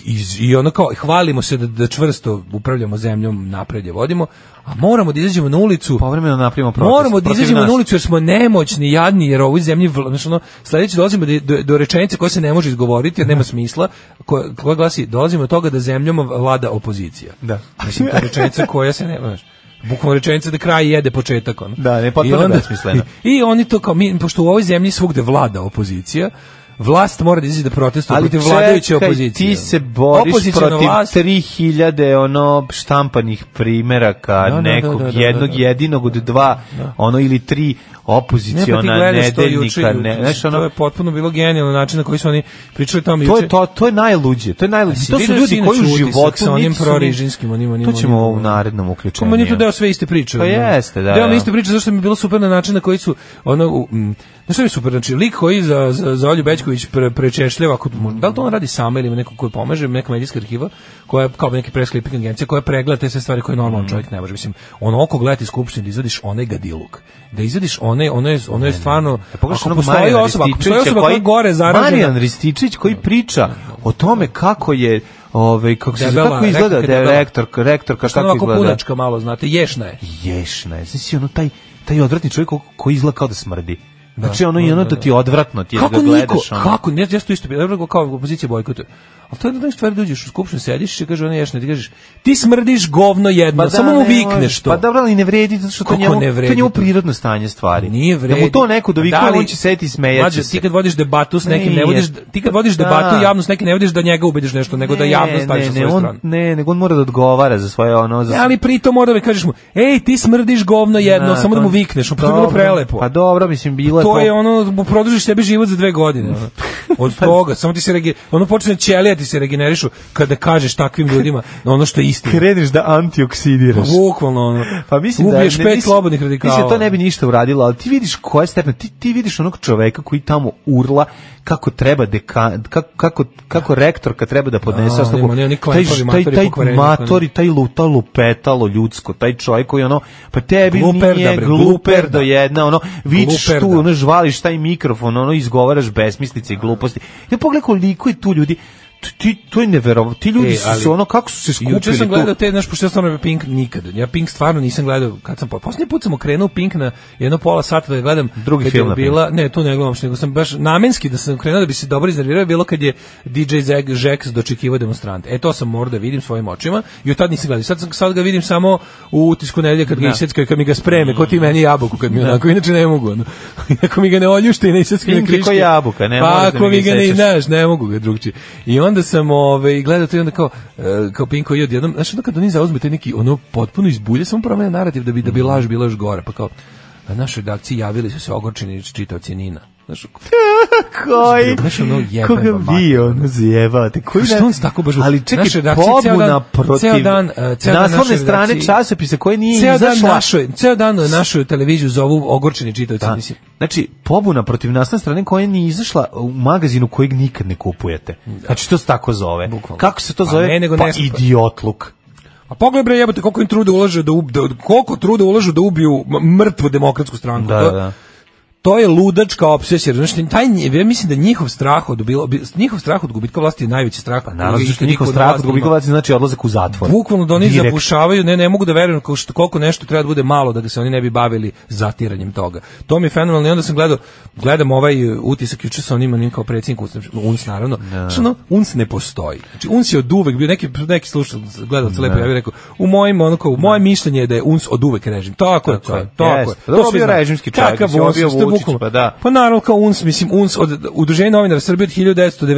F: i, i ono kao hvalimo se da, da čvrsto upravljamo zemljom, napred je vodimo, a moramo da izađemo na ulicu
E: Povremeno napravimo protest.
F: Moramo da
E: protiv
F: izađemo
E: nas.
F: na ulicu jer smo nemoćni, jadni, jer ovoj zemlji vla- znači ono sledeće dolazimo do, do, do rečenice koja se ne može izgovoriti jer nema smisla, koja, koja glasi dolazimo do toga da zemljom vlada opozicija.
E: Da.
F: Mislim to je rečenica koja se ne može bukvalno rečenica da kraj jede početak ono.
E: Da, ne, potpuno
F: I onda-
E: besmisleno.
F: [LAUGHS] I oni to kao mi pošto u ovoj zemlji svugde vlada opozicija, vlast mora da izađe da protestuje protiv vladajuće
E: čekaj,
F: opozicije. ono.
E: ti se boriš
F: Opoziciona
E: protiv
F: vlast-
E: 3000 ono štampanih primeraka
F: Da, da,
E: nekog
F: da, da, da,
E: jednog
F: da. pa
E: jedinog od dva ono ili tri opoziciona
F: Ne, pa ti gledaš to
E: nedeljnika
F: juče,
E: ne,
F: juče,
E: znaš, ono,
F: to je potpuno bilo genijalno način na koji su oni pričali tamo
E: To
F: juče.
E: je to to je najluđe. To je najluđe.
F: Jesi
E: To su
F: vidio
E: ljudi
F: sinoć
E: koji u
F: utisak
E: životu
F: sa onim
E: niti su ni-
F: prorižimskim, onim- onim-
E: To ćemo
F: onim-
E: u narednom uključenju.
F: Meni je to ono. deo sve iste priče.
E: Pa
F: ono.
E: jeste, da,
F: Deo mi
E: da.
F: iste priče zašto mi je bilo super na način na koji su ono u, mm, znaš što je super, znači lik koji za za, za Olju Bećković pre, prečešljava ako možda- da li to on radi sama ili ima neko koji pomaže, neka medijska arhiva koja je kao neki press clipping agencija koja pregleda te sve stvari koje
E: Mm.
F: normalan čovjek ne može. Mislim, ono oko gledati skupštinu da izvadiš onaj gadiluk. Da izvadiš one, ono je, ono je stvarno
E: Da pogledaš
F: ako
E: E, onog
F: postoji
E: Marijana
F: osoba, ako postoji
E: Rističevića
F: osoba koja je
E: koji-
F: gore zaražena.
E: Marijan Rističić koji priča o tome kako je ovaj kako se
F: Debela,
E: kako izgleda
F: rektorka je debela.
E: da rektor rektorka
F: što je
E: kako
F: onako
E: izgleda.
F: punačka malo, znate, ješna je.
E: Ješna je. Znači ono taj taj odvratni čovjek ko- koji izgleda kao da smrdi. Znači ono i ono da ti je odvratno ti je da
F: Kako
E: ga
F: niko,
E: gledaš. ono.
F: kako, ne, ja sam to isto, ja bih kao opozicija bojkotuje. Ali to je jedna stvar da uđeš u skupštinu, sediš i kaže ona ješna, ti kažeš, ti smrdiš govno jedno,
E: Pa da,
F: samo mu
E: ne
F: vikneš
E: može.
F: to.
E: Pa dobro, ali ne vredi, zato što to
F: Kako
E: njemu,
F: ne
E: to
F: vredi
E: je njemu
F: to?
E: prirodno stanje stvari.
F: Pa Nije vredi. Pa
E: Da mu to neko dovikuje,
F: Da li-
E: on će seti i smejaće
F: Mlađe,
E: se.
F: ti kad vodiš debatu s nekim, ne
E: Nije.
F: vodiš, ti kad vodiš debatu
E: Da.
F: javno s nekim, ne vodiš da njega ubediš nešto, nego da javno staviš na
E: ne,
F: svoju
E: on,
F: stranu.
E: Ne, nego on mora da odgovara za svoje ono... Za
F: Ne, ali pritom mora da kažeš mu, ej, ti smrdiš govno jedno,
E: Da,
F: samo da
E: to-
F: mu vikneš, pa to je bilo
E: dobro.
F: prelepo.
E: Pa dobro, mislim, bilo je
F: to je ono produžiš sebi život za dve godine ono. [LAUGHS] od toga samo ti se rege, ono počne ćelija ti se regenerišu kada kažeš takvim ljudima ono što
E: [LAUGHS]
F: je istina
E: Kreneš da antioksidiraš.
F: bukvalno ono
E: Pa mislim
F: ubiješ
E: da, ne,
F: pet
E: mislim-
F: slobodnih radikala ono.
E: Mislim da to ne bi ništa uradilo, ali ti vidiš koje stepene, ti, ti vidiš onog čoveka koji tamo urla kako treba deka, kako, kako, kako rektorka treba da podnese
F: A,
E: ostavku.
F: oni- oni
E: Taj,
F: klempavi
E: taj,
F: matori pa
E: taj
F: pokvareni,
E: matori, taj luta lupetalo ljudsko, taj čovjek koji ono, pa tebi
F: Gluperda,
E: nije
F: bre,
E: gluper
F: gluperda.
E: do jedna, ono, vidiš
F: Gluperda.
E: tu, ono, žvališ taj mikrofon, ono, izgovaraš besmislice i gluposti. Ja pogledaj koliko je tu ljudi, ti, to je neverovatno. Ti ljudi
F: E,
E: su
F: ali-
E: se ono, kako su se skupili
F: Juče sam
E: tu?
F: gledao te, znaš, pošto ja stvarno Pink nikad. Ja Pink stvarno nisam gledao, kad sam, po- posljednji put sam okrenuo Pink na jedno pola sata da gledam.
E: Drugi
F: kad
E: film
F: je
E: na
F: bila, Ne, tu ne gledam uopšte, nego sam baš namenski da sam krenuo da bi se dobro iznervirao je bilo kad je DJ Zeg, Žeks dočekivao demonstrante. E, to sam morao da vidim svojim očima i od tad nisam gledao. Sad, sam- sad ga vidim samo u utisku nedelje kad ga iseckaju, kad mi ga spreme, ko ti meni jabuku kad mi onako, inače ne mogu. Ono. [LAUGHS] ako mi ga ne oljušte i ne iseckaju na
E: Pink je ko
F: kriške.
E: jabuka, ne
F: pa,
E: možeš da
F: ako
E: mi
F: mi
E: ga
F: ga ne,
E: isečeš.
F: znaš, ne mogu ga drugčije. I onda sam ovaj gledao to i onda kao e, kao Pinko i odjednom, znaš, onda kad oni zauzmu taj neki ono potpuno izbulje, samo promene narativ da bi da
E: Mhm.
F: bi laž bila još gore, pa kao na našoj redakciji javili su se ogorčeni čitaoci Nina.
E: [LAUGHS]
F: Znaš,
E: koji
F: Znaš, ono, jebem
E: koga
F: vam
E: vi
F: mater.
E: ono zjebate koji
F: Pa što
E: ne-
F: on se tako baš-
E: ali čekaj
F: Naša redakcija ceo
E: pobuna
F: dan-
E: protiv
F: ceo dan, eh, ceo dan
E: naslovne
F: našoj
E: strane
F: redakciji-
E: časopisa koje nije
F: ceo dan
E: izašla
F: našoj, ceo dan našu televiziju zovu ogorčeni čitaoci,
E: Da.
F: mislim.
E: Znači, pobuna protiv nasne strane koja nije izašla u magazinu kojeg nikad ne kupujete. Znači, to se tako zove.
F: Bukvalno.
E: Kako se to
F: Pa
E: zove?
F: ne, nego
E: pa
F: ne znam.
E: idiotluk.
F: A pogledaj bre jebote koliko im truda ulaže da, ub, da koliko truda ulažu da ubiju m- mrtvu demokratsku stranku.
E: Da,
F: To-
E: da, da.
F: to je ludačka obsesija. Znači, taj, nji- ja mislim da njihov strah od, bilo, njihov strah od gubitka vlasti je najveći strah. Pa
E: Naravno, zato što njihov strah od gubikovaca znači odlazak u zatvor.
F: Bukvalno da oni
E: Direkt.
F: zabušavaju, ne, ne mogu da verujem kao što, koliko nešto treba da bude malo da ga se oni ne bi bavili zatiranjem toga. To mi je fenomenalno i onda sam gledao, gledam ovaj e, utisak juče sa onim, onim kao predsjednik UNS, znači, UNS naravno, Znaš, ono, UNS ne postoji. Znači, UNS je od uvek bio, neki, neki slušal, gledalac lepo, ja bih rekao, u mojim, ono kao, moje mišljenje je da je UNS od uvek režim. Tako je,
E: Tako
F: to je,
E: je.
F: tako je.
E: Jeste. Dobro,
F: To svi
E: bio
F: znaju.
E: režimski čovjek,
F: Kakav
E: mislim,
F: UNS,
E: bio
F: to je
E: Vučić,
F: bukvalno-
E: pa da.
F: pa naravno kao UNS, mislim UNS od Udruženja novinara Srbije od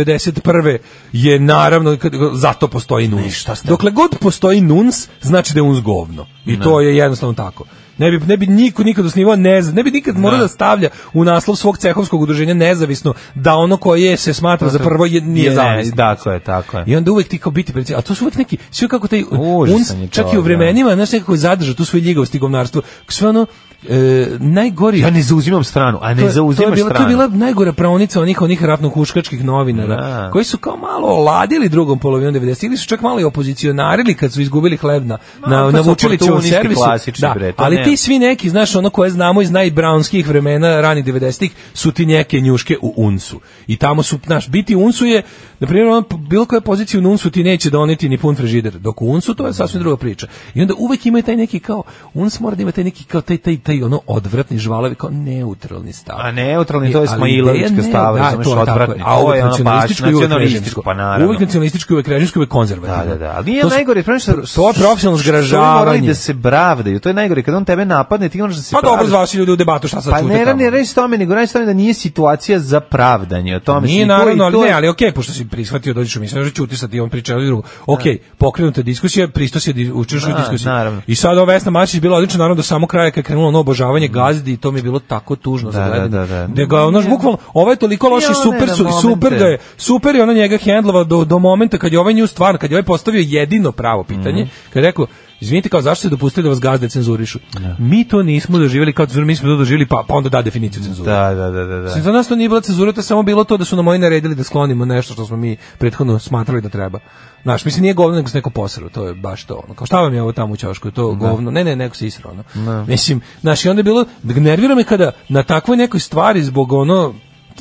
F: 1991. je naravno kad- zato postoji NUNS. Dokle god postoji NUNS, znači da je UNS govno. I to je jednostavno tako. Ne bi, ne bi niko nikad osnivao nez, ne bi nikad morao da stavlja u naslov svog cehovskog udruženja nezavisno da ono koje je se smatra za prvo je, nije
E: Ne,
F: zavisno.
E: Tako je, tako je.
F: I onda uvek ti kao biti preci, a to su uvek neki, sve kako taj
E: Užasan
F: uns,
E: je
F: čak i u
E: čovjek,
F: vremenima, znaš, nekako zadrža tu svoju ljigavost i govnarstvo, sve ono, e, najgori...
E: Ja ne zauzimam stranu, a
F: To
E: ne
F: je- to je
E: zauzimaš
F: bila,
E: stranu.
F: To je bila najgora pravnica onih, onih ratno-huškačkih novinara,
E: Da.
F: koji su kao malo oladili drugom polovinom 90 ili su čak malo i opozicionarili kad su izgubili hleb na, na,
E: pa to
F: na
E: su
F: Vučilićevom
E: oportunisti
F: servisu.
E: klasični,
F: Da,
E: bre, to
F: ali
E: nema.
F: ti svi neki, znaš, ono koje znamo iz najbraunskih vremena, ranih 90-ih, su ti neke njuške u UNSU. I tamo su, znaš, biti u UNSU je, na primjer, ono, bilo koje pozicije u UNSU ti neće doneti ni pun frižider, dok u UNSU to je sasvim druga priča. I onda uvek imaju taj neki kao, UNS mora da ima taj neki kao taj, taj, taj ono odvratni žvalavi, kao neutralni stav.
E: A neutralni,
F: E,
E: to je
F: ali
E: Smailovićka
F: ideja ne,
E: stava,
F: da,
E: razumeš,
F: to je tako,
E: odvratni.
F: A
E: To je ono
F: uvek
E: baš
F: nacionalističko i uvek
E: nacionalističko,
F: režimsko.
E: pa naravno.
F: Uvek nacionalističko, uvek režimsko, uvek konzervativno.
E: Da, da, da. Ali nije
F: To su-
E: najgore, znaš, što,
F: to je profesionalno
E: što oni morali
F: zgražavanje.
E: da se bravdaju. To je najgore kad on tebe napadne, ti moraš da se
F: Pa dobro,
E: pravdaš.
F: zvao si ljudi u debatu, šta sad
E: Pa
F: čute
E: ne,
F: tamo?
E: ne radi se tome, nego radi se tome da nije situacija za pravdanje. O tome
F: Nije
E: se- i to- i
F: naravno, ali
E: to je-
F: ne, ali okej, pošto si prihvatio dođeš u mislim, da ćuti sad i on priča drugo. Okej, pokrenuta je diskusija, pristo si di- učeš u
E: Da,
F: diskusiji.
E: naravno.
F: I sad ova Vesna Mačić bila odlična, naravno do samo kraja kad je krenulo ono obožavanje gazdi i to mi je bilo tako tužno za
E: Mhm. Da,
F: gledanje.
E: da, da, da.
F: Da ga ono bukvalno, ovo je toliko loš
E: Ja,
F: i super
E: ne,
F: su
E: na
F: i super
E: momente.
F: ga je, super je ona njega hendlova do do momenta kad je ovaj nju stvarno, kad je ovaj postavio jedino pravo
E: Mhm.
F: pitanje, kad je rekao Izvinite, kao zašto ste dopustili da vas gazde cenzurišu? Mi to nismo doživjeli kao cenzuru, mi smo to doživjeli, pa, pa onda da definiciju cenzure.
E: Da, da, da, da. da.
F: Mislim, Znači, za nas to nije bila cenzura, to je samo bilo to da su nam oni naredili da sklonimo nešto što smo mi prethodno smatrali da treba. Znaš, mislim, nije govno, nego se neko posrao, to je baš to. Ono. Kao šta vam je ovo tamo u Ćošku, je to govno? Ne, ne, neko se israo. Ono. Mislim, znaš, i onda je bilo, nervira me kada na takvoj nekoj stvari zbog ono,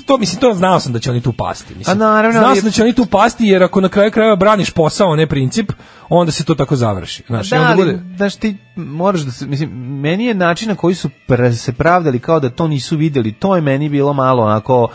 F: to mislim to znao sam da će oni tu pasti mislim.
E: A naravno,
F: znao
E: ali-
F: sam da će oni tu pasti jer ako na kraju krajeva braniš posao a ne princip onda se to tako završi znaš i
E: Da,
F: onda
E: ali,
F: bude-
E: znaš, ti moraš da se, mislim, meni je način na koji su pra- se pravdali kao da to nisu videli, to je meni bilo malo onako,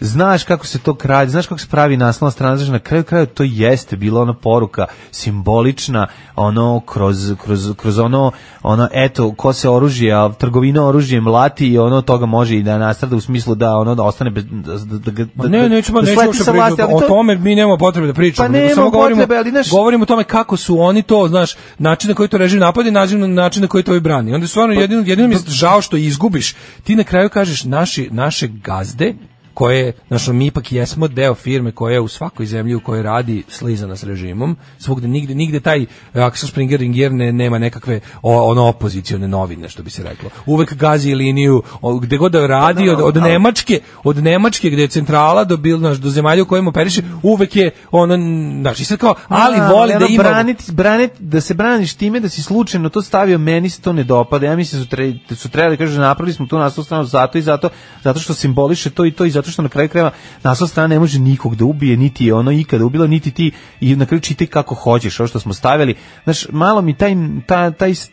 E: znaš kako se to krađe, znaš kako se pravi naslovna strana, znaš, na kraju kraju to jeste bila ona poruka simbolična, ono, kroz, kroz, kroz ono, ono, eto, ko se oružje, a trgovina oružjem lati i ono, toga može i da nastrada u smislu da ono, da ostane bez, da, da, da, ga-
F: Ma
E: da-
F: ne,
E: da-
F: nećemo,
E: da
F: nećemo
E: sleti
F: uopšte
E: sa vlasti,
F: pričati.
E: ali
F: o
E: to-
F: tome mi nemamo potrebe da pričamo.
E: Pa
F: nego
E: nemamo
F: samo govorimo,
E: potrebe, ali znaš-
F: govorimo o tome kako su oni to, znaš, način na koji to režim napada i način, način na koji to i brani. Onda je stvarno jedino, jedino mi je žao što izgubiš. Ti na kraju kažeš naši, naše gazde, koje, znaš, ono, mi ipak jesmo deo firme koja je u svakoj zemlji u kojoj radi slizana s režimom, svugde, nigde, nigde taj Axel Springer Ringer ne, nema nekakve o, ono opozicione novine, što bi se reklo. Uvek gazi liniju, o, gde god da radi, od, od Nemačke, od Nemačke gde je centrala do, bil, znaš, do zemalja u kojima operiše, uvek je ono, znaš, i sad kao, ali
E: Da,
F: voli da
E: ono,
F: ima...
E: braniti- braniti- da se braniš time da si slučajno to stavio, meni se to ne dopada. Ja mislim da su, tre, da su trebali da kažu napravili smo tu naslovnu stranu zato i zato, zato što simboliše to i to i zato zato što na kraju krajeva nasla strana ne može nikog da ubije, niti je ono ikada ubilo, niti ti i na kraju čitaj kako hoćeš, ovo što smo stavili. Znaš, malo mi taj, ta, taj s-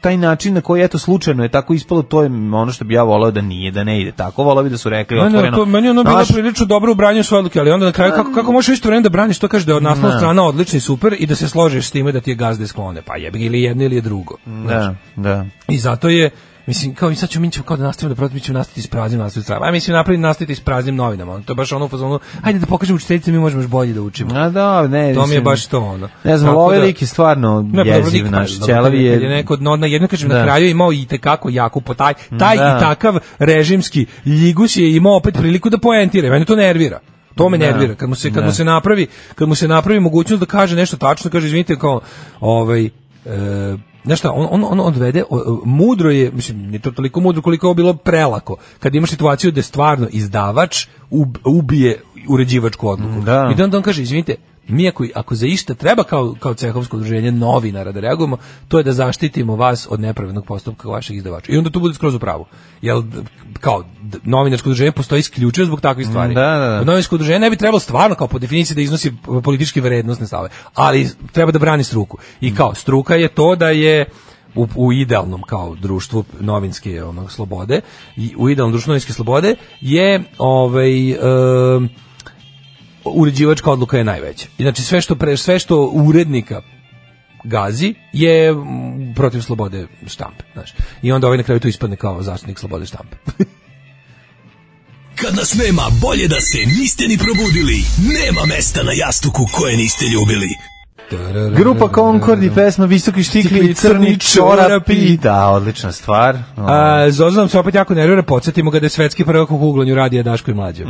E: taj način na koji eto slučajno je tako ispalo to je ono što bi ja voleo da nije da ne ide tako voleo bi da su rekli
F: Meni, je
E: otvoreno
F: to, meni je ono bilo
E: znaš, Pa,
F: prilično dobro u branju svoje odluke, ali onda na kraju kako, kako možeš u isto vreme da braniš to kažeš da je od naslovna strana odlični super i da se složiš s time da ti je gazde sklone, pa jebi ga, ili jedno ili je drugo.
E: da da
F: I zato je Mislim, kao i sad ćemo, mi ćemo kao da nastavimo da protiv, mi ćemo nastaviti s praznim nastaviti strava. A mislim, napraviti nastaviti s praznim novinama. ono, To je baš ono u fazonu, hajde da pokažemo učiteljicama, mi možemo još bolje da učimo.
E: A da, ne,
F: To mi je
E: mislim,
F: baš to ono.
E: Ne znam,
F: Tako
E: ovaj
F: da-
E: lik je stvarno
F: Ne, pa dobro,
E: jeziv
F: lik,
E: naš.
F: pa,
E: Ćelavi
F: dobro, kad je
E: je...
F: neko no, na jedno kažem
E: Da.
F: na kraju je imao i te kako jaku po taj taj
E: Da.
F: i takav režimski ljigus je imao opet priliku da poentira. Mene to nervira. To me nervira kad mu se kad mu se napravi kad mu se napravi mogućnost da kaže nešto tačno, kaže izvinite kao ovaj e, Znaš šta, on, on, on odvede, o- o, mudro je, mislim, nije to toliko mudro koliko je ovo bilo prelako, kad imaš situaciju da stvarno izdavač ub- ubije uređivačku odluku.
E: Da.
F: I da onda on kaže, izvinite, mi ako, ako za išta treba kao, kao cehovsko udruženje novinara da reagujemo, to je da zaštitimo vas od nepravednog postupka vaših izdavača. I onda tu bude skroz u pravu. Jel, d- kao, d- novinarsko udruženje postoji isključivo zbog takvih stvari.
E: Da, da, da.
F: Novinarsko udruženje ne bi trebalo stvarno kao po definiciji da iznosi p- politički vrednostne stave, ali treba da brani struku.
E: Mm.
F: I kao, struka je to da je u, u idealnom kao društvu novinske ono, slobode, i u idealnom društvu novinske slobode je ovaj, em, uređivačka odluka je najveća. I znači sve što pre, sve što urednika gazi je mm, protiv slobode štampe, znaš. I onda ovaj na kraju tu ispadne kao zaštitnik slobode štampe.
K: Kad nas nema, bolje da se niste ni probudili. Nema mesta na jastuku koje niste ljubili.
E: Grupa Concord i pesma Visoki štikli i crni čorapi. Da, odlična stvar. ono,
F: A, Zozan se opet jako nervira, podsjetimo ga da je svetski prvak u kuglanju radija Daško i Mlađe.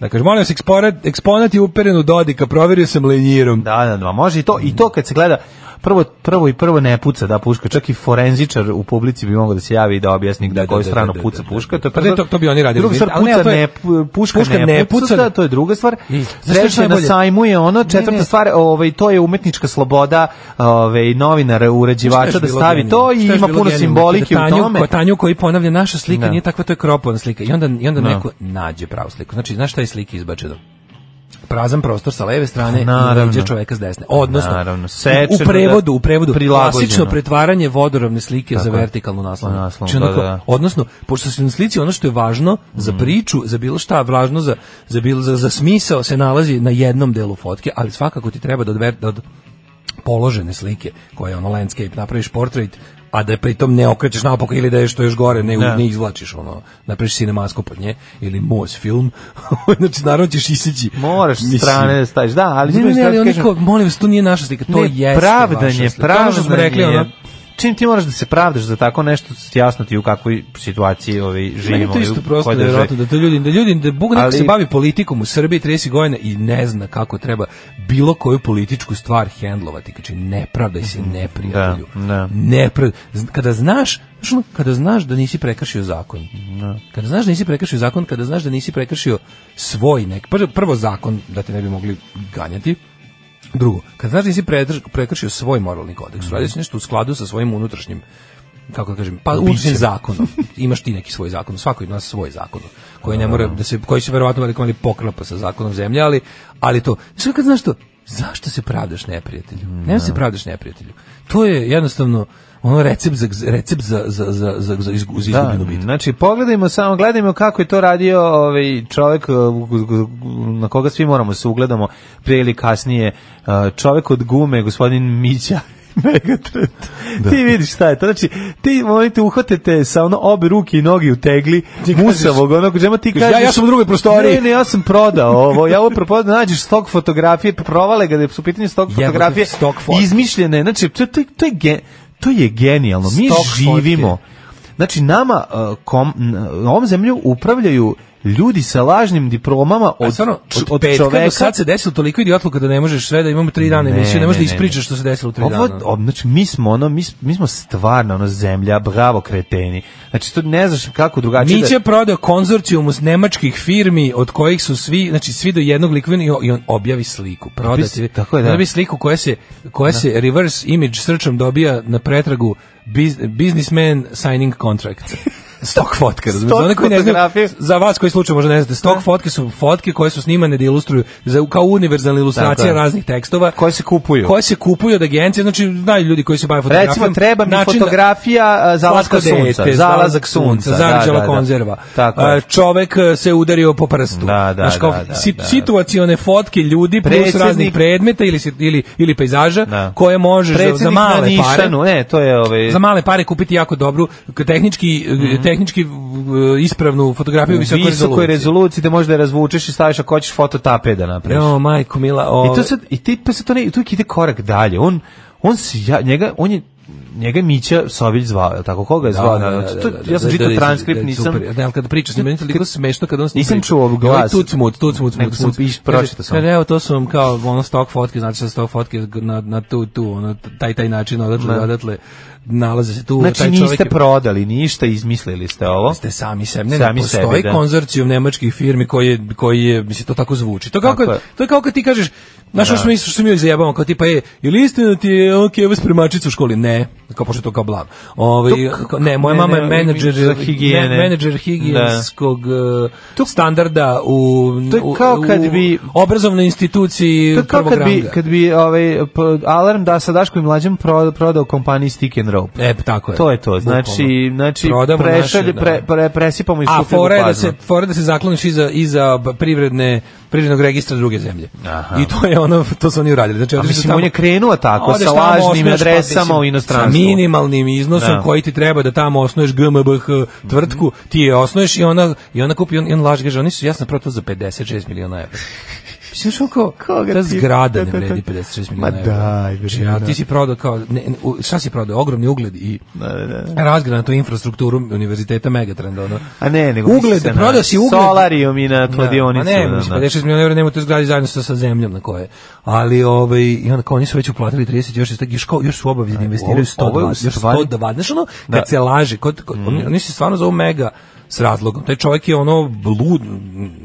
F: da kaže, molim vas, eksporat, eksponat je uperen u Dodika, proverio sam lenjirom.
E: Da, da, da, može i to. I to kad se gleda, prvo, prvo i prvo ne puca da puška. Čak i forenzičar u publici bi mogao da se javi i da objasni
F: Da,
E: na
F: da,
E: koju
F: da,
E: stranu
F: da, da,
E: puca
F: da,
E: puška.
F: da. Pa ne, to- to bi oni radili,
E: Druga stvar,
F: ali ne,
E: puca
F: to je-
E: ne, pu- puška,
F: puška
E: ne,
F: ne
E: puca,
F: puca.
E: da, to je druga stvar.
F: I, znaš šta je
E: Treća je na
F: najbolje?
E: sajmu je ono,
F: Ne,
E: četvrta
F: ne.
E: stvar, ovaj, to je umetnička sloboda ovaj, novinara,
F: Šta
E: uređivača
F: je
E: da
F: bilo
E: stavi
F: genijalno?
E: to i
F: Šta je
E: ima
F: bilo
E: puno
F: genijalno?
E: simbolike
F: Kada
E: u
F: Tanju-
E: tome.
F: ko- Tanju koji ponavlja naša slika
E: Da.
F: nije takva, to je kropovna slika. I onda, i onda
E: Da.
F: neko nađe pravu sliku. Znači, znaš šta je slika izbačeno? prazan prostor sa leve strane
E: Naravno.
F: i leđa čoveka s desne. Odnosno,
E: Naravno, sečeno,
F: u prevodu, u prevodu,
E: prilagođeno.
F: klasično pretvaranje vodorovne slike za
E: Tako je.
F: vertikalnu naslovnu.
E: Naslovnu,
F: Znači, onako,
E: da, Mm. da, da.
F: Odnosno, pošto se na slici ono što je važno za priču, za bilo šta, važno za, za, bilo, za, za smisao se nalazi na jednom delu fotke, ali svakako ti treba da od, ver- da od položene slike koje je ono landscape napraviš portrait a da je pritom ne okrećeš naopako ili da je što je još gore ne,
E: Da.
F: ne izvlačiš ono napraviš cinemaskop od nje ili mos film [LAUGHS] znači naravno ćeš isići
E: Moraš
F: Mislim,
E: strane da staviš, da, ali... s
F: ne,
E: druge
F: ne, ne,
E: strane
F: ali
E: ti
F: oni
E: kažem-
F: kao, molim vas, to nije naša slika, to
E: ne,
F: jeste
E: pravdanje,
F: vaša slika. To je ono
E: pravdanje.
F: što smo rekli, ono,
E: Čim ti moraš da se pravdaš za tako nešto, jasno ti je u kakvoj situaciji ovi živimo.
F: Meni je to
E: i u
F: isto prosto
E: kojoj državi.
F: nevjerojatno da to ljudi, da ljudi, da Bog neko
E: Ali-
F: se bavi politikom u Srbiji 30 godina i ne zna kako treba bilo koju političku stvar hendlovati. Znači, ne pravdaj se neprijatelju.
E: Mhm. Da, da.
F: Ne prav- z- Kada znaš, znaš ono, kada znaš da nisi prekršio zakon, kada znaš da nisi prekršio zakon, kada znaš da nisi prekršio svoj nek, prvo, prvo zakon da te ne bi mogli ganjati, Drugo, kad znaš da nisi pretrš- prekršio svoj moralni kodeks,
E: Mhm.
F: uradio si nešto u skladu sa svojim unutrašnjim kako da kažem, pa unutrašnjim zakonom. Imaš ti neki svoj zakon, svako ima svoj zakon koji ne mora da se koji se verovatno velikom ali poklapa sa zakonom zemlje, ali ali to. Sve kad znaš to, zašto se pravdaš neprijatelju?
E: Mm,
F: Ne se pravdaš neprijatelju. To je jednostavno ono recept za recept za za za za, za izgu- za
E: Da,
F: izgubljenu bitku.
E: znači pogledajmo samo, gledajmo kako je to radio ovaj čovjek eh, u- u- u- na koga svi moramo se ugledamo prije ili kasnije, eh, čovjek od gume, gospodin Mića [LAUGHS] Megatret. Ti vidiš šta je to. Znači, ti oni te uhvatite sa ono obe ruke i noge u tegli, musavog, onog džema ti
F: Kažeš,
E: kažeš...
F: ja- ja sam u drugoj prostoriji.
E: Ne, ne, ja sam prodao ovo. Ja ovo propodao, [LAUGHS] nađeš stok fotografije, provale ga da su u pitanju stok
F: Jebote,
E: fotografije.
F: stok foto.
E: Izmišljene. Znači, to, to, to, je, gen- to je genijalno. Mi
F: Stok fotke.
E: živimo. Znači nama uh, kom, n- ovom zemlju upravljaju ljudi sa lažnim diplomama
F: od,
E: od,
F: stvarno,
E: č-
F: od, petka do sad se desilo toliko idiotluka da ne možeš sve da imamo tri dana
E: Ne,
F: emisiju, ne možeš da
E: ne, ne,
F: ispričaš što se desilo u tri
E: Ovo-
F: dana.
E: o, znači, mi smo ono, mi, s- mi smo stvarno ono zemlja, bravo kreteni. Znači, to ne znaš kako drugačije
F: Miće je prodao konzorcijum uz nemačkih firmi od kojih su svi, znači svi do jednog likvidni i on objavi sliku. Prodati,
E: Objavi- tako je, da.
F: Objavi sliku koja se, koja se
E: [LAUGHS]
F: reverse image searchom dobija na pretragu biz, businessman signing contract. Stok fotke, razumiješ?
E: Stok
F: One koji ne znaju,
E: fotografije.
F: za vas koji slučaj možda ne znate, stok fotke su fotke koje su snimane da ilustruju, za, kao univerzalna
E: Tako je.
F: ilustracija raznih tekstova.
E: Koje se kupuju.
F: Koje se kupuju od agencije, znači znaju ljudi koji se bave fotografijom.
E: Recimo, treba mi fotografija, a, zalaska
F: Slatko
E: sunca, zalazak sunca, da,
F: zarđala
E: da, da.
F: konzerva.
E: Tako
F: A,
E: je.
F: Čovek e, se udario po prstu.
E: Da, da,
F: Znaš, kao
E: da, da,
F: si-
E: da.
F: situacione fotke ljudi plus
E: Predsjednik-
F: raznih predmeta ili, si- ili, ili pejzaža
E: Da.
F: koje možeš za, za
E: Predsjednik na
F: male pare
E: Nišanu, ne, to je ovaj
F: za male pare kupiti jako dobru k- tehnički e, tehnički v- e, ispravnu fotografiju
E: u
F: visokoj
E: visokoj
F: rezoluciji.
E: rezoluciji da možeš da je razvučeš i staviš ako hoćeš fototape da napraviš.
F: Jo, majko mila, ovaj, o,
E: I to sad i ti pa se to ne, tu ide korak dalje. On on se ja, njega on je njega je Mića Sović zvao, je tako koga je zvao? Znači, to- ja sam čitao transkript, nisam
F: Ne, ali kada priča s njim, meni je toliko smešno kada on s njim
E: Nisam
F: priča.
E: čuo ovaj glas.
F: Ovaj Tucmut, tucmut,
E: Nego
F: tucmut,
E: sam piš- pročitao sam.
F: Kaže, Evo, to su vam kao ono stok fotke, znači sa stok fotke na, na tu, tu, ono, taj, taj način, odatle,
E: Da.
F: odatle, nalaze se tu,
E: Znači
F: taj čovjek
E: niste
F: je-
E: prodali ništa, izmislili ste ovo.
F: ste sami sebi. Ne,
E: Sami
F: ne postoji
E: sebi, da.
F: konzorcijum nemačkih firmi koji je, koji je, mislim, to tako zvuči. To, je kao
E: Tako
F: kad,
E: je.
F: to je kao kad ti kažeš, znaš što smo mi, što mi uvijek zajebamo, kao tipa, je, je li istina ti je ono keva spremačica u školi? Ne, kao pošto je to kao blam. Ovaj,
E: To k-
F: kao- ne, moja
E: ne,
F: mama je
E: ne,
F: menadžer,
E: za higijene.
F: ne, menadžer higijenskog eh, standarda u,
E: e, To je
F: u-
E: kao kad
F: u
E: bi-
F: obrazovnoj instituciji
E: To je kao
F: prvog
E: kad bi,
F: ranga.
E: kad bi ovaj, p- alarm da sa Daškom i Mlađem pro- prodao kompaniji Stick and Rope.
F: E, tako je.
E: To je to, znači,
F: Bukvalno.
E: znači
F: Prodamo naše,
E: prešalje,
F: da.
E: pre, pre, presipamo iz
F: A
E: šupljeg u
F: fora je da
E: prazno.
F: se fora je da se zakloniš iza iza privredne privrednog registra druge zemlje. I to je ono to su oni uradili. Znači
E: A
F: otišli su
E: mislim,
F: tamo-
E: on je krenuo tako,
F: Odeš
E: sa
F: tamo,
E: lažnim
F: osnuješ, pa,
E: adresama
F: mislim,
E: u inostranstvu.
F: Sa minimalnim iznosom
E: Da. Mhm.
F: koji ti treba da tamo osnuješ GmbH tvrtku, ti je osnuješ i ona i ona kupi on, i on laže kaže oni su jasno proto za 56 miliona evra. Mislim što kao
E: Koga
F: ta
E: ti-
F: zgrada
E: da, da,
F: ne
E: da.
F: vredi 56
E: Ma
F: miliona evra.
E: daj, bre,
F: Znači, a
E: da.
F: ti si prodao kao ne, ne, u- šta si prodao ogromni ugled i
E: Da, da, da.
F: razgranatu infrastrukturu univerziteta Megatrend ono.
E: A ne, nego
F: ugled,
E: mislim se na
F: prodao si ugled.
E: Solarium i na Dakle, kladionicu.
F: Da, ma ne,
E: da,
F: mislim,
E: da.
F: 56 miliona evra nema to zgradi zajedno sa, sa zemljom na koje. Ali ovaj i onda kao oni su već uplatili 30 još je još kao još su obavezni da investiraju
E: ovo je u
F: 120, još
E: stvari-
F: 120. Znaš ono
E: Da. Mm.
F: kad se laže, kod, kod oni, oni se stvarno zovu mega s razlogom. Taj čovjek je ono lud,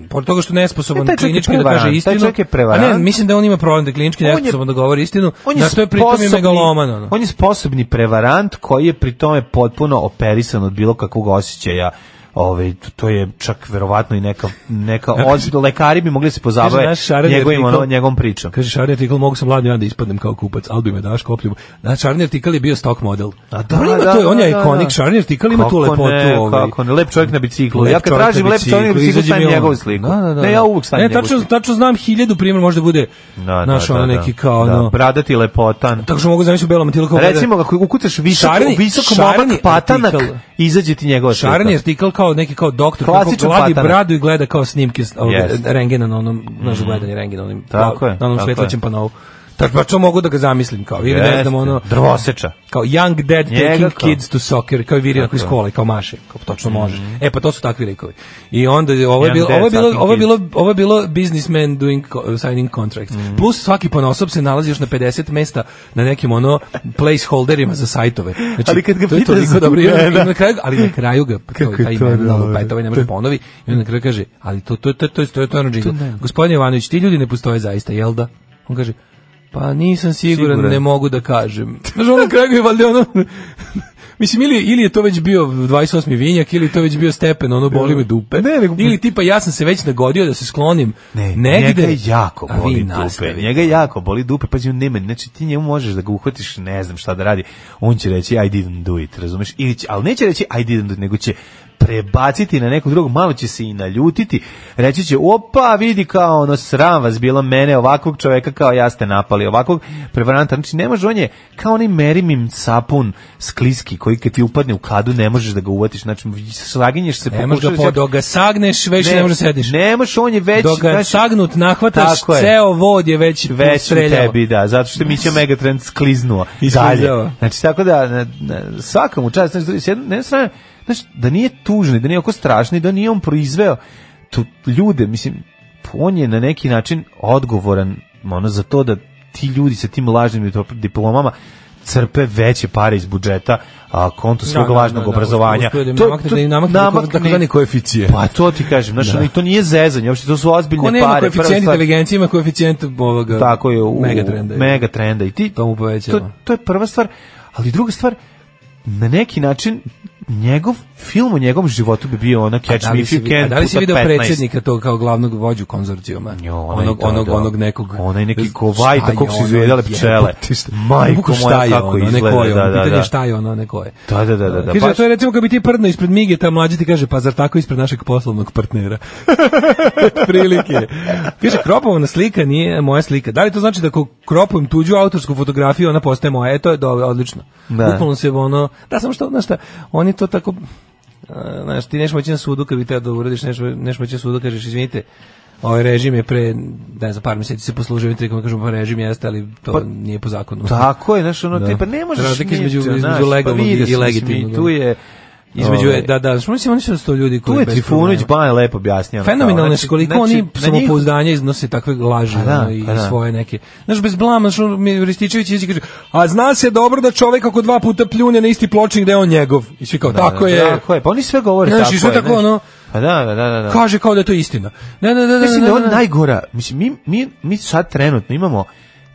F: pored toga što je
E: E,
F: nesposoban
E: taj čovjek je
F: klinički da kaže
E: prevarant, taj
F: istinu.
E: čovjek je prevarant.
F: A ne, mislim da on ima problem da je klinički
E: On je-
F: nesposoban da govori istinu, da to je pritom i
E: sposobni-
F: megaloman. Ono.
E: On je sposobni prevarant koji je pri tome potpuno operisan od bilo kakvog osjećaja. Ove, to- to je čak verovatno i neka,
F: [LAUGHS]
E: neka od, lekari bi mogli se pozabaviti
F: Znači, naš šareni
E: njegovim,
F: artikl-
E: ono, njegovom pričom.
F: Kaže šarni artikl mogu sam mladi onda ispadnem kao kupac, ali bi me daš kopljivo. Da, šarni artikl je bio stock model.
E: A da,
F: on ima
E: da,
F: to, on je
E: da, da,
F: ikonik,
E: da.
F: šarni artikl ima tu
E: Kako
F: lepotu.
E: ne,
F: ovaj.
E: kako ne, lep čovjek na biciklu.
F: Lep
E: Ja kad
F: čovjek
E: tražim
F: na
E: lep čovjek na biciklu,
F: izađe mi
E: stavim
F: on.
E: njegovu sliku.
F: Da, da, da,
E: Ne, ja uvek stavim
F: Ne,
E: njegovu
F: E, tačno,
E: sliku.
F: tačno znam hiljadu primjer, možda bude
E: Da,
F: naš
E: da,
F: ono
E: da,
F: neki
E: da.
F: kao
E: Da,
F: ono...
E: bradati lepota.
F: Tako što mogu zamisliti u belom tilu kao gleda-
E: Recimo, ako ukucaš visok,
F: Šareni-
E: visok
F: šareni
E: momak patanak,
F: artikl.
E: izađe ti njegova slika.
F: Šarni artikl kao neki kao doktor kako
E: Klasičan
F: gladi
E: patanak.
F: bradu i gleda kao snimke s- ovog
E: Jeste.
F: rengena na onom naš gledanje rengena onim
E: Mm. Tako je,
F: na onom
E: tako je.
F: svetlaćem panovu. Tako pa što mogu da ga zamislim kao ili ne znam
E: Jeste.
F: ono
E: Drvoseča.
F: kao young dad
E: Njega
F: taking
E: kao.
F: kids to soccer kao i viri onako iz
E: Tako je. Mm.
F: kola i kao maše kao točno može. E pa to su takvi likovi. I onda je- ovo je
E: Young
F: bilo
E: dad
F: ovo je bilo
E: taking
F: ovo je
E: kids.
F: bilo ovo je bilo businessman doing co- signing contracts.
E: Mm.
F: Plus svaki ponosob se nalazi još na 50 mesta na nekim ono placeholderima za sajtove. Znači,
E: Ali kad ga
F: to je
E: pitaš
F: toliko
E: za
F: dobro. I onda- i
E: imena.
F: onda na kraju, ali na kraju ga to,
E: Kako je
F: taj
E: to
F: imen
E: dobro.
F: Lalo Petovi ne može ponovi i onda na kraju kaže, ali to to to to to to je ono džingl. Gospodin Jovanović, ti ljudi ne postoje zaista, jel da? On kaže, pa nisam siguran,
E: Siguran.
F: ne mogu da kažem. Znaš, ono na kraju je valjda ono... [LAUGHS] Mislim, ili, ili je to već bio 28. vinjak, ili je to već bio stepen, ono, boli me dupe.
E: Ne, nego-
F: Ili tipa, ja sam se već nagodio da se sklonim
E: Ne,
F: negde.
E: njega jako
F: a vi
E: boli dupe.
F: nastavite.
E: Njega jako boli dupe, pazi, on nema, znači ti njemu možeš da ga uhvatiš, ne znam šta da radi. On će reći I didn't do it, razumeš? Ili će, ali neće reći I didn't do it, nego će prebaciti na nekog drugog, malo će se i naljutiti, reći će, opa, vidi kao ono, sram vas bilo mene, ovakvog čoveka kao ja ste napali, ovakvog prevaranta, znači ne može, on je kao onaj merimim sapun skliski, koji kad ti upadne u kadu, ne možeš da ga uvatiš, znači slaginješ se,
F: Ne možeš ga
E: pokušaš-
F: po, dok ga sagneš, već ne, možeš da sediš.
E: Ne možeš, on je već...
F: Dok ga
E: znači,
F: sagnut nahvataš,
E: Tako je.
F: ceo vod je već,
E: već u
F: streljao.
E: tebi, da, zato što je Mića Megatrend skliznuo
F: I
E: dalje.
F: sklizao.
E: Znači, tako da, na, na, svakam u čast, znači, s jedne na jedne strane, znači, da nije tužni, da nije oko strašni, da nije on proizveo tu ljude, mislim, on je na neki način odgovoran ono, za to da ti ljudi sa tim lažnim diplomama crpe veće pare iz budžeta a konto svog
F: da,
E: lažnog
F: da, da,
E: obrazovanja.
F: uspio da im namakne- da im namakne takozvani koeficijent.
E: Pa to ti kažem, znaš, ono, i to nije zezanje, uopšte to su ozbiljne
F: Ko
E: pare.
F: nema
E: prva
F: koeficijent
E: stvar-
F: inteligencije, ima koeficijent ovoga
E: tako je u
F: megatrenda.
E: megatrenda i ti
F: To mu povećava.
E: to, to je prva stvar ali druga stvar na neki način njegov Film o njegovom životu bi bio ono Catch
F: da
E: Me
F: li
E: If
F: si
E: You
F: vi-
E: Can
F: a da li si
E: puta
F: video
E: 15.
F: predsjednika tog kao glavnog vođu konzorcijuma?
E: Jo, onaj,
F: onog,
E: da,
F: onog,
E: da.
F: onog nekog.
E: Onaj neki ko
F: Šta
E: vajta,
F: je
E: kako su
F: ono,
E: izgledale pčele.
F: jebote, šta-
E: Majko
F: Kako šta
E: moja,
F: je
E: kako
F: ono, neko
E: izgleda,
F: je ono,
E: da, da,
F: pitanje
E: da.
F: je šta je ono, neko je.
E: Da, da, da, da, da,
F: Kaže,
E: baš-
F: to je recimo kad bi ti prdno ispred Migeta, mlađi ti kaže, pa zar tako ispred našeg poslovnog partnera? [LAUGHS] Prilike. Kaže, kropovana slika nije moja slika. Da li to znači da ako kropujem tuđu autorsku fotografiju, ona postaje moja? E, to je dobro, odlično.
E: Da.
F: Bukvalno se ono, da, samo što, znaš šta, oni to tako, e, znaš, ti nešto moći na sudu kad bi teo da uradiš, nešto, nešto moći na sudu, kažeš, izvinite, ovaj režim je pre, ne znam, par meseci se poslužio ovim trikom, kažemo, pa režim jeste, ali to
E: Pa-
F: nije po zakonu.
E: Tako je, znaš, ono,
F: Da.
E: ti pa ne možeš
F: Razlika
E: ništa,
F: između,
E: znaš,
F: između
E: pa
F: legalnog
E: vidio sam,
F: i
E: mislim,
F: legitimnog. ono.
E: i tu je,
F: između
E: ovaj,
F: je, da, da, što mislim, oni su sto ljudi
E: Tu
F: koji
E: je
F: bez
E: Trifunović
F: problema.
E: Baja lepo objasnio. ono, kao,
F: Fenomenalno je
E: znači-
F: koliko
E: znači,
F: oni
E: na njih-
F: samopouzdanje iznose takve laži
E: Pa da,
F: ono, i
E: pa da.
F: svoje neke. Znaš, bez blama, što mi Rističević izi kaže, a zna se dobro da čovek ako dva puta pljune na isti pločnik da je on njegov. I svi kao,
E: Da,
F: tako
E: da,
F: je.
E: Tako je, pa oni sve govore
F: Znaš,
E: tako
F: i sve
E: je,
F: tako,
E: znaš.
F: ono-
E: Pa da, da, da, da, da.
F: Kaže kao da je to istina. Ne, ne, ne, ne,
E: Mislim
F: ne,
E: da je
F: ne,
E: on
F: ne.
E: najgora, mislim, mi, mi, mi sad trenutno imamo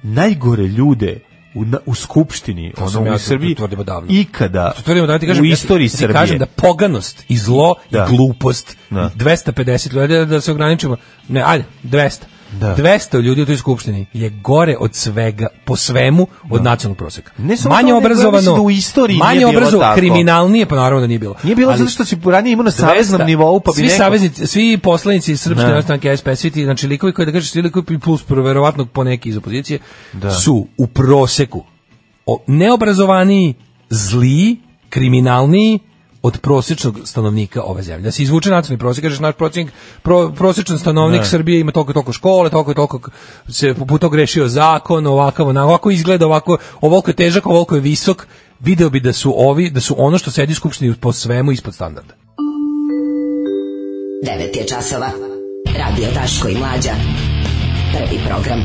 E: najgore ljude u, na, u skupštini,
F: To sam
E: ono,
F: ja
E: u Srbiji,
F: tvrdimo davno.
E: ikada,
F: To tvrdimo da ti kažem,
E: u
F: ja ti-
E: istoriji
F: ja ti
E: Srbije.
F: Kažem da poganost i zlo
E: Da.
F: i glupost
E: Da.
F: 250 ljudi da, da se ograničimo. Ne, ajde, 200.
E: Da.
F: 200 ljudi u toj skupštini je gore od svega, po svemu, od nacionalnog proseka.
E: Ne samo
F: manje
E: to, nego ja mislim
F: obrazovano,
E: da u istoriji
F: manje
E: nije bilo tako.
F: kriminalnije, pa naravno da nije bilo.
E: Nije bilo
F: Ali
E: zato što si ranije imao na saveznom
F: 200
E: nivou, pa bi
F: svi
E: neko...
F: saveznici, svi poslanici Srpske
E: Ne.
F: narodne stranke SPS, svi ti, znači likovi koji da kažeš, svi likovi plus verovatno poneki iz opozicije,
E: Da.
F: su u proseku o- neobrazovaniji, zliji, kriminalniji od prosječnog stanovnika ove zemlje. Da se izvuče nacionalni prosjek, kažeš naš prosjek, pro, prosječan stanovnik
E: Ne.
F: Srbije ima toliko i toliko škole, toliko i toliko se puto grešio zakon, ovakav, onako, ovako izgleda, ovako, ovoliko je težak, ovoliko je visok, video bi da su ovi, da su ono što sedi u skupštini po svemu ispod standarda.
D: 9 je časova. Radio Daško i Mlađa. Prvi program.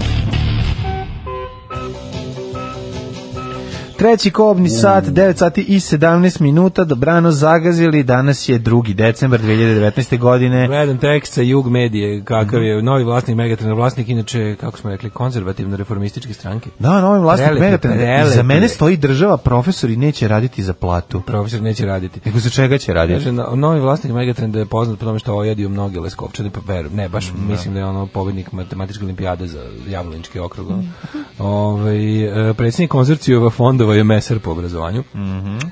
E: Treći kobni sat, 9 sati i 17 minuta, dobrano zagazili, danas je 2. decembar 2019. godine.
F: Gledam tekst sa Jug medije, kakav je novi vlasnik Megatrena, vlasnik inače, kako smo rekli, konzervativno reformističke stranke.
E: Da, novim vlasnik
F: Prelep je,
E: Megatrenda.
F: prelep
E: Za mene
F: je.
E: stoji država, profesori neće raditi za platu.
F: Profesor neće raditi.
E: Nego za čega će raditi?
F: Kaže, no- novi vlasnik Megatrenda je poznat po tome što ojedio mnoge leskovčane, pa verujem, ne, baš mislim da je ono pobednik matematičke olimpijade za Javlinčki okrug. ono. Ovaj, e, predsjednik konzorcijova fondova je mesar po obrazovanju.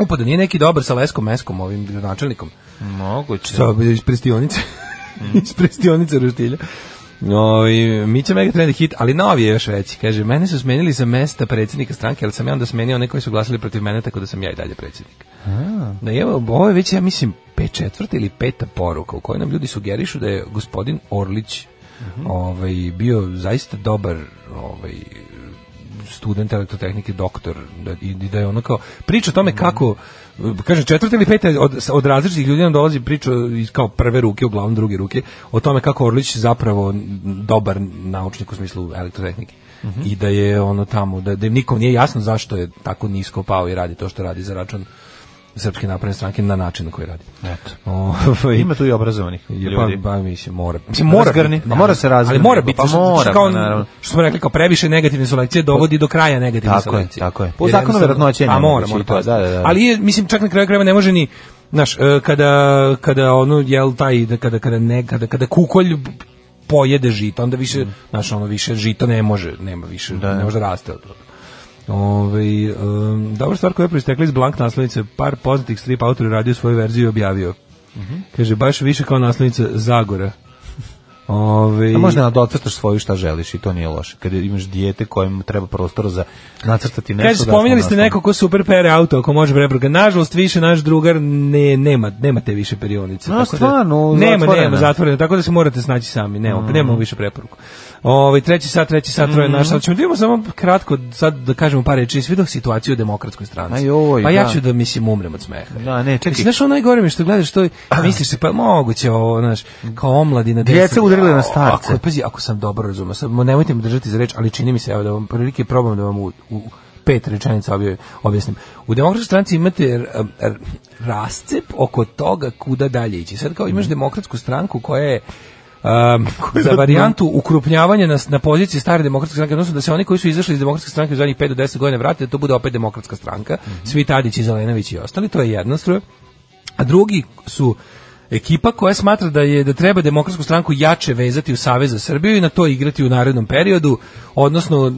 F: Upa, da nije neki dobar sa Leskom Meskom, ovim gradonačelnikom.
E: Moguće.
F: Sa iz prestionice. [LAUGHS] iz prestionice roštilja. No, i mi će Megatrend je hit, ali novi je još veći. Kaže, mene su smenili za mesta predsjednika stranke, ali sam ja onda smenio one koji su glasili protiv mene, tako da sam ja i dalje predsjednik. Da je, ovo je već, ja mislim, pet četvrta ili peta poruka u kojoj nam ljudi sugerišu da je gospodin Orlić ovaj, bio zaista dobar ovaj, student elektrotehnike, doktor da, i, i da je ono kao priča o tome kako kaže četvrta ili peta od, od različitih ljudi nam dolazi priča iz kao prve ruke, uglavnom druge ruke, o tome kako Orlić zapravo dobar naučnik u smislu elektrotehnike. I da je ono tamo, da, da im nikom nije jasno zašto je tako nisko pao i radi to što radi za račun Srpske napredne stranke na način na koji radi.
E: Eto.
F: Ovaj,
E: E. Ima tu i obrazovanih ljudi.
F: pa, pa mislim, mora. Mislim,
E: Mora
F: mora
E: zgrni,
F: biti,
E: a mora se razgrni.
F: Ali mora biti,
E: Pa
F: što- što-
E: mora,
F: kao,
E: naravno.
F: što smo rekli, kao previše negativne selekcije dovodi do kraja negativne
E: Tako je,
F: selekcije.
E: tako je. Po
F: Jer
E: zakonu
F: jednostavno-
E: verovatnoće je
F: A mora,
E: nemoguće
F: mora.
E: i to,
F: paziti.
E: da, da, da.
F: Ali je, mislim, čak na kraju krajeva ne može ni Znaš, e, kada, kada ono, jel, taj, kada, kada, ne, kada, kada kukolj pojede žito, onda više,
E: Mm.
F: znaš, ono, više žito ne može, nema više, ne može da raste od toga. Ove, um, dobra stvar koja je proistekla iz blank naslovnice, par poznatih strip autora je radio svoju verziju i objavio.
E: Mhm.
F: Kaže, baš više kao naslovnica Zagora. Ove,
E: A možda da ocrtaš svoju šta želiš i to nije loše. Kad imaš dijete kojem treba prostor za nacrtati nešto.
F: Kaže,
E: da
F: spominjali
E: smo
F: ste
E: našli.
F: neko ko super pere auto, ako može prebruga. Nažalost, više naš drugar ne, nema, nema te više perionice.
E: No,
F: tako da-
E: stvarno, Mm.
F: nema,
E: zatvorena.
F: nema, zatvoreno, tako da se morate snaći sami, nema, nemamo više preporuku. Ovaj treći sat, treći sat,
E: Mm.
F: troje naš, ali ćemo da imamo samo kratko, sad da kažemo par reči, svi dok situaciju u demokratskoj stranici.
E: Aj, oj,
F: pa ja
E: da.
F: ću da, mislim, umrem od smeha.
E: Da, ne, čekaj.
F: Mislim, Znaš, ono najgore mi je što gledaš, to je- misliš se, pa moguće ovo, znaš, kao omladina.
E: Djeca
F: deca-
E: udarila na
F: Ako-
E: starce.
F: ako- pazi, ako sam dobro razumeo, sad mo- nemojte me držati za reč, ali čini mi se evo da vam prilike probam da vam u, u pet rečenica obje- objasnim. U demokratskoj stranci imate r- r- rascep oko toga kuda dalje ići. Sad kao
E: Mhm.
F: imaš demokratsku stranku koja je
E: [LAUGHS]
F: um, za varijantu ukrupnjavanja na, na poziciji stare demokratske stranke, odnosno da se oni koji su izašli iz demokratske stranke u zadnjih 5
E: Mhm.
F: do 10 godina vrate, da to bude opet demokratska stranka, svi Tadić i Zelenović i ostali, to je jedna struja. A drugi su ekipa koja smatra da je da treba demokratsku stranku jače vezati u Savez za Srbiju i na to igrati u narednom periodu, odnosno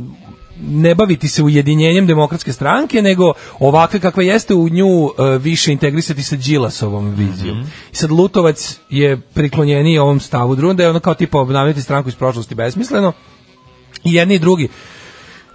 F: ne baviti se ujedinjenjem demokratske stranke, nego ovakve kakve jeste u nju e, više integrisati sa Đilasovom vizijom. I sad Lutovac je priklonjeniji ovom stavu drugom, da je ono kao tipa obnavljati stranku iz prošlosti besmisleno, i jedni i drugi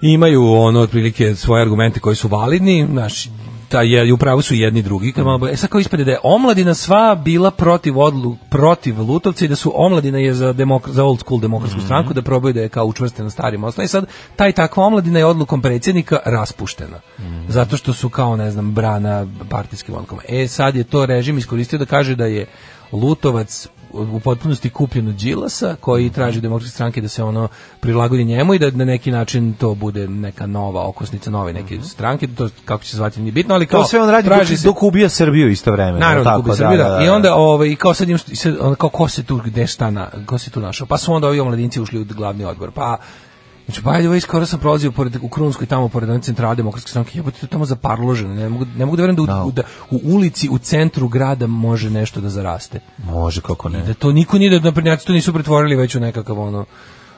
F: imaju ono otprilike svoje argumente koji su validni, znači ta je upravo su jedni i drugi. Kad malo, e sad kao ispade da je omladina sva bila protiv odlu, protiv Lutovca i da su omladina je za demok, za old school demokratsku stranku da probaju da je kao učvrste na starim osnovama. I sad taj i takva omladina je odlukom predsjednika raspuštena. Zato što su kao ne znam brana partijskim odlukama. E sad je to režim iskoristio da kaže da je Lutovac u potpunosti kupljen od Đilasa koji traži demokratske stranke da se ono prilagodi njemu i da na neki način to bude neka nova okosnica nove neke stranke to kako će se zvati nije bitno ali kao
E: To sve on radi dok,
F: traži se-
E: dok ubija Srbiju isto vreme.
F: Naravno, tako, da, I onda ovaj i kao sad im i sad, ono, kao ko se tu gde šta na ko se tu našao. Pa su onda ovi omladinci ušli u glavni odbor. Pa Znači, by the way, skoro sam prolazio pored, u Krunskoj, tamo pored one centrale demokratske stranke, jebote, to je tamo zaparloženo, ne mogu, ne mogu da verujem da, u- da u ulici, u centru grada može nešto da zaraste.
E: Može, kako ne.
F: Da to niko nije, da naprednjaci to nisu pretvorili već u nekakav ono,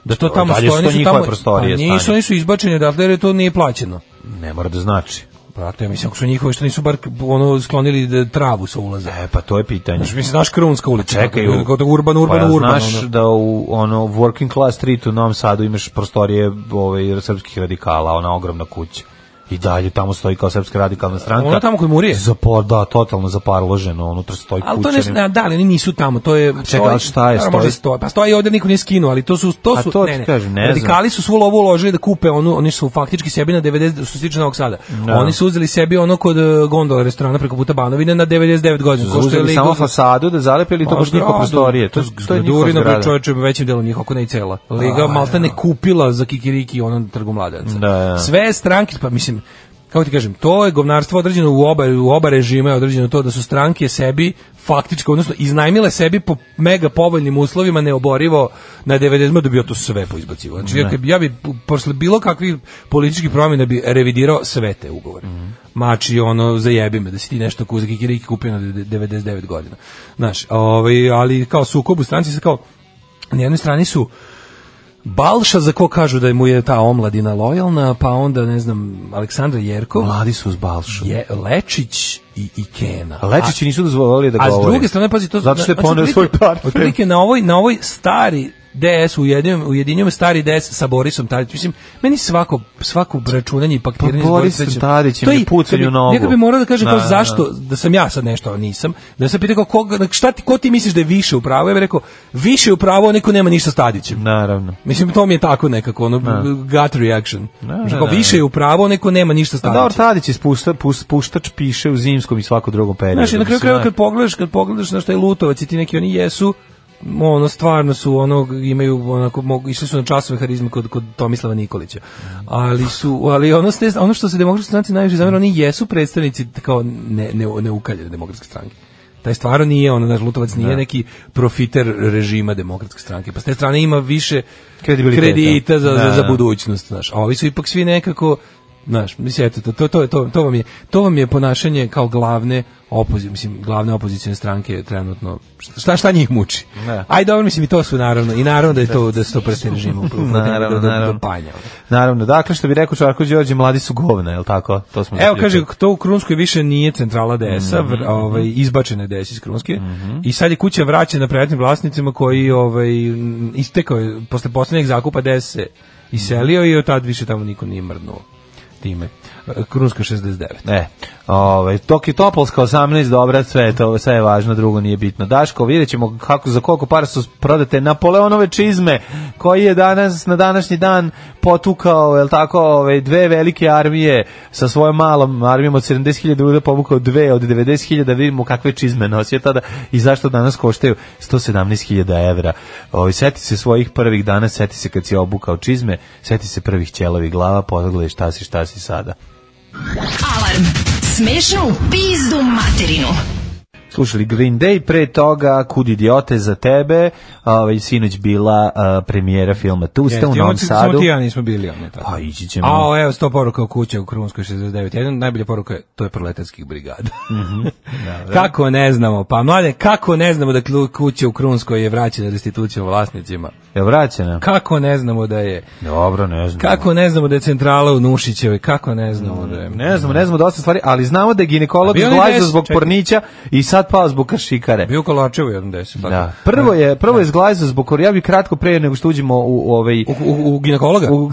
F: da to tamo
E: Dalje su
F: stoje,
E: to
F: nisu
E: njihove
F: tamo,
E: prostorije,
F: pa nisu,
E: stani.
F: oni su izbačeni odatle, jer to nije plaćeno.
E: Ne mora da znači.
F: Brate, ja mislim, ako su njihovi što nisu bar ono sklonili da travu sa ulaza.
E: E, pa to je pitanje.
F: Znaš, mislim, znaš Krunska ulica.
E: Pa Čekaj,
F: tako, kao da urban, urban,
E: pa,
F: urban.
E: Znaš
F: ono.
E: da u ono, working class street u Novom Sadu imaš prostorije ovaj, srpskih radikala, ona ogromna kuća. I dalje tamo stoji kao srpska radikalna stranka.
F: Ono tamo kod Murije?
E: Zapor, da, totalno zaparloženo, unutra stoji kuća.
F: Ali to ne, a, da, ali oni nisu tamo, to je...
E: čekaj, ali šta je,
F: Naravno, možda
E: stoji?
F: stoji? Pa stoji ovde, niko nije skinuo, ali to su... To
E: A
F: su
E: to ti
F: ne, ne,
E: kažem, ne znam.
F: Radikali su svu lovu uložili da kupe onu, oni su faktički sebi na 90, što se tiče Novog Sada.
E: Da.
F: Oni su uzeli sebi ono kod e, gondola restorana preko puta Banovine na 99 godina.
E: Uzeli samo fasadu da zalepili
F: Pa
E: to baš njihova prostorije. To, to je njihova
F: Zgradurina, bre,
E: zgrada.
F: čoveče, većim delom njih, ako ne i cela. Liga
E: A,
F: Malta ne kupila za Kikiriki ono na trgu
E: Da,
F: mladaca.
E: da.
F: Sve stranke, pa mislim, kako ti kažem, to je govnarstvo određeno u oba, u oba režima je određeno to da su stranke sebi faktički, odnosno iznajmile sebi po mega povoljnim uslovima neoborivo na 90 da bi ja to sve poizbacivo. Znači, ja, ja bi p- posle bilo kakvih političkih promjena bi revidirao sve te ugovore.
E: Mhm.
F: Mači, ono, zajebi me da si ti nešto ku- za kikiriki kupio na de- 99 godina. Znaš, ovaj, ali kao sukob u stranci se kao, na jednoj strani su Balša za ko kažu da mu je ta omladina lojalna, pa onda ne znam Aleksandra Jerkov,
E: Mladi su uz Balšu.
F: je Lečić i, i Kena.
E: Lečići
F: A-
E: nisu dozvolili da
F: a
E: govore.
F: s druge strane pazi to
E: Zato što je
F: znači,
E: poneo svoj
F: otprilike-
E: parfem.
F: Otprilike na ovoj na ovoj stari DS ujedinjujem ujedinjujem stari DS sa Borisom Tadićem. Mislim meni svako svako računanje i pakiranje
E: Pa Boris Tadić im je pucanj u nogu.
F: Neka bi morao da kaže
E: Da,
F: kao
E: da, da.
F: zašto da sam ja sad nešto a nisam. Da se pita kao koga šta ti ko ti misliš da je više u pravu? Ja bih rekao više u pravu neko nema ništa s Tadićem.
E: Naravno.
F: Mislim, to mi je tako nekako, ono, gut reaction. Znači,
E: Da,
F: Kao,
E: da, da.
F: više je u pravu, neko nema ništa
E: Pa
F: staviti.
E: Dobro, Tadić je spušta, pus- puštač piše u zimskom i svako drugom periodu.
F: Znaš, i na kraju
E: Mislim,
F: krajeva
E: da.
F: kad pogledaš, kad pogledaš na šta je Lutovac i ti neki oni jesu, ono stvarno su ono imaju onako mogu išli su na časove harizme kod kod Tomislava Nikolića. Ali su ali ono ste, ono što se demokratskoj stranci najviše zamera, oni jesu predstavnici kao ne ne neukaljene demokratske stranke. Taj stvarno nije ono, naš Lutovac nije neki profiter režima demokratske stranke. Pa s te strane ima više
E: Kredibiliteta.
F: kredita za, za,
E: Da,
F: za
E: da.
F: budućnost, znaš. A ovi su ipak svi nekako znaš, mislim eto, to to to to to vam je to vam je ponašanje kao glavne opozi, mislim glavne opozicione stranke trenutno. Šta šta njih muči?
E: Da.
F: Aj dobro, mislim i to su naravno i naravno da je to da sto prste režimu
E: Naravno, naravno. Naravno, dakle, što bi rekao Čarko Đorđe, mladi su govna, je li tako? To smo
F: Evo
E: zaključili.
F: kaže to u Krunskoj više nije centrala DS-a,
E: Mhm.
F: vr- ovaj izbačena je DS iz Krunske i sad je kuća vraćena privatnim vlasnicima koji ovaj m, istekao je posle poslednjeg zakupa DS se iselio i od tad više tamo niko nije mrdnuo time. Krunska 69.
E: E, ovaj, dok je Topolska 18, dobra, sve, je to, sve je važno, drugo nije bitno. Daško, vidjet ćemo kako, za koliko para su prodate Napoleonove čizme, koji je danas, na današnji dan potukao, je tako, ovaj, dve velike armije sa svojom malom armijom od 70.000 ljudi povukao dve od 90.000, da vidimo kakve čizme nosio tada i zašto danas koštaju 117.000 evra. Ovaj, seti se svojih prvih dana, seti se kad si obukao čizme, seti se prvih ćelovi glava, pogledaj šta si, šta si sada.
D: Alarm. Smešno u pizdu materinu.
E: Slušali Green Day, pre toga Kud idiote za tebe, ovaj, sinoć bila a, premijera filma Tu ste u Novom Sadu.
F: Samo ti i ja nismo bili ono tako.
E: Pa ići ćemo.
F: A, ovaj- evo, sto poruka u kuće u Krunskoj 69. Jedan od najbolja poruka je, to je proletarskih brigada.
E: Mhm.
F: [LAUGHS] kako ne znamo, pa mlade, kako ne znamo da klu- kuća u Krunskoj je vraćena restitucijom vlasnicima?
E: Je vraćena?
F: Kako ne znamo da je...
E: Dobro, ne znam.
F: Kako ne znamo da je centrala u Nušićevoj, kako ne znamo da je...
E: Ne znamo, ne znamo dosta stvari, ali znamo da je
F: A
E: ginekolog
F: bio onaj
E: zglajzao
F: des-
E: zbog
F: čekaj.
E: pornića i sad pao zbog kršikare.
F: Bio u Kolačevu jednom deset, tako.
E: Da. Prvo je prvo je zglajzao zbog kor- ja bih kratko pre nego što uđemo u u ovaj
F: U, u, u ginekologa?
E: u-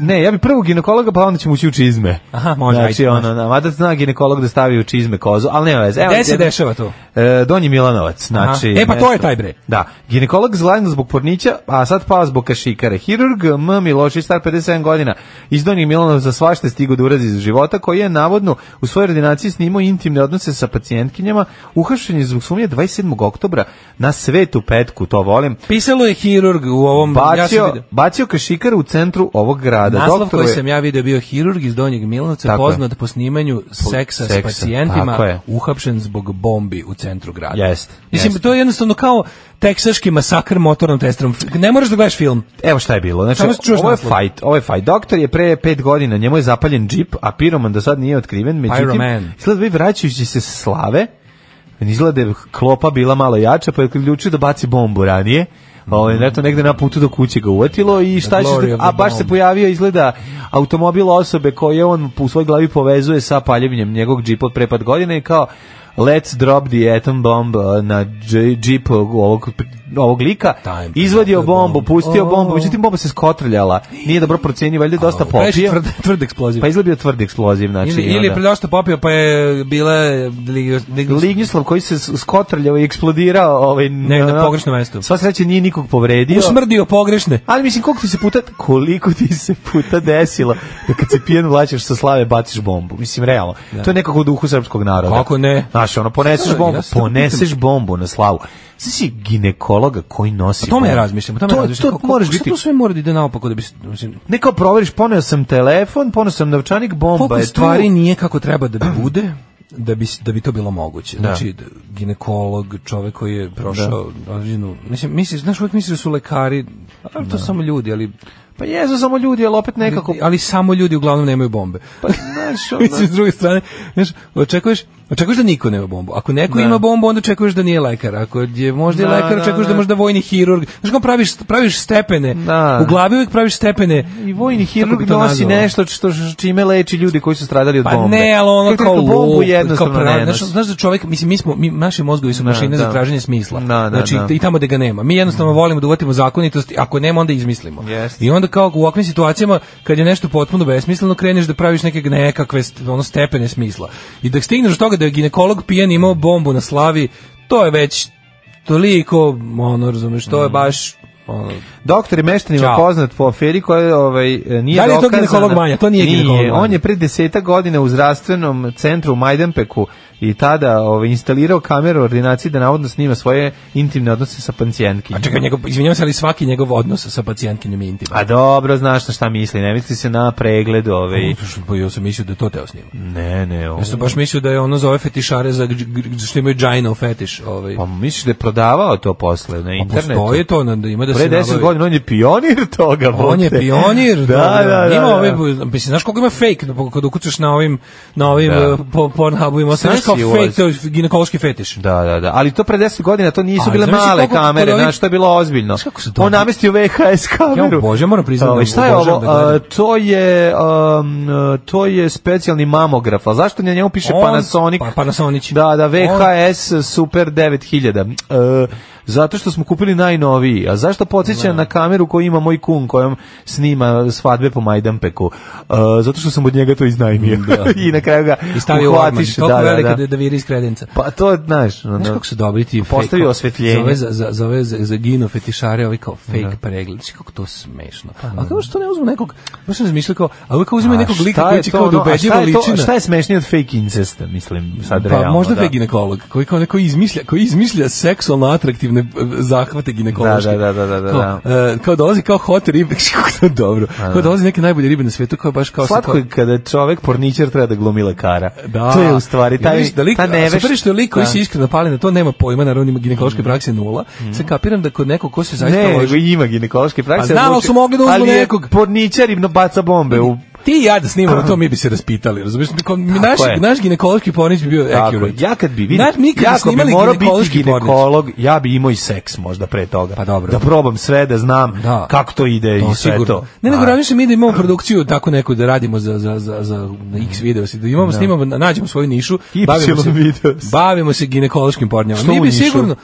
E: ne, ja bih prvo ginekologa pa onda ćemo ući u čizme.
F: Aha, može,
E: Znači,
F: ajde,
E: ono, na, mada zna ginekolog da stavi u čizme kozu, ali nema veze. Evo,
F: Gde se
E: jedan-
F: dešava to?
E: E, Donji Milanovac, znači...
F: Aha. E, pa to je
E: nešto-
F: taj bre.
E: Da. Ginekolog zgledno zbog pornića, a sad pao zbog kašikare. Hirurg M. Milošić, star 57 godina, iz Donjeg Milanovca svašta je stigo da urazi iz života, koji je navodno u svojoj ordinaciji snimao intimne odnose sa pacijentkinjama, uhašen je zbog sumnje 27. oktobra na svetu petku, to volim,
F: Pisalo je hirurg u ovom... ja sam
E: bacio,
F: vidio-
E: bacio kašikare u centru ovog grada.
F: Naslov
E: Doktoru
F: koji
E: je-
F: sam ja video je bio hirurg iz Donjeg Milanovca,
E: Tako je.
F: poznat po snimanju
E: seksa,
F: seksa, s pacijentima,
E: tako je.
F: uhapšen zbog bombi u centru grada.
E: Jeste,
F: Mislim,
E: jeste.
F: to je jednostavno kao teksaški masakr motornom testerom. Ne moraš da gledaš film.
E: Evo šta je bilo. Znači,
F: Samo čuješ
E: ovo je
F: naslov.
E: fight, ovo je fight. Doktor je pre pet godina, njemu je zapaljen džip, a piroman do sad nije otkriven. Međutim,
F: Pyroman.
E: izgleda vi vraćajući se sa slave, izgleda da je klopa bila malo jača, pa je odlučio da baci bombu ranije. Ovaj neto negde na putu do kuće ga uvatilo i šta
F: The
E: će
F: Mhm. glory
E: da-
F: of the
E: a baš se
F: bomb.
E: pojavio izgleda automobil osobe koje on u svojoj glavi povezuje sa paljenjem njegovog džipa od prepad godine i kao let's drop the atom bomb uh, na dž- džip ovog, ovog lika
F: Time.
E: izvadio
F: Time.
E: bombu, pustio
F: Oh.
E: bombu, međutim bomba se skotrljala, nije dobro procenio, valjda je dosta
F: Previše
E: popio,
F: Tvrd, [LAUGHS] tvrd eksploziv.
E: pa izgleda bio tvrd eksploziv, znači
F: ili,
E: i
F: ili je
E: onda-
F: predošto popio, pa je bila... li- li-
E: Lignjislav koji se s- skotrljao i eksplodirao ovaj,
F: Ne, na pogrešnom mestu.
E: Sva sreća nije nikog povredio.
F: Usmrdio pogrešne.
E: Ali mislim koliko ti se puta koliko ti se puta desilo da kad se pijan vlačeš sa slave baciš bombu. Mislim realno. To je nekako u duhu srpskog naroda.
F: Kako ne?
E: Znaš, ono poneseš
F: Stvarno,
E: bombu,
F: ja se to
E: poneseš bombu na slavu. Znaš si ginekologa koji nosi.
F: O tome ja
E: bombu?
F: razmišljam, o tome ja
E: to,
F: razmišljam.
E: To
F: Kako-
E: moraš
F: šta
E: biti
F: tu sve mora da ide naopako da bi... se- Mislim,
E: Ne kao proveriš, poneo sam telefon, poneo sam novčanik, bomba
F: koliko
E: je tu.
F: stvari nije kako treba da
E: [CLEARS THROAT]
F: bi bude da bi da bi to bilo moguće. Znači d- ginekolog, čovjek koji je prošao određenu, mislim misliš, znaš, uvijek misliš da su lekari, ali to su samo ljudi, ali
E: Pa jezu, samo ljudi, ali opet nekako...
F: ali samo ljudi uglavnom nemaju bombe. Pa
E: znaš, ono-
F: [LAUGHS] mislim s druge strane, znaš, očekuješ Očekuješ da niko nema bombu. Ako neko ima bombu, onda očekuješ da nije lekar. Ako je možda je
E: Da,
F: lekar,
E: da,
F: očekuješ da
E: da.
F: je možda vojni hirurg. Znaš kako praviš, praviš stepene.
E: Da.
F: U glavi uvijek praviš stepene.
E: I vojni
F: Kako bi
E: hirurg
F: to
E: nosi
F: nazvao?
E: nešto što što- čime leči ljudi koji su stradali od
F: Pa
E: bombe.
F: ne, ali ono
E: Kako ti
F: kao
E: rekao, bombu
F: lup,
E: jednostavno
F: kao pra-
E: ne
F: znaš,
E: nosi.
F: znaš da čovjek, mislim, mi smo, mi, naši mozgovi su
E: Da,
F: mašine za
E: da.
F: traženje smisla.
E: Da, da,
F: znači,
E: da.
F: i tamo gde ga nema. Mi jednostavno volimo da uvatimo zakonitost, ako nema, onda izmislimo.
E: Jeste.
F: I onda kao u ovakvim situacijama, kad je nešto potpuno besmisleno, kreneš da praviš neke nekakve st- ono, stepene smisla. I da stigneš do toga da je ginekolog pijan imao bombu na slavi, to je već toliko, ono, razumeš, to je
E: Mm.
F: baš... Ono,
E: Doktor je meštanima
F: Ćao.
E: poznat po aferi koja je, ovaj, e, nije
F: Da li je to
E: dokazana.
F: ginekolog Manja? To nije ginekolog Manja.
E: On je pre deseta godina u zdravstvenom centru u Majdanpeku i tada ovaj, instalirao kameru u ordinaciji da navodno snima svoje intimne odnose sa pacijentkinjom.
F: a čekaj, njegov, izvinjavam se, ali svaki njegov odnos sa pacijentkinjom je intiman.
E: A Pa dobro, znaš na šta misli, ne misli se na pregled ovaj.
F: Pa ja sam mislio da je to teo snima.
E: Ne, ne, ovo.
F: Ja sam baš mislio da je ono zove fetišare za gđ- gđ- što imaju džajnov fetiš. Ovaj.
E: Pa misliš da je prodavao to posle na internetu?
F: Postoje to, onda ima da
E: Pre
F: se
E: 10
F: nabavi.
E: godina on je pionir toga.
F: On je
E: bote.
F: pionir.
E: [LAUGHS] da, da, da.
F: Ima
E: da.
F: ovaj, mislim, znaš koliko ima fake da, kad ukucaš na ovim, na ovim
E: Da.
F: eh, po, Pornhubu ima,
E: Znaš
F: znaš kao
E: si
F: fake,
E: ulaz.
F: to je ginekološki fetiš.
E: Da, da, da. Ali to pre 10 godina to nisu
F: A,
E: bile
F: zamisli
E: male
F: koliko-
E: kamere,
F: kod ovih-
E: znači to je bilo ozbiljno.
F: Znaš kako su dobri?
E: On namestio VHS kameru.
F: Ja obožavam, moram priznati da
E: Ovaj, šta je ovo?
F: obožavam da gledam.
E: A, to je um, a, to je specijalni mamograf. A zašto na njemu piše
F: On-
E: Panasonic?
F: Pa- Panasonic.
E: Da, da, VHS Super 9000. E, zato što smo kupili najnoviji. A zašto podsjeća na kameru koju ima moj kum kojom snima svadbe po Majdanpeku? E, zato što sam od njega to iznajmio. [LAUGHS] I na kraju ga
F: I stavio orman.
E: eh, uhvatiš.
F: Toliko da, velika da, da viri iz kredenca.
E: Pa to, znaš, ono-
F: Znaš kako su dobri ti fake-
E: Postavio osvetljenje.
F: Za ove, za, za, za, ove, za, za gino fetišare, ovi kao fake pregled. Znaš kako to smešno. A kao što ne uzmu nekog, baš sam razmišljao kao, a uvijek uzimaju
E: Pa, A
F: nekog
E: šta
F: lika
E: je
F: koji će
E: to
F: kao da
E: ono, a šta
F: ubeđiva
E: je to-
F: ličina.
E: Šta je smešnije od fake incesta, mislim, sad
F: Pa
E: realno.
F: možda
E: da.
F: da. ginekolog koji kao neko izmišlja, koji izmišlja seksualno atraktivne one zahvate ginekološke.
E: Da, da, da, da, da,
F: Kao,
E: da.
F: e, kao dolazi kao hot ribe, [LAUGHS] kako to dobro.
E: da.
F: Kao dolazi neke najbolje ribe na svetu, kao baš kao...
E: Slatko je kada čovek porničar treba da glumi lekara.
F: Da.
E: To je u stvari taj,
F: Vidiš da lik,
E: ta neveš.
F: Super je što lik koji
E: Da. Mm.
F: se iskreno pali na to, nema pojma, naravno ima ginekološke prakse nula. Sad kapiram da kod nekog ko se zaista
E: Ne, nego
F: loži...
E: ima ginekološke prakse.
F: A znam, ali
E: odluči-
F: su mogli da uzmu
E: ali je
F: nekog.
E: Porničar im baca bombe u
F: Ti i ja da snimamo to, mi bi se raspitali, razumiješ? Naš,
E: je.
F: naš ginekološki pornić bi bio
E: Tako,
F: accurate.
E: ja kad bi vidio,
F: Naš, mi kad
E: ja
F: bi
E: ako bi
F: snimali
E: morao biti
F: ginekološki pornić.
E: ginekolog, ja bi imao i seks možda pre toga.
F: Pa dobro.
E: Da probam sve, da znam
F: Da.
E: kako to ide E, i sve to.
F: Ne, nego
E: Da.
F: razmišljam mi da imamo produkciju tako neku da radimo za, za, za, za X video, da imamo, snimamo, nađemo svoju nišu,
E: Y
F: bavimo se,
E: video.
F: bavimo se ginekološkim pornjama.
E: Što
F: Mi
E: u
F: bi
E: Nišu?
F: sigurno,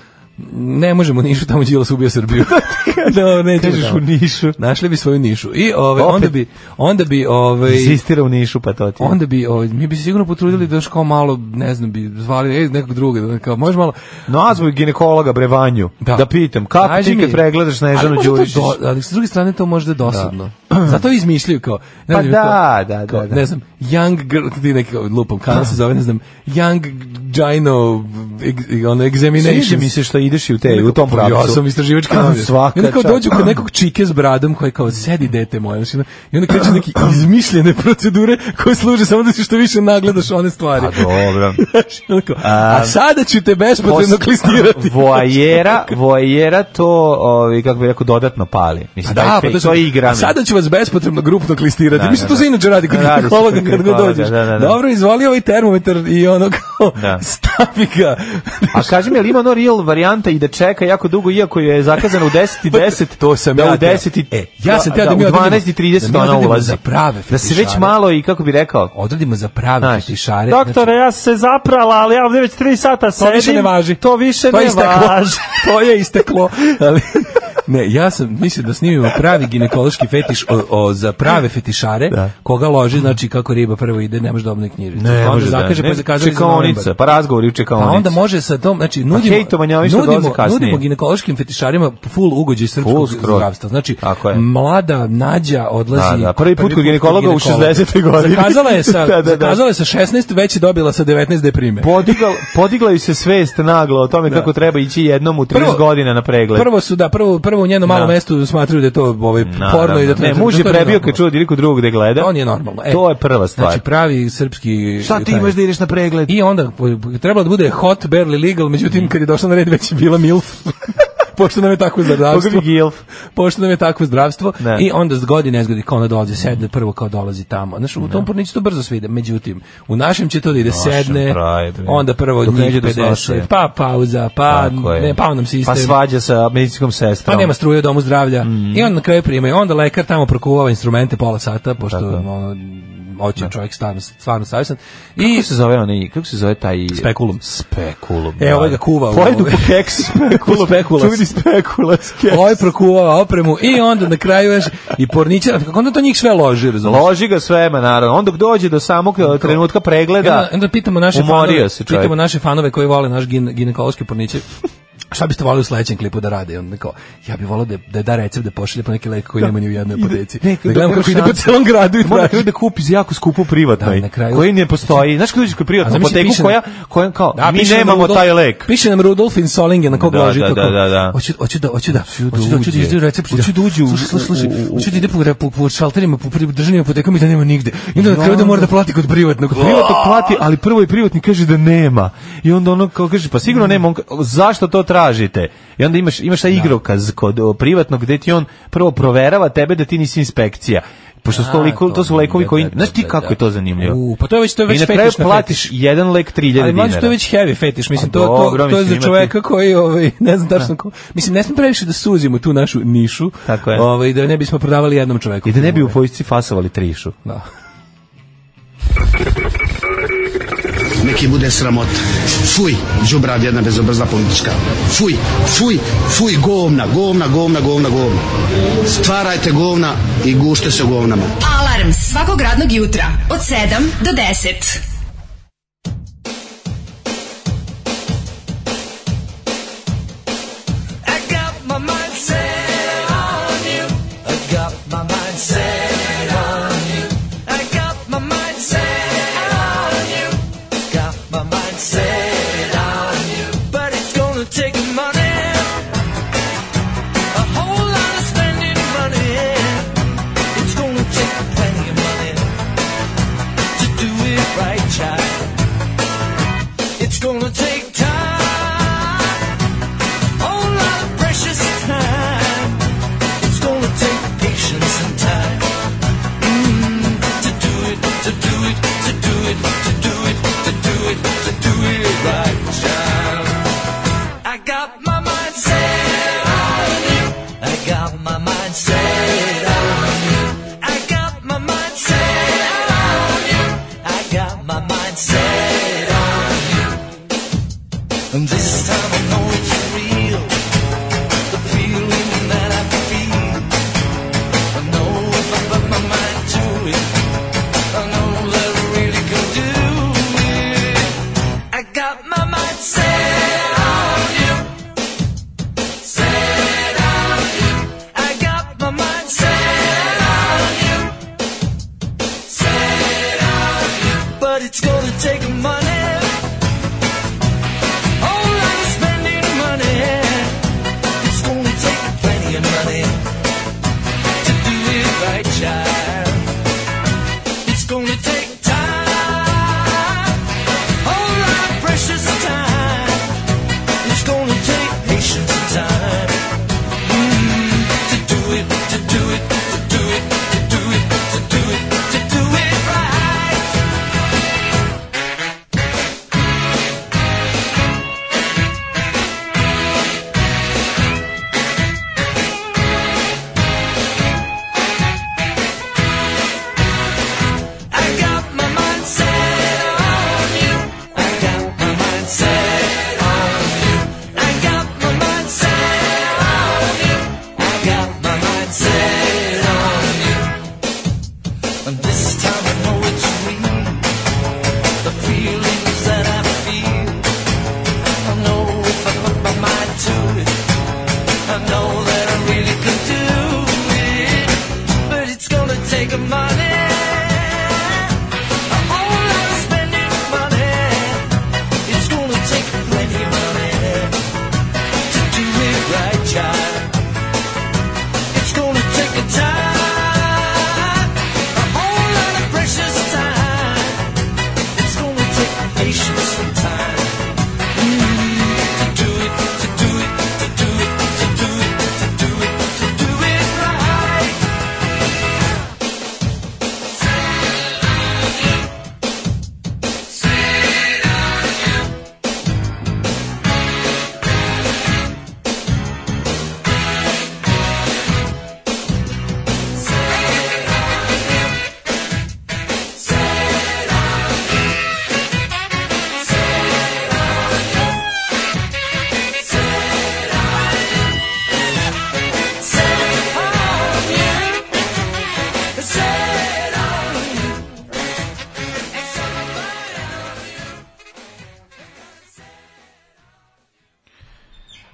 F: ne možemo u nišu, tamo Đilas ubio Srbiju.
E: [LAUGHS]
F: da, ne,
E: Kažeš u Nišu.
F: Našli bi svoju nišu. I ove,
E: Opet.
F: onda bi, onda bi, ove,
E: Insistira u Nišu, pa to ti. je.
F: onda bi, ove, mi bi se sigurno potrudili da još kao malo, ne znam, bi zvali ej, nekog druga, da kao, može malo,
E: Nazvu ginekologa Brevanju, da, pitam, kako
F: Kaži
E: ti
F: mi-
E: kad pregledaš
F: Ali
E: Snežanu
F: možda to
E: Đurišić?
F: do- ali s druge strane to možda je dosadno. Zato izmišljaju kao, ne
E: Pa
F: znam,
E: da,
F: kao-
E: da, da,
F: kao,
E: da.
F: Ne znam, Young Girl, ti neki kao lupam, kanal se zove, ne znam, Young Gino ex, ono,
E: Sviđa
F: Examination.
E: mi se što ideš i u te, u tom pravcu.
F: Ja sam istraživački
E: [LAUGHS]
F: novinar.
E: Svaka
F: I onda kao
E: čast.
F: dođu kod nekog čike s bradom koji kao sedi dete moje. Znači, I onda kreću
E: [CLEARS THROAT]
F: neke izmišljene procedure koje služe samo da si što više nagledaš one stvari.
E: A Pa dobro.
F: [LAUGHS] Znaš, i onda kao,
E: A-
F: a sada ću te bespotrebno
E: Post-
F: klistirati.
E: [LAUGHS]
F: [LAUGHS]
E: Voajera, voajera to, ovaj kako bih rekao, dodatno pali. Mislim,
F: Da,
E: taj
F: pa to,
E: fake- to je igra.
F: A sada ću vas bespotrebno grupno klistirati.
E: Da,
F: Mislim,
E: da,
F: to se
E: da.
F: inače radi kod
E: Radi se
F: [LAUGHS] ginekologa
E: kod
F: kad god
E: ginekologa,
F: dođeš.
E: da, da, da.
F: Dobro, izvali ovaj termometar i ono kao
E: Da.
F: [LAUGHS] stavi ga.
E: A kaži mi, je li ima ono real varijanta i da čeka jako dugo, iako je
F: [LAUGHS]
E: zakazano u 10 i 10,
F: Pa to sam
E: da
F: ja
E: u 10 i,
F: teo. E, ja sam teo da
E: u
F: mi odradimo-
E: 12 i 30
F: da mi
E: ona
F: odradimo
E: ulazi.
F: za prave
E: da se već
F: fetišare.
E: malo i, kako bi rekao,
F: Odradimo za prave
E: znaš,
F: fetišare. znači-
E: doktore, ja sam se zaprala, ali ja ovdje već 3 sata
F: to
E: sedim.
F: više ne važi.
E: To više
F: je
E: ne
F: isteklo.
E: važi.
F: [LAUGHS] to je isteklo. [LAUGHS] Ali, ne, ja sam mislio da snimimo pravi ginekološki fetiš o, o, za prave fetišare,
E: Da.
F: koga loži, znači kako riba prvo ide, ne može da obne knjižicu. Pa onda zakaže, pa je zakazali za novembar.
E: Čekaonica, pa razgovori u čekaonici.
F: Pa onda može sa tom, znači nudimo
E: Pa hejtovanje ovi što dolaze
F: nudimo,
E: kasnije.
F: nudimo ginekološkim fetišarima full ugođaj
E: Full
F: srpskog
E: skroz.
F: zdravstva. Znači
E: Tako je.
F: mlada Nađa odlazi
E: Da, da, prvi put kod ginekologa u 60. godini.
F: Zakazala
E: [LAUGHS]
F: je sa
E: Da, da, da.
F: zakazala je sa 16, već je dobila sa 19 deprime.
E: Podigal, podigla ju se svest naglo o tome kako treba ići jednom u 30
F: Prvo-
E: godina na pregled.
F: Prvo su da prvo prvo u njenom malom
E: Da.
F: mestu smatraju da je to ovaj porno i da to
E: ne,
F: to
E: muž je
F: to
E: prebio
F: normalno.
E: kad čuo diriku drugog gde gleda.
F: To nije normalno. E,
E: to je prva stvar.
F: Znači pravi srpski
E: Šta ti
F: taj-
E: imaš da ideš na pregled?
F: I onda po- trebalo da bude hot, barely legal, međutim kad je došla na red već je bila milf. [LAUGHS] Pošto nam je tako
E: Boga
F: zdravstvo.
E: mi gilf.
F: [LAUGHS] Pošto nam je takvo zdravstvo
E: Ne.
F: i onda s godine zgodi kao ona dolazi sedne prvo kao dolazi tamo. Znaš, u tom porniću to brzo svide. Međutim, u našem će to da ide
E: Našem
F: sedne,
E: traje, bre.
F: onda prvo
E: Dok
F: njih
E: neđe do
F: 50,
E: snošaja.
F: pa pauza, pa,
E: Tako je.
F: ne, pa nam sistem.
E: Pa svađa sa medicinskom
F: Pa
E: sestrom.
F: nema struje u domu zdravlja.
E: Mm.
F: I on na kraju primaju. Onda lekar tamo prokuva instrumente pola sata, pošto
E: Tako.
F: ono, hoće čovjek stvarno, stvarno savjesan. I
E: Kako se zove onaj, kako se zove taj...
F: Spekulum.
E: Spekulum.
F: E, ovaj ga kuva u-
E: Pojedu po
F: [LAUGHS]
E: keksu spekulum.
F: Spekulas.
E: Čuveni spekulas keks.
F: ovaj prokuvava opremu i onda na kraju još i porničar, kako onda to njih sve loži, razumiješ?
E: Loži ga svema, naravno. On dok dođe do samog eh, trenutka
F: I Onda,
E: pregleda...
F: onda pitamo naše
E: Umorio
F: fanove,
E: se čovjek.
F: pitamo naše fanove koji vole naš gin, ginekološki porničar. Šta biste voleli u sledećem klipu da rade? I onda kao, ja bih voleo da, da da recept da pošalje po neki lek koji nema ni u jednoj apoteci.
E: Ne,
F: Da gledam kako ide po celom gradu i
E: Mora na
F: traži.
E: kraju da kupi za jako skupu privatnoj,
F: Da, na kraju-
E: koji ne postoji. Znaš kad uđeš kod
F: A
E: privatnu
F: zamisli,
E: apoteku
F: piše na-
E: koja, koja kao,
F: Da,
E: mi
F: piše nam
E: nemamo
F: Rudolf-
E: taj lek.
F: Piše nam Rudolf Insolingen na koga
E: Da,
F: loži
E: da,
F: to.
E: da,
F: kao,
E: da, da.
F: Hoću hoću da hoću da hoću da hoću da
E: uđe.
F: izde recept.
E: Hoću da uđe u-
F: Slušaj, slušaj, slušaj,
E: u- u-
F: Hoću da ide po po, po šalterima, po pri- državnim apotekama i da nema nigde. I onda na kraju da mora da plati kod privatnog. Kod
E: Privatno
F: privatnog
E: plati, ali prvo i privatni kaže da nema. I onda ono kao kaže, pa
F: Mm.
E: sigurno nema, on ka- zašto to tražite? I onda imaš, imaš taj igrokaz kod o, privatnog gde ti on prvo proverava tebe da ti nisi inspekcija. Pošto su to,
F: A,
E: liko- to su
F: to,
E: lekovi
F: da,
E: koji...
F: da,
E: Znaš ti
F: da,
E: kako
F: da.
E: je to zanimljivo?
F: U, pa to je već- to je
E: I
F: već
E: na kraju
F: fetiš na
E: platiš
F: fetiš.
E: jedan lek 3000 dinara.
F: Ali mlađe to je već heavy fetiš, mislim,
E: A
F: to, to,
E: dobro,
F: to je
E: mislim,
F: za
E: ima
F: čoveka koji, ovaj, ne znam tačno ko, mislim, ne smijemo previše da suzimo tu našu nišu,
E: Tako je.
F: Ovaj, da ne bismo prodavali jednom čoveku. Ovaj,
E: I da ne bi u vojsci fasovali trišu.
F: Da.
I: Neki bude sramot. Fuj, džubrav jedna bezobrzna politička. Fuj, fuj, fuj, govna, govna, govna, govna, govna. Stvarajte govna i gušte se u govnama.
D: Alarm svakog radnog jutra od 7 do 10.
B: I got my mind set on you. I got my mind set on you. I got my mind set on you. Got my mind set on you. But it's gonna take money. Mm, got my mind set on you. I got my mind set on you. I got my mind set on you. And this time I know it's real. The feeling that I feel. I know if I put my mind to it. I know that I really can do it. I got my mind set on you. Set on you. I got my mind set on you. Set on you. But it's gonna take money. Oh, I'm spending money. It's gonna take plenty of money to do it right, child. It's gonna take time. Whole lot of precious time. It's gonna take patience and time. Mm, to do it, to do it, to do it, to do it, to do it, to do it right. I got my mind set on you. I got my mind set on you. I got my mind set on you. I got my mind set on you. And this time I know it's real. The feelings that I feel. I know if I put my mind to it. I know that I really could do it. But it's gonna take a money.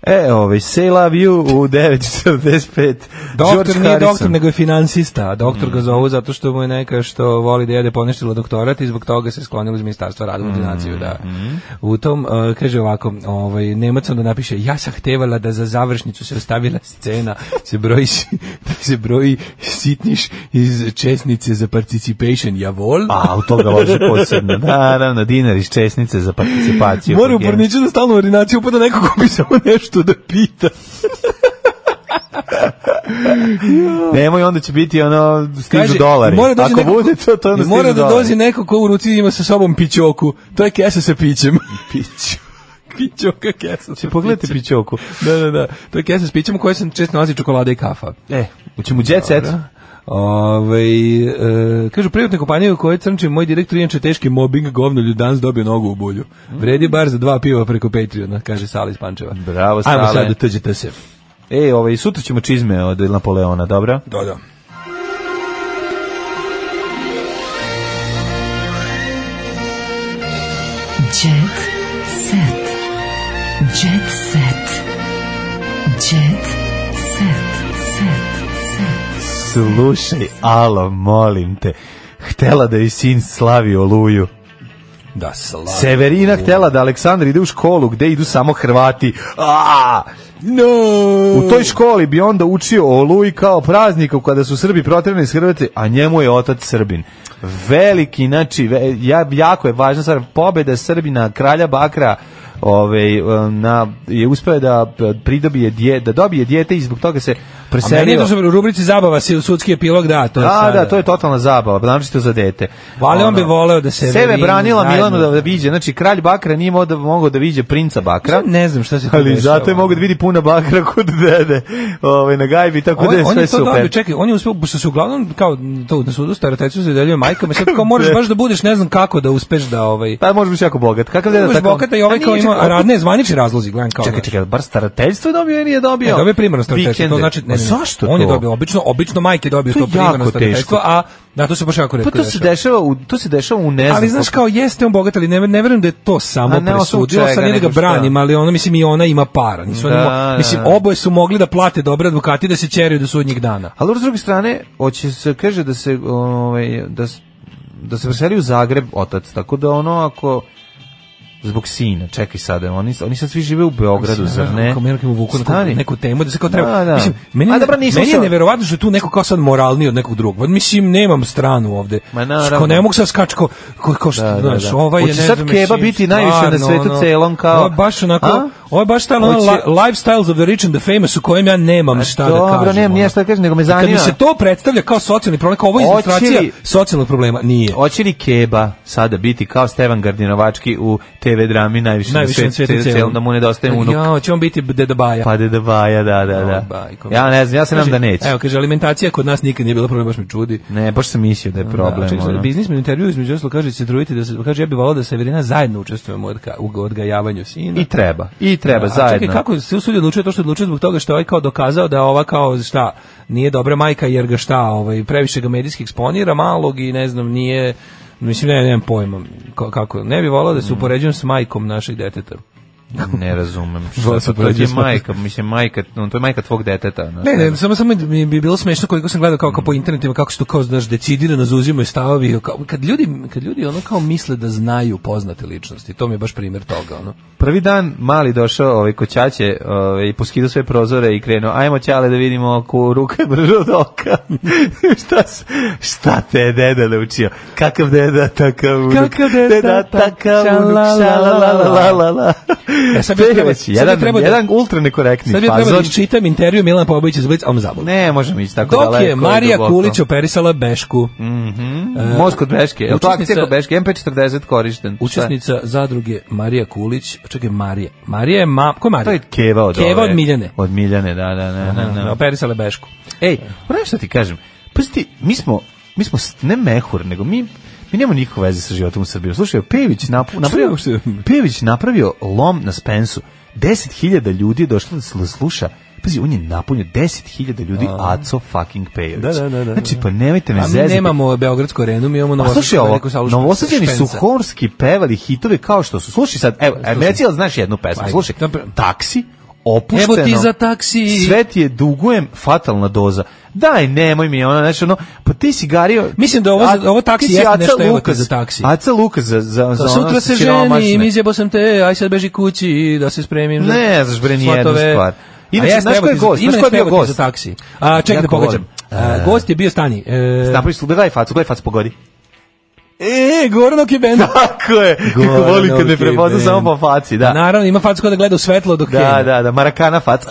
E: E, ovaj, Say Love You u 9.45. George
F: Doktor nije
E: Harrison. Mm.
F: doktor, nego je finansista. a Doktor ga zovu zato što mu je neka što voli da jede poništila doktorat i zbog toga se sklonilo iz ministarstva
E: Mm,
F: rada u ordinaciju. Da. U tom, e, kaže ovako, ovaj, Nemac onda napiše, ja sam htevala da za završnicu se ostavila scena, se broji, s- da se broji sitniš iz česnice za participation, ja vol.
E: A, u toga lože
F: [LAUGHS]
E: posebno. Naravno, dinar iz česnice za participaciju.
F: Mora u
E: Progenis.
F: porniče da stalno u ordinaciju upada neko ko bi samo nešto da pita.
E: Nemoj, onda će biti ono, stižu
F: Kaže,
E: dolari.
F: i mora da dođe
E: Ako
F: neko-
E: bude to, to onda
F: i
E: stižu
F: mora da
E: dolari.
F: dođe neko ko u ruci ima sa sobom pićoku. To je kesa sa
E: [LAUGHS]
F: pićem. Pićo. [LAUGHS] Pićoka kesa. Če
E: pogledajte pićoku.
F: Da, da, da. To je kesa s pićem u kojoj se često nalazi čokolada i kafa.
E: E, ućemo u jet set.
F: Ove, e, kažu, privatna kompanija u kojoj crnči moj direktor inače teški mobbing govno ljudans dobio nogu u bulju. Vredi bar za dva piva preko Patreona, kaže Sala iz Pančeva.
E: Bravo,
F: Ajmo
E: Sale.
F: sad da tuđete se.
E: E, ovaj, sutra ćemo čizme od Napoleona, dobro?
F: Da, da.
D: Jet set. Jet set. Jet set. Set. Set.
E: Slušaj, alo, molim te. Htela da je sin slavi oluju.
F: Da, slavo.
E: Severina htela da Aleksandar ide u školu gde idu samo Hrvati. A!
F: No!
E: U toj školi bi onda učio o Oluji kao prazniku kada su Srbi protirani iz Hrvate, a njemu je otac Srbin. Veliki, znači, ve- ja, jako je važna stvar, pobeda Srbina, kralja Bakra, ovaj na je uspeo da pridobije dje, da dobije dijete i zbog toga se preselio.
F: A meni je to što u rubrici zabava se u sudski epilog, da, to je
E: da,
F: sada.
E: da, to je totalna zabava, naročito za dete.
F: Ali on bi voleo da se
E: Sebe
F: Evelin
E: branila
F: zajedno-
E: Milanu da viđe, znači kralj Bakra nije mogao da, mogao da viđe princa Bakra.
F: Ne znam šta se tu
E: Ali
F: dešava.
E: zato je mogao da vidi puna Bakra kod dede. Ovaj na gajbi tako da je
F: on
E: sve
F: je to dobio,
E: super.
F: čekaj, on je uspeo, pošto se uglavnom kao to na sudu starateljcu se dodeljuje majkama, sad
E: [LAUGHS]
F: kao moraš baš da budeš ne znam kako da uspeš da ovaj...
E: Pa možeš biti jako bogat. Kakav deda
F: Možeš
E: tako?
F: bogata i ovaj
E: A
F: kao
E: nije,
F: ima
E: čekaj,
F: radne zvanični razlozi, gledam kao.
E: Čekaj, čekaj, bar starateljstvo je dobio ili nije dobio?
F: Ne, E, dobio je primarno starateljstvo, to
E: Vikende.
F: znači... Ne, ne,
E: A
F: ne,
E: Pa zašto
F: On je
E: to?
F: dobio, obično, obično majke dobiju
E: To
F: to,
E: je jako
F: primarno starateljstvo,
E: teško.
F: a da, to se baš jako
E: Pa
F: redko
E: to se dešava, u, to se dešava u ne znam.
F: ali znaš
E: koliko-
F: kao jeste on bogat, ali ne, ne verujem da je to samo
E: A ne, osnovu
F: presudilo,
E: čega,
F: sad nije da ga
E: nego šta?
F: branim, ali ono, mislim, i ona ima para. Nisu oni
E: Da,
F: mo-
E: da,
F: mislim,
E: da.
F: oboje su mogli da plate dobre advokati da se ćeraju do sudnjih dana.
E: Ali s druge strane, hoće se kaže da se ovaj da s- da se preselio u Zagreb otac, tako da ono ako zbog sina, čekaj sada, oni, oni sad svi žive u Beogradu,
F: Mislim,
E: zar ne?
F: Kao Merkel mu vuku neku,
E: Stani.
F: neku temu da se kao treba.
E: Da, da.
F: Mislim, meni,
E: A
F: je-
E: dobro, nisam
F: meni je
E: sam-
F: neverovatno što je tu neko kao sad moralniji od nekog drugog. Mislim, nemam stranu ovde.
E: Ma, naravno.
F: Kao ne mogu sad skaču kao, kao, kao što,
E: Da, da,
F: znaš,
E: da.
F: ovaj je ne
E: Hoće sad
F: znam,
E: keba
F: mislim,
E: biti najviše na
F: stvarno,
E: svetu
F: ono,
E: celom kao-
F: Ovo je baš
E: A?
F: onako, ovo je baš taj ono,
E: Hoće-
F: li- lifestyles of the rich and the famous u kojem ja nemam šta da kažem.
E: Dobro, nemam
F: ono.
E: nije šta da kažem, nego me
F: Kad mi
E: zanima.
F: se to predstavlja kao socijalni problem, kao ovo je
E: Hoće
F: ilustracija
E: li-
F: socijalnog problema, nije.
E: Hoće li Keba sada biti kao Stevan Gardinovački u TV drami najviše,
F: Najviše na svetu celom.
E: da mu nedostaje unuk?
F: Ja, će on biti deda Baja.
E: Pa deda Baja, da, da,
F: Ovaj
E: da.
F: bajko.
E: Ja ne znam, ja se nam
F: Kaže,
E: da neće.
F: Znači, Evo, kaže, alimentacija kod nas nikad nije bila problem, baš me čudi.
E: Ne, baš sam mislio da je problem.
F: Da, čekaj,
E: ono.
F: biznismen u intervju između oslo kaže se trudite da se kaže ja bih voleo da se Verena zajedno učestvujemo od ka, u odgajavanju sina.
E: I treba, i treba,
F: A
E: zajedno.
F: Čekaj, kako se usudi odlučio to što je odlučio zbog toga što je ovaj kao dokazao da je ova kao šta nije dobra majka jer ga šta, ovaj previše ga medijski eksponira malog i ne znam, nije mislim ne, nemam pojma ka- kako. Ne bih voleo
E: Mm.
F: da se upoređujem s majkom našeg deteta.
E: Ne razumem.
F: Dva
E: Šta,
F: su
E: pa to ti je
F: prođe.
E: majka, mislim majka, no, to je majka tvog deteta. znaš,
F: Ne, ne,
E: znam.
F: samo samo mi bi bilo smešno koliko sam gledao kao, kao po internetima kako što kao znaš decidirano zauzimaju stavovi kao, kad ljudi kad ljudi ono kao misle da znaju poznate ličnosti. To mi je baš primjer toga, ono.
E: Prvi dan mali došao ovaj kod ćaće ovaj, i poskidao sve prozore i krenuo, ajmo ćale da vidimo ko ruka je brža od oka. [LAUGHS] šta, s- šta te je deda naučio? Kakav deda, takav unuk.
F: Kakav deda,
E: takav
F: tak-
E: unuk. Šalalalala.
F: E, sad bi
E: Peveć,
F: treba- sad bi
E: jedan,
F: treba da-
E: jedan ultra nekorektni
F: Sad bi ja trebao
E: fazon.
F: da čitam intervju Milana Popovića za Blic, ali me zabavno.
E: Ne, možemo ići tako
F: Dok
E: daleko.
F: je Marija
E: duboko.
F: Kulić operisala Bešku,
E: Mm, Most kod Beške, je li to akcija
F: Učesnica-
E: kod Beške? MP40 korišten. Šta je?
F: učesnica zadruge Marija Kulić, čekaj Marija, Marija je ma, ko je Marija?
E: To je Keva od
F: Keva
E: ove-
F: od Miljane.
E: Od Miljane, da, da, da, da, da.
F: Operisala Bešku. E,
E: Ej, moram šta ti kažem. Pusti, mi smo, mi smo s- ne mehur, nego mi Mi nemamo nikakve veze sa životom u Srbiji. Slušaj, Pejević napu- napravio,
F: uopšte?
E: Pejević napravio lom na Spensu. 10.000 ljudi je došlo da slu- sluša. Pazi, on je napunio 10.000 ljudi Aco fucking Pejević.
F: Da, da, da, da,
E: Znači,
F: da.
E: pa nemojte me
F: A mi
E: zezati.
F: nemamo Beogradsku arenu, mi imamo
E: A Pa slušaj
F: Novosadsku
E: ovo,
F: veliku salu
E: novosađeni su
F: Špenca.
E: horski pevali hitove kao što su. Slušaj sad, evo,
F: Slušaj.
E: Emecijal znaš jednu pesmu,
F: Ajde.
E: pa slušaj.
F: Dobro.
E: Taksi, opušteno.
F: Evo ti za taksi.
E: Sve ti je dugujem fatalna doza. Daj, nemoj mi, ono, znači, ono, pa ti si gario...
F: Mislim da ovo-
E: A-
F: ovo taksi
E: ti si
F: jeste
E: Aca
F: nešto, evo ti
E: Lukas.
F: za taksi. Pa
E: Aca Lukas za, za, za ono
F: Sutra se
E: siromašne.
F: ženim, izjebao sam te, aj sad beži kući da se spremim. za
E: Ne znaš, bre, ni jednu
F: slotove.
E: stvar. Inače,
F: A jeste,
E: znaš ko
F: evo
E: je
F: ti za-
E: gost?
F: ima
E: Znaš ko je bio
F: nešto, evo ti
E: gost?
F: Za taksi. A, čekaj
E: Jako E.
F: da pogađam. A, gost je bio Stani. E,
E: Napravi slude, daj facu, gledaj facu, pogodi. [LAUGHS]
F: e Goranok je bend.
E: Tako je, kako
F: Goran
E: volim kad ne
F: Novak je
E: prepozna
F: bend.
E: samo po faci, [LAUGHS] da.
F: Naravno, ima facko da gleda u svetlo dok
E: Da,
F: krene.
E: da, da, marakana faca.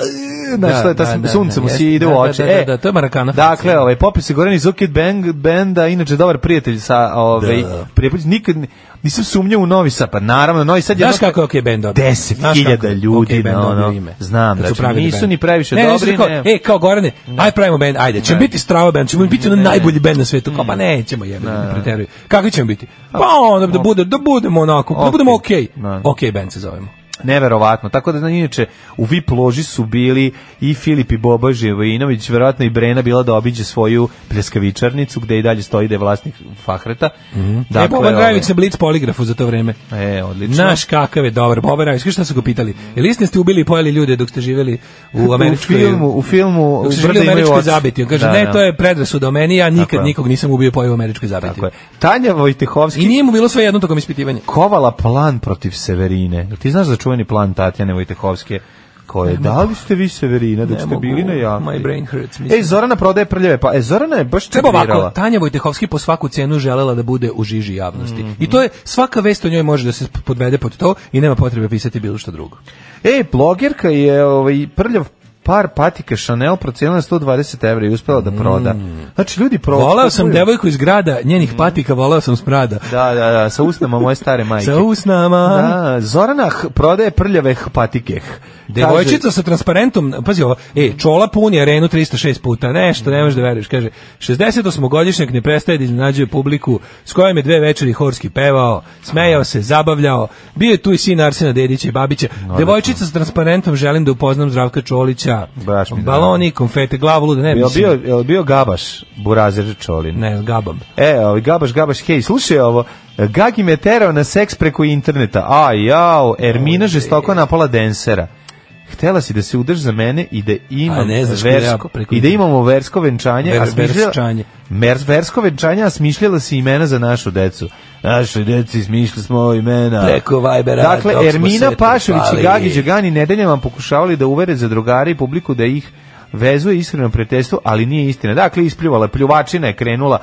E: Znaš,
F: Da,
E: to je, ta
F: da,
E: sun-
F: da,
E: sunce
F: da,
E: mu
F: jeste.
E: si ide
F: Da,
E: u
F: da,
E: oči.
F: da, da,
E: E,
F: da, to je marakana faca.
E: Dakle, ovaj, popis je Goreni Zukid Bang, benda, inače dobar prijatelj sa, ovaj, prijatelj, nikad ni- nisam sumnjao u Novi Sad, pa naravno, Novi Sad je...
F: Znaš kako je OK Band dobio?
E: 10.000
F: Znaš kako je
E: ljudi
F: OK Band
E: na ono,
F: dobio ime?
E: znam,
F: Kad su
E: znači,
F: pravili
E: nisu
F: band.
E: ni previše
F: ne, ne,
E: dobri,
F: su kao,
E: ne.
F: E, kao Gorane, aj pravimo band, ajde, ćemo biti strava band, ćemo biti ono najbolji band na svetu. Kao, pa nećemo jebati, ne preteruj. Kakvi ćemo biti? Pa onda da, bude, da budemo onako, da
E: Ok.
F: budemo okej.
E: Da.
F: Okej band se zovemo.
E: Neverovatno. Tako da, znači, inače, u VIP loži su bili i Filip i Boba Živojinović, verovatno i Brena bila da obiđe svoju pljeskavičarnicu, gde i dalje stoji da je vlasnik Fahreta. Mhm.
F: e, Boban Drajević na Blitz poligrafu za to vreme.
E: ovaj, e, odlično.
F: Znaš kakav je dobar Boban Drajević. Kaži šta su ga pitali? Je li ste ubili i pojeli ljude dok ste živjeli u američkoj...
E: U filmu, u filmu, u
F: Dok se
E: Brda
F: živio u
E: imaju
F: američkoj
E: oči.
F: zabiti. On kaže,
E: Da,
F: ne,
E: da.
F: to je predrasuda o meni, ja nikad
E: je.
F: nikog nisam ubio i pojeo u američkoj zabiti.
E: Tako je. Tanja Vojtehovski
F: I nije mu bilo sve jedno tokom ispitivanja.
E: kovala plan protiv Severine. Jel Ti znaš za čuveni plan Tatjane Vojtehovske koje, da li ste vi Severina, da
F: Ne
E: ste
F: mogu,
E: bili na E, jahti?
F: my brain hurts, mislim.
E: Ej, Zorana prodaje prljave, pa, e, Zorana je baš
F: Treba ovako,
E: trenirala.
F: Tanja Vojtehovski po svaku cenu želela da bude u žiži javnosti.
E: Mhm.
F: I to je, svaka vest o njoj može da se podvede pod to i nema potrebe pisati bilo što drugo.
E: E, blogerka je ovaj, prljav par patika Chanel procenila na 120 evra i uspela da proda. Znači, ljudi proda.
F: Volao Mm. sam devojku iz grada,
E: Mhm.
F: njenih patika, volao sam sprada.
E: Da, da, da, sa usnama moje stare majke.
F: Sa usnama.
E: Da, Zorana h- prodaje prljave h- patike. H.
F: Devojčica
E: Kaže-
F: sa transparentom, pazi ovo, e, čola puni arenu 306 puta, nešto, ne možeš da veruješ, kaže, 68-godišnjak ne prestaje da iznenađuje publiku, s kojom je dve večeri horski pevao, smejao se, zabavljao, bio je tu i sin Arsena Dedića i Babića, devojčica sa transparentom, želim da upoznam Zdravka Čolića,
E: Baš mi drago.
F: baloni, konfete, glavu luda, ne,
E: Jel
F: mislim,
E: bio, jel bio Gabaš, Burazer Čolin?
F: ne, gabam.
E: E, ovaj Gabaš, Gabaš, hej, slušaj ovo. Gagi me terao na seks preko interneta. A, jao, Ermina žestoko napala densera. Htela si da se udrži za mene i da
F: A
E: imam
F: ne znaš kuda ja
E: versko,
F: preko
E: i da
F: interneta.
E: imamo versko venčanje,
F: Ver-
E: a smišljala,
F: versčanje.
E: Mer- versko venčanje, a smišljala si imena za našu decu. Našoj deci smišljali smo imena.
F: Preko Vibera,
E: Dakle,
F: dok smo
E: Ermina
F: se
E: Pašović i
F: trpali.
E: Gagi Đegani nedeljama vam pokušavali da uvere za drugare i publiku da ih vezuje iskreno pretestu, ali nije istina. Dakle, ispljuvala, pljuvačina je krenula.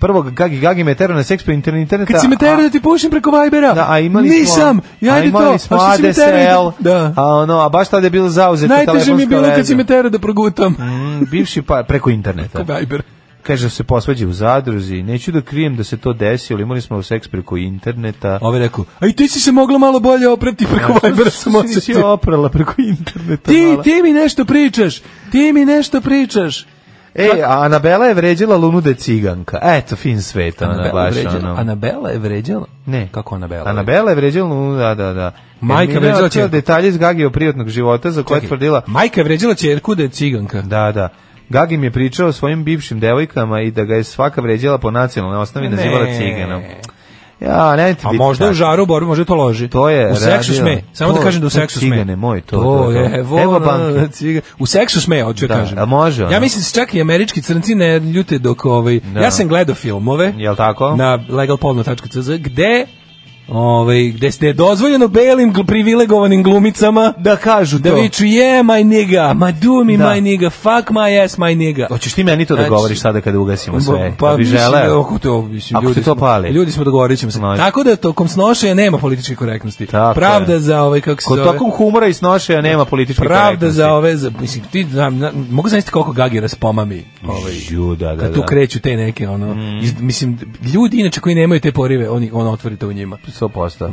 E: Prvog Gagi Gagi me terao na seks pre internet- interneta.
F: Kad si me terao
E: a-
F: da ti pušim preko Vibera,
E: Da, a imali smo...
F: nisam, ja
E: a
F: ajde
E: imali
F: to,
E: smo
F: a što si me terao
E: ADSL,
F: i- da.
E: a ono, a baš tada je bilo zauzeto
F: Najteže mi je bilo kad si me
E: me
F: terao da progutam.
E: bivši pa, preko interneta.
F: Preko Vibera.
E: Kaže, se posvađa u zadruzi, neću da krijem da se to desi, ali imali smo seks preko interneta.
F: [LAUGHS] Ove rekao, a i ti si se mogla malo bolje oprati preko Vibera sam
E: Što si nisi
F: osetio.
E: oprala preko interneta.
F: ovaj Ti,
E: mala?
F: ti mi nešto pričaš, ti mi nešto pričaš.
E: E, a Anabela je vređala Lunu da je ciganka. Eto, fin sveta, ona
F: Anabela
E: baš,
F: je vređala.
E: ono.
F: Anabela je vređala?
E: Ne.
F: Kako Anabela?
E: Anabela je vređala Lunu, da, da, da.
F: Majka
E: Ermina je
F: vređala
E: otkrila
F: ćerku.
E: detalje iz Gagijevog privatnog života za koje je
F: Čekaj,
E: tvrdila...
F: Majka je vređala čerku da je ciganka.
E: Da, da. Gagi mi je pričao o svojim bivšim devojkama i da ga je svaka vređala po nacionalnoj osnovi
F: Ne.
E: nazivala ciganom. Ja, ne, ti
F: A
E: biti
F: možda u
E: tako.
F: žaru borbe, možda to loži.
E: To je
F: u seksu
E: radio-
F: sme. Samo
E: to-
F: da kažem da u
E: to
F: seksu sme.
E: cigane, moj, to-
F: to,
E: to- to.
F: je. Evo,
E: Evo
F: na-
E: banke.
F: ciga- U seksu sme, hoću da,
E: Da,
F: kažem.
E: a može ono?
F: Ja mislim se čak i američki crnci ne ljute dok ovaj ja sam gledao filmove.
E: Jel tako?
F: Na legalporno.cz gde Ovaj gde ste je dozvoljeno belim gl- privilegovanim glumicama
E: Da kažu
F: da
E: to.
F: viču yeah my nigga, my do me
E: Da.
F: my nigga, fuck my ass my nigga.
E: Hoćeš ti meni to da
F: Znači-
E: govoriš sada kada ugasimo sve?
F: Pa
E: Da bi
F: mislim,
E: želeo?
F: ako to, mislim,
E: Ako
F: ljudi
E: te to
F: smo-
E: pali.
F: Ljudi smo dogovorit ćemo se.
E: Može.
F: Tako da tokom snošaja nema političke korektnosti.
E: Tako
F: Pravda
E: je.
F: za ovaj kako se
E: Kod
F: zove.
E: tokom humora i snošaja nema političke
F: Pravda
E: korektnosti.
F: za ove, za, mislim, ti, znam, na, mogu zamisliti koliko Gagira spomami ovaj,
E: Ju, da, da,
F: kad tu
E: da. Mm.
F: kreću te neke, ono, iz- mislim, ljudi inače koji nemaju te porive, oni, ono, otvori to u njima.
E: 100%.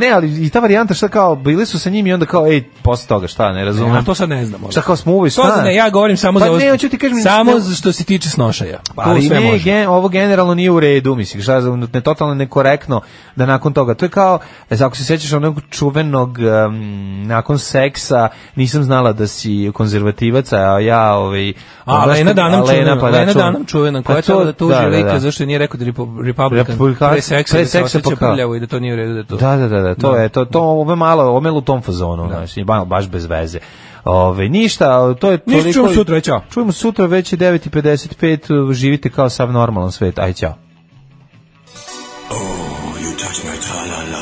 E: Ne, ali i ta varijanta šta kao, bili su sa njim i onda kao, ej, posle toga, šta, ne razumem.
F: A to sad ne znam. ono.
E: Šta kao smo uvoj
F: To sad
E: stan?
F: ne, ja govorim samo
E: Pa
F: za ovo-
E: ne, hoću ti kažem-
F: samo
E: ne-
F: za što se tiče snošaja.
E: Pa,
F: To
E: ali
F: sve
E: ne,
F: može.
E: gen, ovo generalno nije u redu, mislim, šta, za- ne, totalno nekorektno da nakon toga, to je kao, e, ako se sjećaš onog čuvenog um, nakon seksa, nisam znala da si konzervativac, a ja, ovaj,
F: A
E: znaš
F: Lena
E: šta-
F: danam
E: a Lena,
F: čuvena,
E: pa da,
F: Lena
E: čuven-
F: danam čuvena, koja
E: Pa
F: je
E: to-
F: trebala da tuži
E: da, da,
F: lika
E: da.
F: zašto je nije rekao da je repu- Republikan
E: Republikan-
F: pre seksa,
E: pre
F: da se
E: seksa,
F: osjeća
E: pa kao-
F: prljavo i da to nije u redu da je to.
E: Da, da, da, da, to
F: Da.
E: je to to ove malo, ove u tom fazonu, znači ba- baš bez veze. Ove, ništa, to je
F: Ništa,
E: toliko...
F: čujemo sutra, aj, ćao.
E: Čujemo sutra, već je 9.55, živite kao sav normalan svet, aj ćao.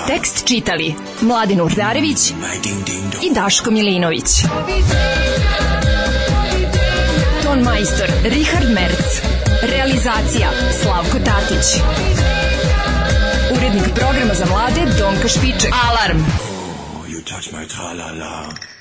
D: Tekst čitali Mladin Urdarević i Daško Milinović. Ton majstor Richard Merc. Realizacija Slavko Tatić. Urednik programa za mlade Donka Špiček. Alarm!
K: You touch my tra-la-la.